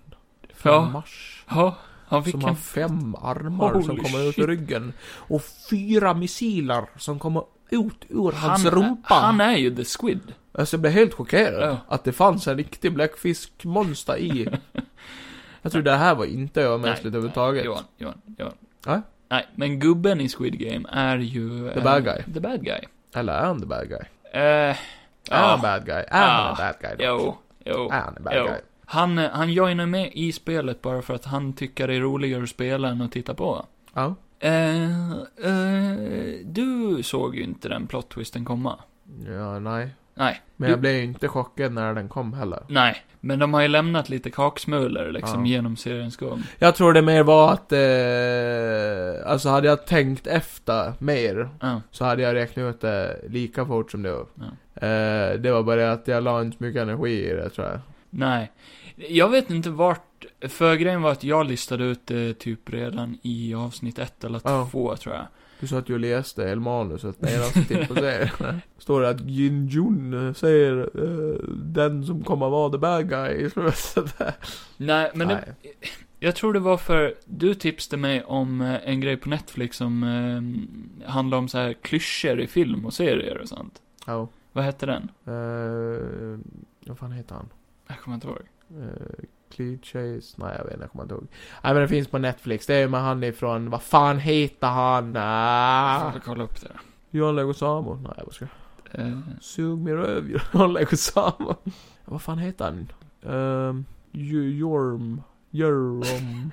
Speaker 2: från
Speaker 1: Ja,
Speaker 2: Mars.
Speaker 1: ja han fick
Speaker 2: Som
Speaker 1: en...
Speaker 2: har fem armar som
Speaker 1: Holy
Speaker 2: kommer ut
Speaker 1: shit.
Speaker 2: ur ryggen. Och fyra missiler som kommer ut ur hans
Speaker 1: Han,
Speaker 2: rumpa.
Speaker 1: han är ju the squid.
Speaker 2: Alltså jag blev helt chockerad.
Speaker 1: Ja.
Speaker 2: Att det fanns en riktig
Speaker 1: [laughs]
Speaker 2: bläckfiskmonster i. jag tror det här var inte övermänskligt överhuvudtaget.
Speaker 1: Johan, Johan, Johan.
Speaker 2: Ja?
Speaker 1: Nej, men gubben i Squid Game är ju...
Speaker 2: The
Speaker 1: eh,
Speaker 2: bad guy.
Speaker 1: The bad guy.
Speaker 2: Eller är han the bad guy?
Speaker 1: Eh,
Speaker 2: Är
Speaker 1: ja,
Speaker 2: han bad guy? Är han
Speaker 1: Ja.
Speaker 2: en bad guy då?
Speaker 1: jo, jo.
Speaker 2: Är han en bad
Speaker 1: Jo.
Speaker 2: guy?
Speaker 1: Han, eh, han joinar med i spelet bara för att han tycker det är roligare att spela än att titta på.
Speaker 2: Ja.
Speaker 1: Eh, eh, du såg ju inte den plot twisten komma.
Speaker 2: Ja, nej.
Speaker 1: Nej.
Speaker 2: Men
Speaker 1: Du-
Speaker 2: jag blev ju inte chockad när den kom heller.
Speaker 1: Nej, men de har ju lämnat lite kaksmulor liksom
Speaker 2: Ja.
Speaker 1: genom seriens gång.
Speaker 2: Jag tror det mer var att, eh, alltså hade jag tänkt efter mer
Speaker 1: Ja,
Speaker 2: så hade jag räknat ut det lika fort som du.
Speaker 1: Ja.
Speaker 2: Eh, det var bara det att jag la inte så mycket energi i det tror jag.
Speaker 1: nej. Jag vet inte vart, för grejen var att jag listade ut det typ redan i avsnitt ett eller
Speaker 2: Ja.
Speaker 1: två tror jag.
Speaker 2: Du sa att du läste El manuset när jag till
Speaker 1: [laughs]
Speaker 2: på serien. Står det att Jin Jun säger eh, den som kommer vara the bad guy i slutet.
Speaker 1: Nej, men det,
Speaker 2: Nej.
Speaker 1: jag tror det var för, du tipsade mig om eh, en grej på Netflix som eh, handlar om så här klyschor i film och serier och sånt.
Speaker 2: Ja.
Speaker 1: Vad hette den?
Speaker 2: Eh, vad fan heter han?
Speaker 1: Jag kommer inte ihåg.
Speaker 2: Eh, Clichés? Nej jag vet inte, jag kommer inte ihåg. Nej men det finns på Netflix, det är ju med han ifrån, vad fan heter han?
Speaker 1: Jag
Speaker 2: Ah.
Speaker 1: får kolla upp det.
Speaker 2: John Leguizamo? Nej jag bara skojar.
Speaker 1: Eh,
Speaker 2: Sug mig [laughs] röv John Leguizamo. Vad fan heter han? Um, Jorm? Jorm?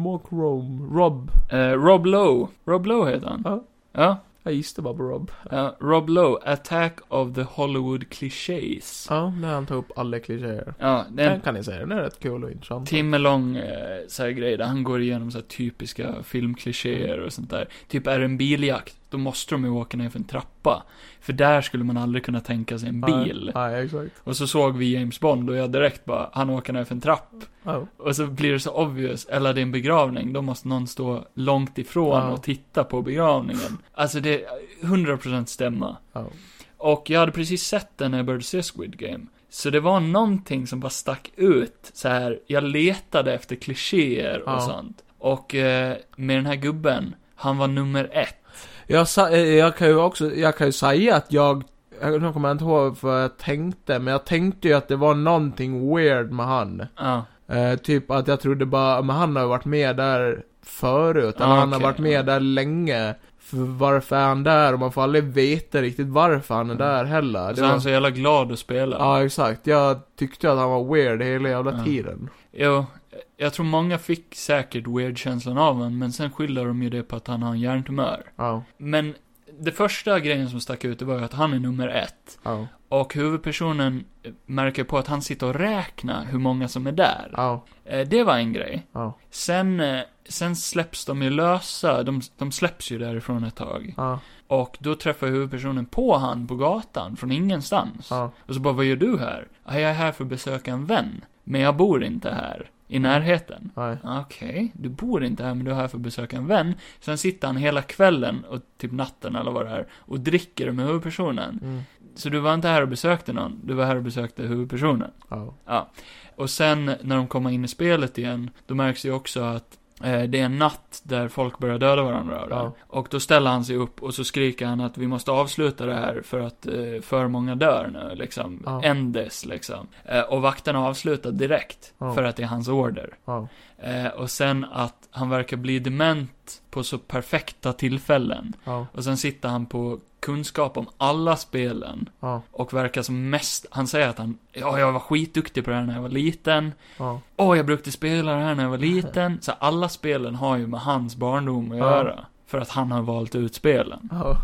Speaker 2: Schmockrom? Rob?
Speaker 1: eh, Rob Lowe. Rob Lowe heter han.
Speaker 2: Ja.
Speaker 1: Ja.
Speaker 2: Jag gissade bara på Rob.
Speaker 1: ja, Rob Lowe, Attack of the Hollywood Clichés.
Speaker 2: Ja, när han tar upp alla klichéer.
Speaker 1: Ja, det är
Speaker 2: Den
Speaker 1: en
Speaker 2: kan ni säga, den är rätt cool och intressant.
Speaker 1: timmelång eh, så här grej där han går igenom så här typiska filmklichéer och sånt där. Typ är det en biljakt, då måste de ju åka ner för en trappa. För där skulle man aldrig kunna tänka sig en bil.
Speaker 2: Nej, nej exakt.
Speaker 1: Och så såg vi James Bond och jag direkt bara, han åker ner för en trapp.
Speaker 2: Ja.
Speaker 1: Och så blir det så obvious, eller det är en begravning, då måste någon stå långt ifrån
Speaker 2: Ja.
Speaker 1: och titta på begravningen. Alltså det, är 100% stämma.
Speaker 2: Ja.
Speaker 1: Och jag hade precis sett den när jag började se Squid Game. Så det var någonting som bara stack ut, så här. jag letade efter klichéer och
Speaker 2: Ja.
Speaker 1: sånt. Och eh, med den här gubben, han var nummer ett.
Speaker 2: Jag, sa, eh, jag kan ju också, jag kan ju säga att jag, jag nu kommer jag inte ihåg vad jag tänkte, men jag tänkte ju att det var någonting weird med han.
Speaker 1: Ja,
Speaker 2: Eh, typ att jag trodde bara, men han har ju varit med där förut, eller
Speaker 1: Ah,
Speaker 2: han har
Speaker 1: okej,
Speaker 2: varit med
Speaker 1: ja.
Speaker 2: där länge. För varför är han där? Och man får aldrig veta riktigt varför han är
Speaker 1: Mm.
Speaker 2: där heller. Det
Speaker 1: så han
Speaker 2: var,
Speaker 1: var så jävla glad att spela.
Speaker 2: ja, exakt. Jag tyckte att han var weird hela jävla
Speaker 1: Ja.
Speaker 2: tiden.
Speaker 1: Jo, jag tror många fick säkert weird-känslan av honom, men sen skyller de ju det på att han har en hjärntumör.
Speaker 2: Ja,
Speaker 1: Men det första grejen som stack ut, det var ju att han är nummer ett.
Speaker 2: ja,
Speaker 1: Och huvudpersonen eh, märker på att han sitter och räknar hur många som är där.
Speaker 2: ja,
Speaker 1: Eh, Det var en grej.
Speaker 2: ja,
Speaker 1: Sen, eh, sen släpps de ju lösa, de, de släpps ju därifrån ett tag.
Speaker 2: ja,
Speaker 1: Och då träffar huvudpersonen på han på gatan, från ingenstans.
Speaker 2: ja.
Speaker 1: Och så bara, vad gör du här? "Ah, Jag är här för att besöka en vän. Men jag bor inte här, i närheten.
Speaker 2: Nej.
Speaker 1: Okej, du bor inte här men du är här för att besöka en vän. Sen sitter han hela kvällen, och typ natten eller vad det är, och dricker med huvudpersonen.
Speaker 2: Mm.
Speaker 1: Så du var inte här och besökte någon, du var här och besökte huvudpersonen.
Speaker 2: Ja.
Speaker 1: Och sen när de kommer in i spelet igen, då märks ju också att eh, det är en natt där folk börjar döda varandra av det.
Speaker 2: Ja.
Speaker 1: Och då ställer han sig upp och så skriker han att vi måste avsluta det här för att eh, för många dör nu liksom.
Speaker 2: Ja.
Speaker 1: End this liksom. Eh, och vakterna avslutar direkt
Speaker 2: Ja.
Speaker 1: för att det är hans order.
Speaker 2: Ja.
Speaker 1: Eh, och sen att han verkar bli dement på så perfekta tillfällen.
Speaker 2: Ja.
Speaker 1: Och sen sitter han på kunskap om alla spelen.
Speaker 2: Ja.
Speaker 1: Och verkar som mest, han säger att han, ja jag var skitduktig på det här när jag var liten.
Speaker 2: Ja.
Speaker 1: Åh, jag brukade spela det här när jag var
Speaker 2: [laughs]
Speaker 1: liten. Så alla spelen har ju med hans barndom att
Speaker 2: Ja.
Speaker 1: göra. För att han har valt ut spelen.
Speaker 2: ja.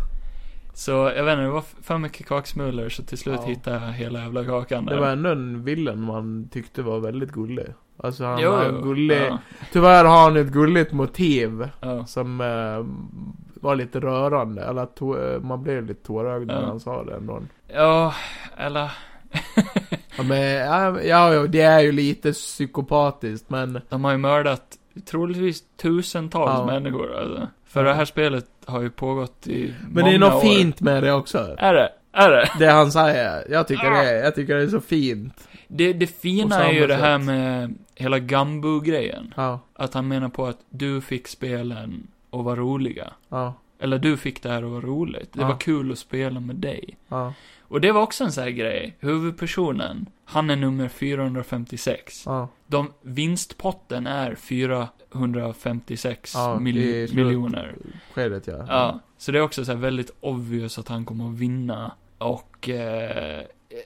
Speaker 1: Så jag vet inte, det var f- för mycket kaksmulor så till slut
Speaker 2: Ja.
Speaker 1: hittade jag hela jävla kakan där.
Speaker 2: Det var ändå en villen man tyckte var väldigt gullig. Alltså han
Speaker 1: Jo,
Speaker 2: har
Speaker 1: jo.
Speaker 2: en gullig...
Speaker 1: Ja,
Speaker 2: Tyvärr har han ett gulligt motiv.
Speaker 1: ja.
Speaker 2: Som eh, var lite rörande, eller att to- eh, man blev lite tårögd när
Speaker 1: Ja.
Speaker 2: han sa det ändå.
Speaker 1: ja eller...
Speaker 2: Ja, men, ja, ja, ja, det är ju lite psykopatiskt men...
Speaker 1: De har ju mördat troligtvis tusentals
Speaker 2: Ja.
Speaker 1: människor alltså. För det här spelet har ju pågått i
Speaker 2: Men det är något fint med det också.
Speaker 1: Är det? Är det?
Speaker 2: Det han säger. Jag tycker det, är- jag tycker det är så fint.
Speaker 1: Det, det
Speaker 2: På
Speaker 1: fina
Speaker 2: samma
Speaker 1: är ju det här
Speaker 2: sätt.
Speaker 1: med hela Gambu-grejen.
Speaker 2: Ja,
Speaker 1: Att han menar på att du fick spelen och var roliga.
Speaker 2: ja,
Speaker 1: Eller du fick det här och var roligt. Det
Speaker 2: Ja.
Speaker 1: var kul att spela med dig.
Speaker 2: ja,
Speaker 1: Och det var också en sån här grej. Huvudpersonen, han är nummer 456.
Speaker 2: ja.
Speaker 1: De, vinstpotten är 456
Speaker 2: Ja,
Speaker 1: mil,
Speaker 2: i slut.
Speaker 1: miljoner.
Speaker 2: Skedet ja.
Speaker 1: Ja, så det är också så här väldigt obvious att han kommer att vinna. Och, eh,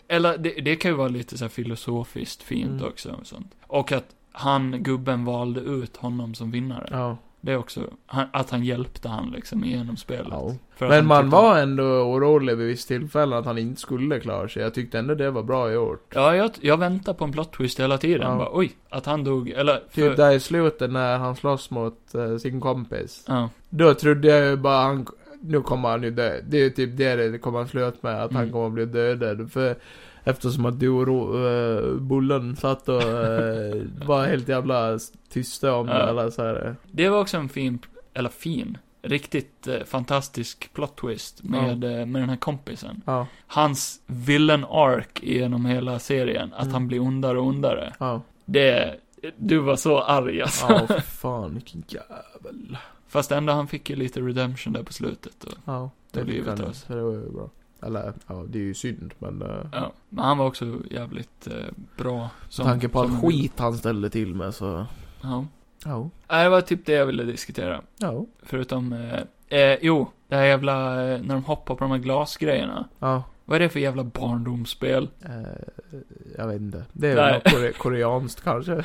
Speaker 1: eller det, det kan ju vara lite så här filosofiskt fint
Speaker 2: Mm.
Speaker 1: också och sånt. Och att han, gubben, valde ut honom som vinnare.
Speaker 2: Ja.
Speaker 1: Det är också, han, att han hjälpte han liksom igenom spelet.
Speaker 2: Ja.
Speaker 1: För att
Speaker 2: Men
Speaker 1: han
Speaker 2: man
Speaker 1: tyckte-
Speaker 2: var ändå orolig vid vissa tillfällen att han inte skulle klara sig. Jag tyckte ändå det var bra gjort.
Speaker 1: Ja, jag, jag väntar på en plot twist hela tiden.
Speaker 2: Ja.
Speaker 1: Bara, oj, att han dog, eller...
Speaker 2: Typ där i slutet när han slåss mot eh, sin kompis.
Speaker 1: Ja,
Speaker 2: Då trodde jag ju bara han... Nu kommer han ju dö. Det är ju typ det det kommer slut med, att han
Speaker 1: Mm.
Speaker 2: kommer att bli dödad. För eftersom att du och Ro- eh, Bullen satt och eh, var helt jävla tysta om
Speaker 1: Ja.
Speaker 2: det eller så här.
Speaker 1: det var också en fin, eller fin, riktigt eh, fantastisk plot twist med, eh, med den här kompisen.
Speaker 2: Ja,
Speaker 1: hans villain arc genom hela serien, att
Speaker 2: Mm.
Speaker 1: han blir ondare och ondare.
Speaker 2: ja.
Speaker 1: Det, du var så arg alltså. [laughs]
Speaker 2: Ja, för fan vilken jävel.
Speaker 1: Fast ändå han fick ju lite redemption där på slutet. Och,
Speaker 2: Ja,
Speaker 1: Det blir
Speaker 2: fick
Speaker 1: ju
Speaker 2: han.
Speaker 1: kalas.
Speaker 2: Så det var ju bra. Eller, ja, det är ju synd men... eh,
Speaker 1: ja. Men han var också jävligt eh, bra.
Speaker 2: Med tanke på all
Speaker 1: som-
Speaker 2: skit han ställde till med så...
Speaker 1: Ja.
Speaker 2: Ja.
Speaker 1: Nej, Det var typ det jag ville diskutera.
Speaker 2: Ja.
Speaker 1: Förutom, eh, eh, jo, det här jävla, eh, när de hoppar på de här glasgrejerna.
Speaker 2: Ja.
Speaker 1: Vad är det för jävla barndomsspel?
Speaker 2: Eh, jag vet inte. Det är
Speaker 1: Nej.
Speaker 2: väl något kore koreanskt kanske.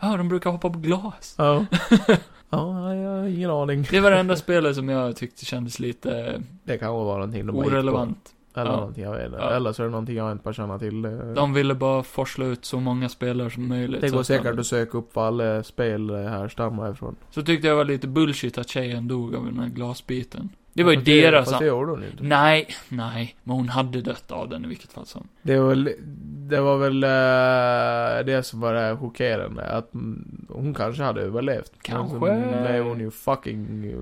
Speaker 1: Ja, de brukar hoppa på glas.
Speaker 2: Ja. [laughs] ja, jag har ingen aning.
Speaker 1: Det var det enda spelet som jag tyckte kändes lite
Speaker 2: Det kan vara någonting de bara gick på.
Speaker 1: orelevant.
Speaker 2: Eller
Speaker 1: Ja.
Speaker 2: någonting, jag vet inte.
Speaker 1: Ja.
Speaker 2: Eller så är det någonting jag inte bara känner till. Eh,
Speaker 1: De ville bara forsla ut så många spelare som möjligt.
Speaker 2: Det
Speaker 1: så
Speaker 2: går
Speaker 1: att
Speaker 2: säkert
Speaker 1: de-
Speaker 2: att söka upp vad alla spel eh, härstammar ifrån.
Speaker 1: Så tyckte jag var lite bullshit att tjejen dog av den här glasbiten. Det var ju
Speaker 2: Fast
Speaker 1: deras...
Speaker 2: Fast det gjorde hon inte.
Speaker 1: Nej, nej. Men hon hade dött av den i vilket fall som.
Speaker 2: Det var väl, det var väl eh, det som var det chockerande. Att mm, hon kanske hade överlevt. Men
Speaker 1: Kanske.
Speaker 2: så blev hon ju fucking, eh,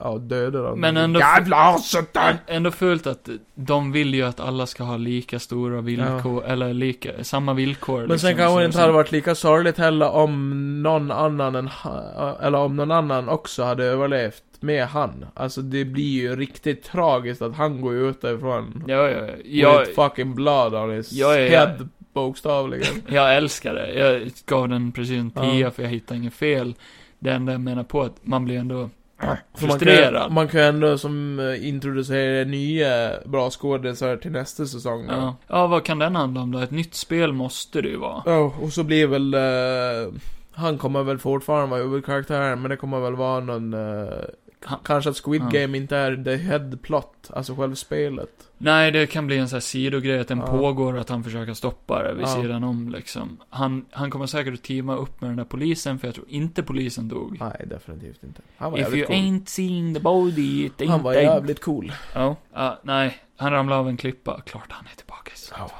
Speaker 2: ja dödad. av
Speaker 1: Men
Speaker 2: någon
Speaker 1: ändå-
Speaker 2: Jävla satan!
Speaker 1: Ändå fult att de vill ju att alla ska ha lika stora villkor, eller lika, samma villkor. liksom,
Speaker 2: Men sen kanske det inte hade varit lika sorgligt heller om någon annan än, ha- eller om någon annan också hade överlevt med han. Alltså det blir ju riktigt tragiskt att han går ut därifrån.
Speaker 1: Ja, ja,
Speaker 2: Jag...
Speaker 1: ja.
Speaker 2: With fucking blood on his
Speaker 1: Ja, ja, ja.
Speaker 2: head,
Speaker 1: [clears throat]
Speaker 2: bokstavligen.
Speaker 1: Jag älskar det. Jag gav den precis en
Speaker 2: Ja.
Speaker 1: tia för jag hittade inget fel. Det enda jag menar på är att man blir ändå
Speaker 2: För man
Speaker 1: frustrerad.
Speaker 2: kan, man kan ändå som eh, introducera nya bra skådisar till nästa säsong då.
Speaker 1: Ja. ja, vad kan den handla om då? Ett nytt spel måste det ju vara.
Speaker 2: Ja, och så blir väl... eh, han kommer väl fortfarande vara huvudkaraktären, men det kommer väl vara någon... eh, k-
Speaker 1: Han-
Speaker 2: kanske att Squid
Speaker 1: Ja.
Speaker 2: Game inte är the head plot, alltså själva spelet.
Speaker 1: Nej, det kan bli en sån här sidogrej att den
Speaker 2: Ja.
Speaker 1: pågår och att han försöker stoppa det vid
Speaker 2: Ja.
Speaker 1: sidan om liksom. Han, han kommer säkert att teama upp med den där polisen för jag tror inte polisen dog.
Speaker 2: Nej, definitivt inte. Han var
Speaker 1: If you
Speaker 2: jävligt cool.
Speaker 1: ain't seen the body, it ain't
Speaker 2: Han var
Speaker 1: dead.
Speaker 2: jävligt cool.
Speaker 1: Ja, Ja, nej. Han ramlade av en klippa. Klart han är tillbaka.
Speaker 2: Ja,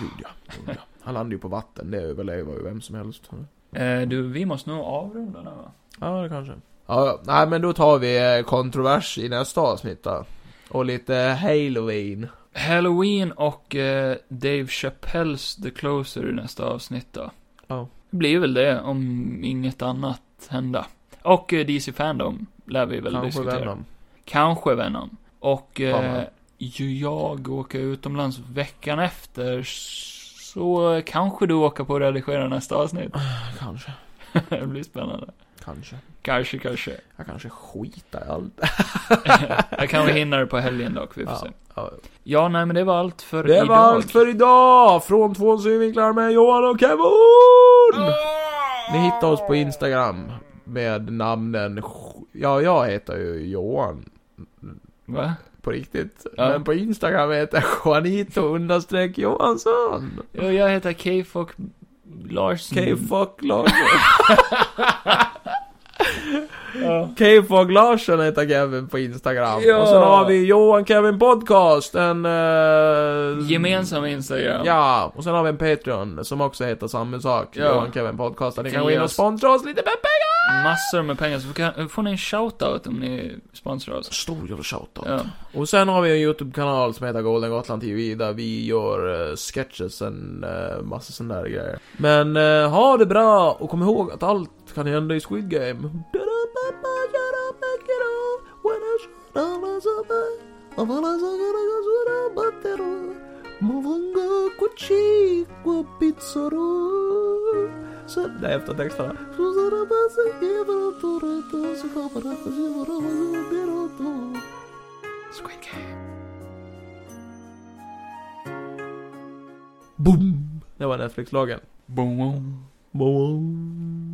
Speaker 2: gud ja. Gud, ja. Han landade ju på vatten, det överlever ju vem som helst.
Speaker 1: Eh, du, vi måste nog avrunda nu va?
Speaker 2: Ja, det kanske. Ja, ja. nej men då tar vi eh, kontrovers i nästa avsnitt då. Och lite halloween.
Speaker 1: Halloween och eh, Dave Chappelles The Closer i nästa avsnitt då.
Speaker 2: Ja.
Speaker 1: Det blir väl det om inget annat händer. Och eh, DC Fandom lär vi väl
Speaker 2: Kanske
Speaker 1: diskutera.
Speaker 2: Venom.
Speaker 1: Kanske Venom. Och eh,
Speaker 2: Fan.
Speaker 1: ju jag åker utomlands veckan efter så eh, kanske du åker på att redigera nästa avsnitt. [laughs]
Speaker 2: Kanske.
Speaker 1: det blir spännande.
Speaker 2: Kanske.
Speaker 1: Kanske, kanske. [laughs]
Speaker 2: Jag kanske skiter i allt.
Speaker 1: jag kanske hinner det på helgen dock, vi får
Speaker 2: Ja.
Speaker 1: se.
Speaker 2: Ja.
Speaker 1: Ja, nej men det var allt för
Speaker 2: Det
Speaker 1: idag.
Speaker 2: var allt för idag! Från två synvinklar med Johan och Kevin! Ni hittar oss på Instagram med namnen... Ja, jag heter ju Johan
Speaker 1: Va?
Speaker 2: på riktigt.
Speaker 1: Ja.
Speaker 2: Men på Instagram heter jag Juanito understreck Johansson.
Speaker 1: Ja, Jag heter K-Fock Mm. Larsson.
Speaker 2: K-fuck Lager.
Speaker 1: Ja.
Speaker 2: K-Fog Larsson heter Kevin på Instagram.
Speaker 1: Ja.
Speaker 2: Och sen har vi Johan Kevin Podcast, en... eh,
Speaker 1: Gemensam Instagram.
Speaker 2: Ja, och sen har vi en Patreon som också heter samma sak.
Speaker 1: Ja.
Speaker 2: Johan Kevin Podcast. Där ni
Speaker 1: Kan
Speaker 2: kan gå in
Speaker 1: ge
Speaker 2: och
Speaker 1: oss-
Speaker 2: sponsra oss lite med pengar!
Speaker 1: Massor med pengar, så kan, får ni en shoutout om ni sponsrar oss.
Speaker 2: Stor jävla shoutout.
Speaker 1: Ja.
Speaker 2: Och sen har vi en YouTube-kanal som heter Golden Gotland TV där vi gör eh, sketches och uh, massa sådana där grejer. Men eh, ha det bra och kom ihåg att allt kan hända i Squid Game. Så, nej, efter texterna. Squid Game. Boom! Det var Netflix-lagen.
Speaker 1: Boom.
Speaker 2: Boom.